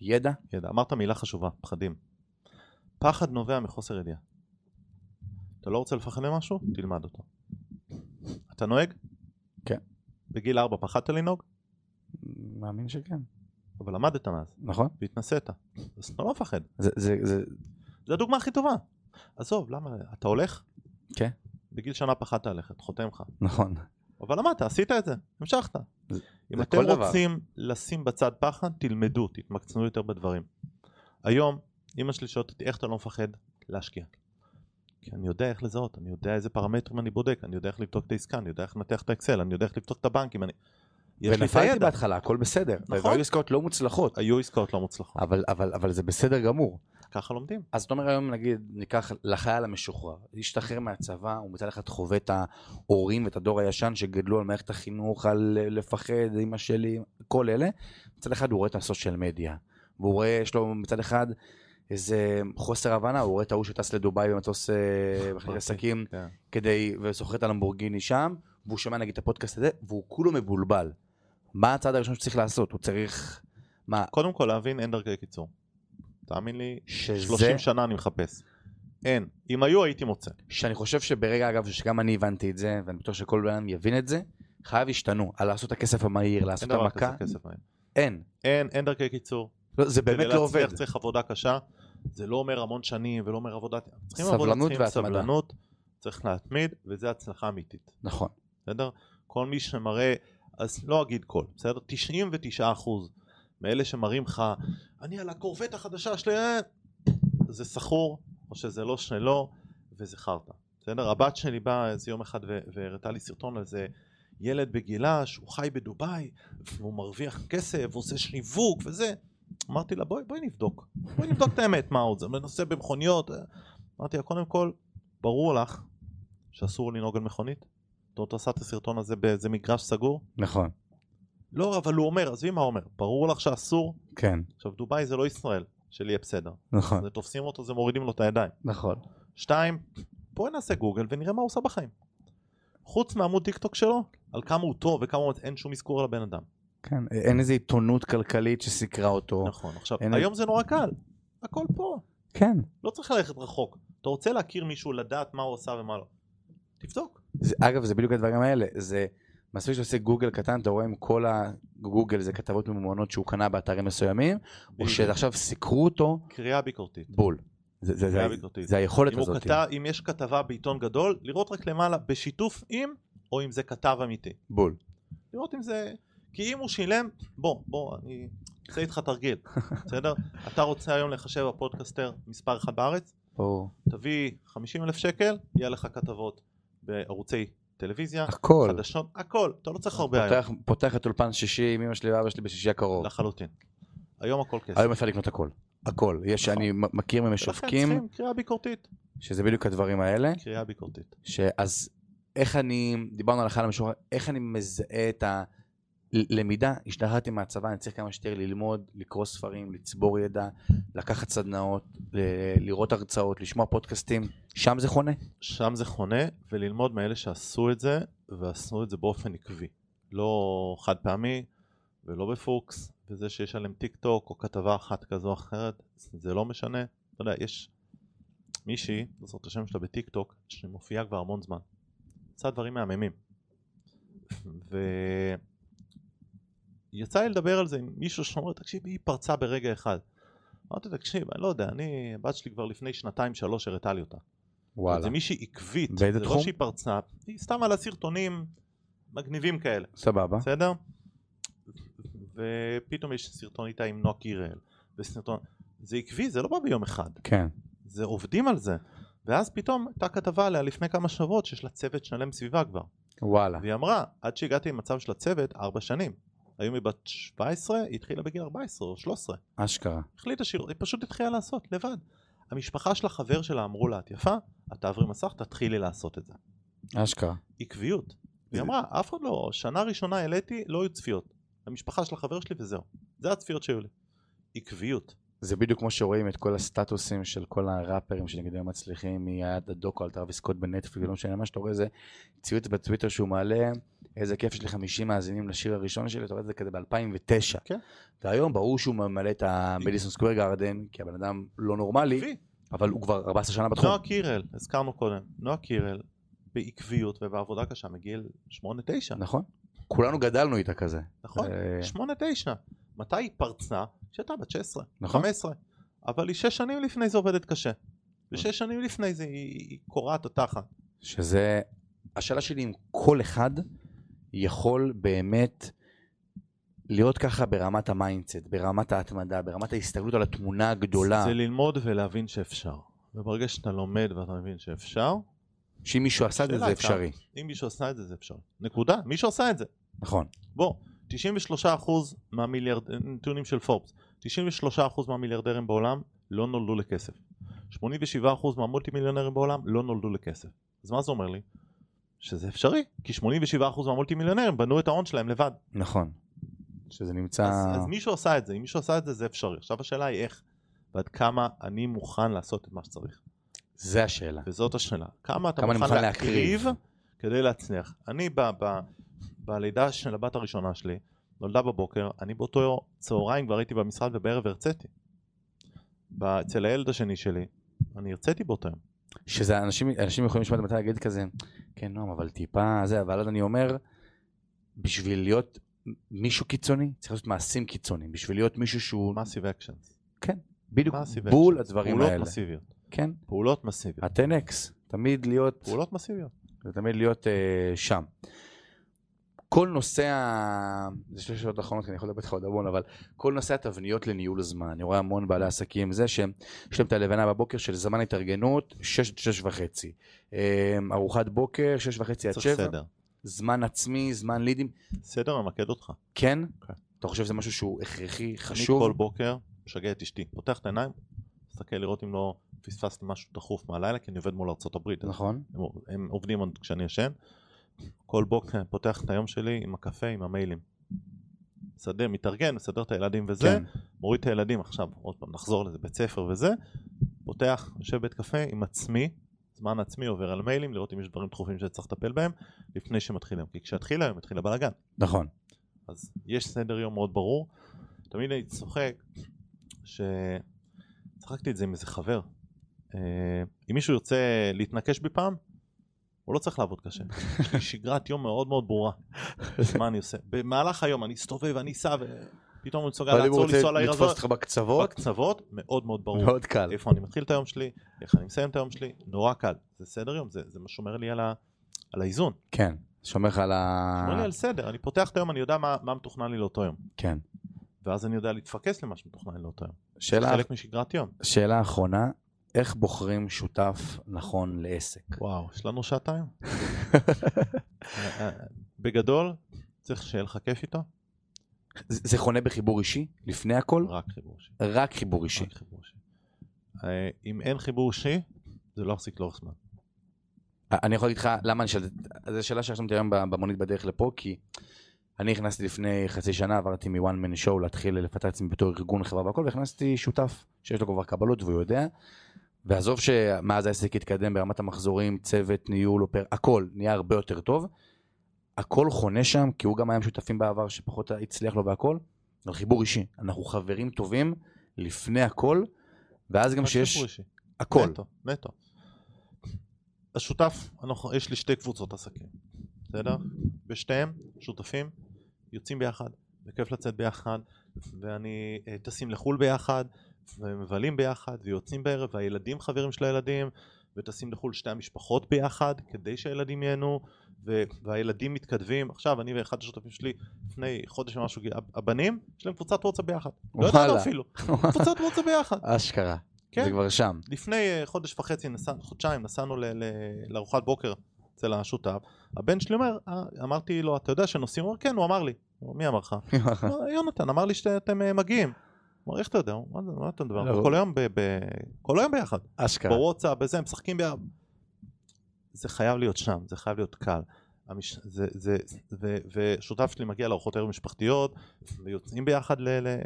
S2: ידע?
S3: ידע. אמרת מילה חשובה, פחדים. פחד נובע מחוסר ידיעה. אתה לא רוצה לפחד ממשהו? תלמד אותו. אתה נוהג?
S2: כן.
S3: בגיל 4 פחדת לנהוג?
S2: מאמין שכן.
S3: אבל למדת מאז,
S2: נכון?
S3: והתנסית. אז אתה לא מפחד.
S2: זה, זה, זה,
S3: זו הדוגמה הכי טובה. עזוב, למה? אתה הולך?
S2: כן.
S3: בגיל שנה פחדת ללכת, חותם לך.
S2: נכון.
S3: אבל למדת, עשית את זה, המשכת.
S2: זה-
S3: אם
S2: זה
S3: אתם
S2: כל דבר.
S3: רוצים לשים בצד פחד, תלמדו, תתמקצעו יותר בדברים. היום, אמא שלי שואלת אותי, איך אתה לא מפחד להשקיע? כי אני יודע איך לזהות, אני יודע איזה פרמטרים אני בודק, אני יודע איך לבדוק את העסקה, אני יודע איך לנתח את האקסל, אני יודע איך לבדוק את הבנקים, אני... יש לי את
S2: ונפלתי
S3: הידע.
S2: בהתחלה, הכל בסדר.
S3: נכון.
S2: והיו עסקאות לא מוצלחות,
S3: היו עסקאות לא מוצלחות,
S2: אבל, אבל, אבל זה בסדר גמור.
S3: ככה לומדים.
S2: אז אתה אומר היום, נגיד, ניקח לחייל המשוחרר, השתחרר מהצבא, הוא מצד אחד חווה את ההורים ואת הדור הישן שגדלו על מערכת החינוך, על אה, לפחד, אמא שלי, כל אלה. מצד אחד הוא רואה את הסושיאל מדיה, והוא רואה, יש לו מצד אחד איזה חוסר הבנה, הוא רואה את ההוא שטס לדובאי במטוס אה, בחלק עסקים
S3: כן.
S2: כדי, וסוחר את הלמבורגיני שם, והוא שומע נגיד את הפודקאסט הזה, והוא כולו מבולבל. מה הצעד הראשון שצריך לעשות? הוא צריך... מה?
S3: קודם כל להבין, אין דרכי קיצור. תאמין לי,
S2: שזה
S3: 30 שנה אני מחפש. אין. אם היו, הייתי מוצא.
S2: שאני חושב שברגע, אגב, שגם אני הבנתי את זה, ואני בטוח שכל בן אדם יבין את זה, חייב השתנו, על לעשות את הכסף המהיר,
S3: אין
S2: לעשות את
S3: דבר כזה
S2: המכה,
S3: כסף מהר.
S2: אין.
S3: אין, אין דרכי קיצור.
S2: לא, זה באמת לא
S3: כדי
S2: עובד.
S3: להצליח צריך עבודה קשה, זה לא אומר המון שנים ולא אומר עבודה, צריכים
S2: סבלנות
S3: עבודה, צריכים
S2: והתמדה.
S3: סבלנות, צריך להתמיד, וזה הצלחה אמיתית,
S2: נכון.
S3: בסדר? כל מי שמראה, אז לא אגיד כל, בסדר? 99 אחוז מאלה שמראים לך, אני על הקורבט החדשה שלי, אה", זה סחור, או שזה לא שלו, וזה חרטא, בסדר? הבת שלי באה איזה יום אחד ו- והראתה לי סרטון על זה, ילד בגילה שהוא חי בדובאי, והוא מרוויח כסף, והוא עושה שיווק וזה. אמרתי לה בואי, בואי נבדוק, בואי נבדוק את האמת מה עוד זה, נוסע במכוניות, אה." אמרתי לה קודם כל ברור לך שאסור לנהוג על מכונית? זאת אומרת, עשה את הסרטון הזה באיזה מגרש סגור?
S2: נכון.
S3: לא אבל הוא אומר, עזבי מה הוא אומר, ברור לך שאסור?
S2: כן.
S3: עכשיו דובאי זה לא ישראל, שיהיה בסדר,
S2: נכון.
S3: זה תופסים אותו זה מורידים לו את הידיים,
S2: נכון.
S3: שתיים, בואי נעשה גוגל ונראה מה הוא עושה בחיים, חוץ מעמוד טיק טוק שלו, על כמה הוא טוב וכמה הוא, אין שום אזכור על הבן אדם,
S2: כן. אין איזו עיתונות כלכלית שסיקרה אותו.
S3: נכון, עכשיו,
S2: אין-
S3: היום זה נורא קל, הכל פה,
S2: כן.
S3: לא צריך ללכת רחוק. אתה רוצה להכיר מישהו, לדעת מה הוא עשה ומה לא. תבדוק.
S2: זה, אגב, זה בדיוק הדברים האלה. זה מספיק שעושה גוגל קטן, אתה רואה עם כל הגוגל זה כתבות ממומנות שהוא קנה באתרים מסוימים, או שעכשיו סיקרו אותו
S3: קריאה ביקורתית.
S2: בול. זה, זה, זה,
S3: קריאה ביקורתית.
S2: זה היכולת
S3: אם, הוא
S2: הזאת.
S3: כתב, אם יש כתבה בעיתון גדול, לראות רק למעלה בשיתוף עם, או אם זה כתב אמיתי.
S2: בול.
S3: לראות אם זה... כי אם הוא שילם, בוא, בוא, אני אעשה איתך
S2: [LAUGHS]
S3: תרגיל, בסדר? אתה רוצה היום לחשב הפודקסטר מספר אחד בארץ?
S2: או...
S3: תביא 50 אלף שקל, יהיה לך כתבות בערוצי טלוויזיה,
S2: הכל.
S3: חדשות, הכל. אתה לא צריך הרבה היום,
S2: פותח, פותח את אולפן שישי עם אמא שלי ואבא שלי בשישי הקרוב.
S3: לחלוטין. היום הכל כסף.
S2: היום אפשר לקנות הכל. הכל. יש,
S3: נכון.
S2: אני מ- מכיר
S3: ולכן
S2: ממשווקים,
S3: צריכים קריאה ביקורתית.
S2: שזה בדיוק הדברים האלה.
S3: קריאה ביקורתית.
S2: שאז איך אני, דיברנו על החייל המשוחרר, איך אני מזהה את הלמידה? השתחררתי מהצבא, אני צריך כמה שיותר ללמוד, לקרוא ספרים, לצבור ידע, לקחת סדנאות, ל- לראות הרצאות, לשמוע פודקאסטים. שם זה חונה?
S3: שם זה חונה, וללמוד מאלה שעשו את זה, ועשו את זה באופן עקבי. לא חד פעמי, ולא בפוקס, וזה שיש עליהם טיק טוק, או כתבה אחת כזו או אחרת, זה לא משנה. אתה יודע, יש מישהי, לא זוכר את השם שלה בטיק טוק, שמופיעה כבר המון זמן. עושה דברים מהממים. ויצא לי לדבר על זה עם מישהו שאומר, תקשיב, היא פרצה ברגע אחד. אמרתי, תקשיב, אני לא יודע, אני, הבת שלי כבר לפני שנתיים שלוש הראתה לי אותה. זה מישהי עקבית,
S2: באיזה
S3: זה
S2: תחום?
S3: לא שהיא פרצה, היא סתם על הסרטונים מגניבים כאלה,
S2: סבבה.
S3: בסדר? ופתאום יש סרטון איתה עם נועה קירל, וסרטון, זה עקבי, זה לא בא ביום אחד,
S2: כן.
S3: זה עובדים על זה. ואז פתאום הייתה כתבה עליה לפני כמה שבועות שיש לה צוות שלם סביבה כבר.
S2: וואלה.
S3: והיא אמרה, עד שהגעתי למצב של הצוות, ארבע שנים. היום היא בת 17, היא התחילה בגיל 14 או 13.
S2: אשכרה.
S3: החליטה שהיא לא, היא פשוט התחילה לעשות, לבד. המשפחה של החבר שלה אמרו לה, את יפה, את תעברי מסך, תתחילי לעשות את זה.
S2: אשכרה.
S3: עקביות. היא אמרה, אף אחד לא, שנה ראשונה העליתי, לא היו צפיות. המשפחה של החבר שלי וזהו. זה הצפיות שהיו לי. עקביות.
S2: זה בדיוק כמו שרואים את כל הסטטוסים של כל הראפרים שנגיד הם מצליחים, היה את הדוקו על טרוויס סקוט בנטפליקס, לא משנה מה שאתה רואה זה ציוץ בטוויטר שהוא מעלה, איזה כיף יש לי 50 מאזינים לשיר הראשון שלי, אתה רואה את זה כזה ב-2009.
S3: כן.
S2: והיום ברור שהוא ממלא את המדיסון סקוויר גארדן, כי הבן אדם לא נורמלי,
S3: עקבי.
S2: אבל הוא כבר 14 שנה בתחום.
S3: נועה קירל, הזכרנו קודם. נועה קירל, בעקביות ובעבודה קשה מגיל 8-9,
S2: נכון. כולנו גדלנו איתה כזה.
S3: נכון?
S2: אה,
S1: כן.
S3: 8-9. מתי היא פרצה? כשהייתה בת 16,
S2: נכון.
S3: 15. אבל היא 6 שנים לפני זה עובדת קשה. ושש שנים לפני זה היא היא קורעת התחת.
S2: שזה, השאלה שלי אם כל אחד יכול באמת להיות ככה ברמת המיינדסט, ברמת ההתמדה, ברמת ההסתכלות על התמונה הגדולה,
S3: זה ללמוד ולהבין שאפשר. וברגע שאתה לומד ואתה מבין שאפשר,
S2: שאם מישהו עשה את זה,
S3: שאלה
S2: זה
S3: הייתה.
S2: אפשרי.
S3: אם מישהו עשה את זה, זה אפשרי. נקודה. מישהו עשה את זה.
S2: נכון.
S3: בוא, 93% מהמיליארד... נתונים של פורבס, 93% מהמיליארדרים בעולם לא נולדו לכסף. 87% מהמולטי מיליונרים בעולם לא נולדו לכסף. אז מה זה אומר לי? שזה אפשרי, כי 87% מהמולטי מיליונרים בנו את ההון שלהם לבד.
S2: נכון. שזה נמצא...
S3: אז, אז מישהו עשה את זה, אם מישהו עשה את זה זה אפשרי. עכשיו השאלה היא איך ועד כמה אני מוכן לעשות את מה שצריך.
S2: זה השאלה.
S3: וזאת השאלה. כמה אתה
S2: כמה אני
S3: מוכן,
S2: מוכן
S3: להקריב,
S2: להקריב?
S3: כדי להצליח. אני ב, ב, בלידה של הבת הראשונה שלי, נולדה בבוקר, אני באותו צהריים כבר הייתי במשרד ובערב הרציתי. ב- אצל הילד השני שלי, אני הרציתי באותו יום.
S2: שזה אנשים, אנשים יכולים לשמוע את המטה להגיד כזה, כן נועם אבל טיפה זה, אבל אז אני אומר, בשביל להיות מישהו קיצוני, צריך לעשות מעשים קיצוניים, בשביל להיות מישהו שהוא
S3: מאסיב אקשנס.
S2: בדיוק
S3: מאסיב
S2: בול
S3: אקשנס.
S2: הדברים
S3: פעולות
S2: האלה.
S3: מסיביות.
S2: כן.
S3: פעולות מסיביות.
S2: הטנקס, תמיד להיות,
S3: פעולות מסיביות.
S2: זה תמיד להיות אה, שם. כל נושא ה... זה שתי שאלות אחרונות, כי אני יכול לדבר איתך עוד המון, אבל כל נושא התבניות לניהול זמן, אני רואה המון בעלי עסקים, זה שהם, יש להם את הלבנה בבוקר של זמן התארגנות, שש עד שש וחצי. אה, ארוחת בוקר, שש וחצי עד
S3: צריך
S2: שבע.
S3: סדר.
S2: זמן עצמי, זמן לידים.
S3: סדר ממקד אותך.
S2: כן?
S3: כן.
S2: אתה חושב שזה משהו שהוא הכרחי,
S3: אני כל
S2: חשוב?
S3: בוקר משגע את אשתי. פותח את העיניים, מסתכל לראות אם לא פספסתי משהו דחוף מהלילה, כי אני עובד מול ארצות הברית. אז
S2: נכון.
S3: הם, הם עובדים עוד כשאני ישן. כל בוקר אני פותח את היום שלי עם הקפה, עם המיילים. מסדר, מתארגן, מסדר את הילדים וזה,
S2: כן.
S3: כן. מוריד את הילדים עכשיו, עוד פעם, נחזור לזה, בית ספר וזה, פותח, יושב בית קפה עם עצמי, זמן עצמי עובר על מיילים, לראות אם יש דברים דחופים שצריך לטפל בהם, לפני שמתחילים, כי כשהתחיל היום התחיל הבלאגן.
S2: נכון.
S3: אז יש סדר יום מאוד ברור. תמיד אני צוחק, ש... צחקתי את זה עם איזה חבר. אה, אם מישהו ירצה להתנקש בי פעם, הוא לא צריך לעבוד קשה. יש לי שגרת יום מאוד מאוד ברורה. מה אני עושה? במהלך היום אני אסתובב, אני אסע, ופתאום אני מסוגל
S2: אבל אם הוא
S3: לעצור,
S2: רוצה
S3: לנסוע לעיר
S2: לתפוס לא.
S3: הזאת.
S2: אותך בקצוות,
S3: בקצוות, מאוד מאוד ברור.
S2: מאוד קל.
S3: איפה אני מתחיל את היום שלי, איך אני מסיים את היום שלי, נורא קל. זה סדר יום, זה זה מה שומר לי על ה- על האיזון.
S2: כן. שומר לך על ה...
S3: שומר לי
S2: אה.
S3: על סדר, אני פותח את היום, אני יודע מה מה מתוכנן לי לאותו יום.
S2: כן.
S3: ואז אני יודע להתפקס למה שמתוכנן לאותו יום. זה
S2: שאלה,
S3: חלק
S2: [LAUGHS]
S3: משגרת יום.
S2: שאלה אחרונה, איך בוחרים שותף נכון לעסק?
S3: וואו, יש לנו
S2: [LAUGHS]
S3: שעתיים? אה, אה, בגדול, צריך שיהיה לך כיף איתו,
S2: זה זה חונה בחיבור אישי, לפני הכל,
S3: רק חיבור אישי.
S2: רק חיבור אישי.
S3: רק חיבור אישי. אה, אם אין חיבור אישי, זה לא יחזיק לאורך זמן.
S2: אני יכול להגיד לך למה אני שאלתי, זו שאלה שרשמתי היום במונית בדרך לפה, כי אני הכנסתי לפני חצי שנה, עברתי מ-one man show להתחיל לפתח את עצמי בתור ארגון חברה והכל, והכנסתי שותף שיש לו כבר קבלות והוא יודע, ועזוב שמאז העסק התקדם ברמת המחזורים, צוות, ניהול, אופר, הכל נהיה הרבה יותר טוב, הכל חונה שם, כי הוא גם היה עם שותפים בעבר שפחות הצליח לו והכל, אבל חיבור אישי, אנחנו חברים טובים לפני הכל, ואז גם
S3: רק חיבור
S2: שיש
S3: אישי.
S2: הכל,
S3: נטו, נטו. השותף, אנחנו, יש לי שתי קבוצות עסקים, בסדר? ושתיהם שותפים, יוצאים ביחד, וכיף לצאת ביחד, ואני אה, טסים לחו"ל ביחד, ומבלים ביחד, ויוצאים בערב, והילדים חברים של הילדים, וטסים לחו"ל שתי המשפחות ביחד, כדי שהילדים ייהנו, ו- והילדים מתכתבים. עכשיו, אני ואחד השותפים שלי, לפני חודש ומשהו, הבנים, יש להם קבוצת וואטסאפ ביחד. לא ידענו
S2: וואלה.
S3: אפילו,
S2: [LAUGHS]
S3: קבוצת וואטסאפ ביחד.
S2: אשכרה,
S3: כן.
S2: זה כבר שם. [LAUGHS]
S3: לפני אה, חודש וחצי, נסע, חודשיים, נסענו ל- ל- לארוחת בוקר אצל השותף, הבן שלי אומר, "אה, אמרתי לו, אתה יודע שנוסעים? הוא אומר, כן, הוא אמר לי. הוא אומר, מי אמר
S2: [LAUGHS]
S3: לך? "אה, יונתן אמר לי שאתם אה, מגיעים. הוא אומר, איך אתה יודע? הוא אומר, מה מה אתה מדבר?
S2: לא. כן.
S3: כל היום ב- ב- כל היום ביחד.
S2: אשכרה.
S3: בוואטסאפ, בזה, הם משחקים ביחד. זה חייב להיות שם, זה חייב להיות קל. המש... זה, זה, ו, ושותף שלי מגיע לארוחות ערב משפחתיות, ויוצאים ביחד ל-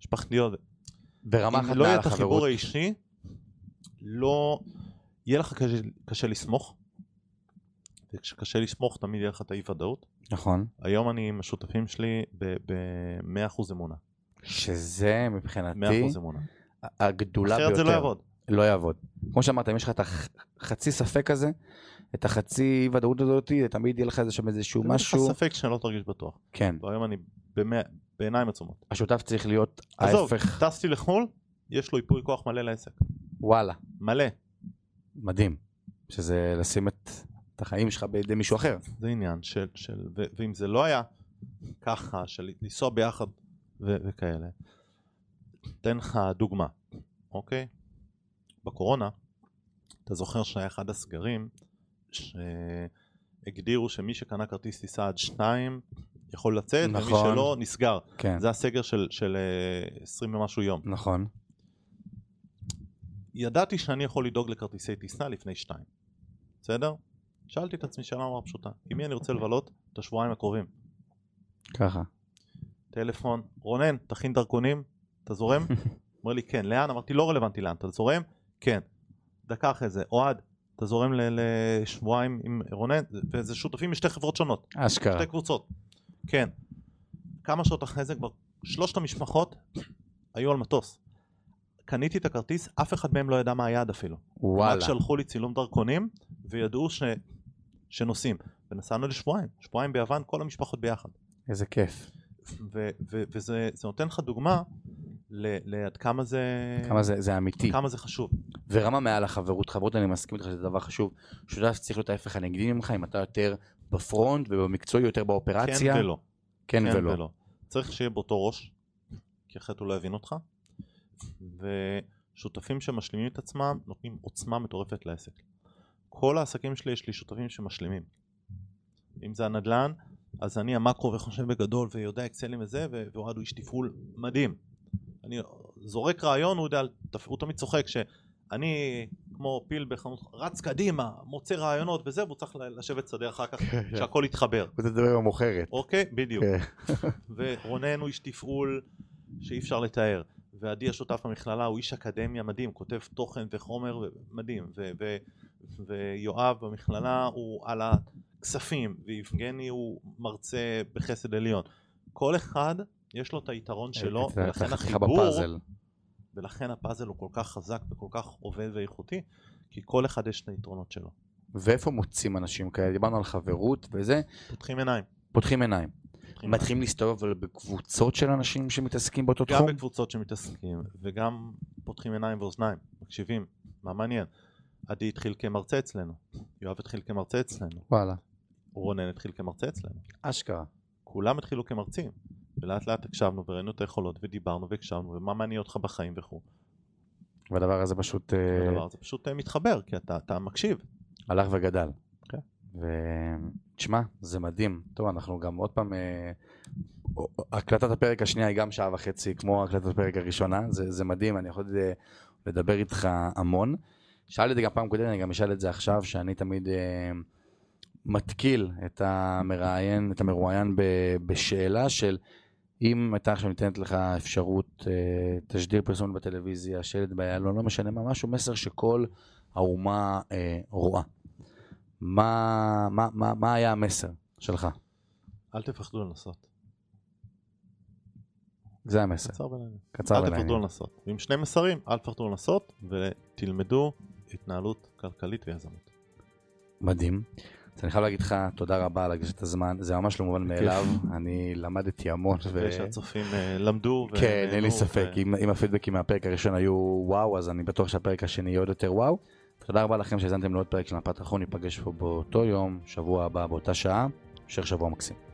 S3: למשפחתיות.
S2: ברמה אחת
S3: אם לא יהיה
S2: מעל
S3: את החיבור
S2: החברות.
S3: האישי, לא... יהיה לך קשה, קשה לסמוך, וכשקשה לסמוך תמיד יהיה לך את האי ודאות.
S2: נכון.
S3: היום אני עם השותפים שלי ב-100% אמונה.
S2: אוקיי.
S3: 100%
S2: שזה מבחינתי
S3: אמונה.
S2: הגדולה ביותר.
S3: אחרת זה לא יעבוד.
S2: לא יעבוד. כמו שאמרת, אם יש לך את החצי ספק הזה, את החצי ודאות הזאת, תמיד יהיה לך איזה שם איזשהו
S3: תמיד יש לך
S2: משהו.
S3: ספק שאני לא תרגיש בטוח.
S2: כן.
S3: והיום אני במאה- בעיניים עצומות.
S2: השותף צריך להיות
S3: עזוב,
S2: ההפך.
S3: טסתי לחו"ל, יש לו ייפוי כוח מלא לעסק.
S2: וואלה,
S3: מלא.
S2: מדהים. שזה לשים את את החיים שלך בידי מישהו אחר.
S3: זה עניין של, של ו, ואם זה לא היה ככה, של לנסוע ביחד ו, וכאלה. אתן לך דוגמה, אוקיי? בקורונה, אתה זוכר שהיה אחד הסגרים שהגדירו שמי שקנה כרטיס טיסה עד שניים יכול לצאת, ומי
S2: נכון.
S3: שלא נסגר.
S2: כן,
S3: זה הסגר של, של אה, 20 ומשהו יום.
S2: נכון.
S3: ידעתי שאני יכול לדאוג לכרטיסי טיסה לפני שתיים, בסדר? שאלתי את עצמי שאלה נורא פשוטה, עם מי אני רוצה לבלות את השבועיים הקרובים?
S2: ככה.
S3: טלפון, רונן, תכין דרכונים, אתה זורם? אומר לי כן, לאן? אמרתי לא רלוונטי לאן, אתה זורם? כן. דקה אחרי זה, אוהד, אתה זורם ל- לשבועיים עם רונן? וזה שותפים משתי חברות שונות,
S2: אשכרה.
S3: שתי קבוצות. כן. כמה שעות אחרי זה כבר שלושת המשפחות היו על מטוס. קניתי את הכרטיס, אף אחד מהם לא ידע מה היעד אפילו. רק
S2: וואלה.
S3: שלחו לי צילום דרכונים וידעו ש... שנוסעים. ונסענו לשבועיים, שבועיים ביוון, כל המשפחות ביחד.
S2: איזה כיף.
S3: ו- ו- וזה זה נותן לך דוגמה ל- לעד כמה זה,
S2: כמה זה זה אמיתי.
S3: כמה זה חשוב.
S2: ורמה מעל החברות, חברות אני מסכים איתך שזה דבר חשוב, שותף צריך להיות ההפך הנגדי ממך, אם אתה יותר בפרונט ובמקצועי יותר
S3: כן
S2: באופרציה,
S3: ולא.
S2: כן [LAUGHS]
S3: כן
S2: ולא,
S3: ולא. צריך שיהיה באותו ראש, כי אחרת הוא לא יבין אותך. ושותפים שמשלימים את עצמם נותנים עוצמה מטורפת לעסק. כל העסקים שלי יש לי שותפים שמשלימים. אם זה הנדל"ן, אז אני המקרו וחושב בגדול ויודע אקסלים וזה, ו- ואוהד הוא איש תפעול מדהים. אני זורק רעיון, הוא, יודע, על תפ- הוא תמיד צוחק שאני כמו פיל בחנות, רץ קדימה, מוצא רעיונות וזה, והוא צריך ל- לשבת שדה אחר
S2: כן.
S3: כך, שהכל יתחבר.
S2: זה דבר עם המוכרת,
S3: אוקיי, בדיוק.
S2: כן.
S3: [LAUGHS] ורונן הוא איש תפעול שאי אפשר לתאר. ועדי השותף במכללה הוא איש אקדמיה מדהים, כותב תוכן וחומר ו- מדהים. ו- ו- ויואב במכללה הוא על הכספים, ויבגני הוא מרצה בחסד עליון. כל אחד יש לו את היתרון
S2: אה,
S3: שלו,
S2: אתה- אתה
S3: ולכן
S2: חתיכה
S3: לא, החיבור,
S2: בפאזל.
S3: ולכן הפאזל הוא כל כך חזק וכל כך עובד ואיכותי, כי כל אחד יש את היתרונות שלו.
S2: ואיפה מוצאים אנשים כאלה? דיברנו על חברות וזה,
S3: פותחים עיניים.
S2: פותחים עיניים.
S3: פותחים עיניים.
S2: מתחילים להסתובב אבל בקבוצות של אנשים שמתעסקים באותו
S3: גם
S2: תחום?
S3: בקבוצות שמתעסקים וגם פותחים עיניים ואוזניים, מקשיבים, מה מעניין. עדי התחיל כמרצה אצלנו, יואב התחיל כמרצה אצלנו,
S2: וואלה.
S3: רונן התחיל כמרצה אצלנו,
S2: אשכרה.
S3: כולם התחילו כמרצים, ולאט לאט הקשבנו וראינו את היכולות ודיברנו והקשבנו ומה מעניין אותך בחיים וכו'.
S2: והדבר הזה פשוט אה,
S3: הדבר הזה פשוט אה, מתחבר, כי אתה, אתה מקשיב.
S2: הלך וגדל.
S3: כן.
S2: ותשמע, זה מדהים. טוב, אנחנו גם עוד פעם... אה, הקלטת הפרק השנייה היא גם שעה וחצי, כמו הקלטת הפרק הראשונה. זה, זה מדהים, אני יכול אה, לדבר איתך המון. שאלתי את זה גם פעם קודמת, אני גם אשאל את זה עכשיו, שאני תמיד אה, מתקיל את המראיין, את המרואיין ב, בשאלה של אם הייתה עכשיו ניתנת לך אפשרות, אה, תשדיר פרסומת בטלוויזיה, שלט באיילון, לא משנה מה, משהו, מסר שכל האומה אה, רואה. מה, מה, מה, מה היה המסר שלך?
S3: אל תפחדו לנסות.
S2: זה המסר,
S3: קצר ולעניין.
S2: קצר
S3: אל תפחדו
S2: ולעניין.
S3: לנסות. ועם שני מסרים, אל תפחדו לנסות ותלמדו התנהלות כלכלית ויזמות.
S2: מדהים. אז אני חייב להגיד לך תודה רבה על הגשת הזמן, זה ממש לא מובן מאליו, אני למדתי המון. ו-
S3: מקווה שהצופים אה, למדו.
S2: כן, אין לי
S3: ונהנו,
S2: ספק,
S3: ו-
S2: אם אם הפידבקים מהפרק הראשון היו וואו, אז אני בטוח שהפרק השני יהיה עוד יותר וואו. תודה רבה לכם שהאזנתם לעוד פרק של מפת החון, ניפגש פה באותו יום, שבוע הבא, באותה שעה, המשך שבוע מקסים.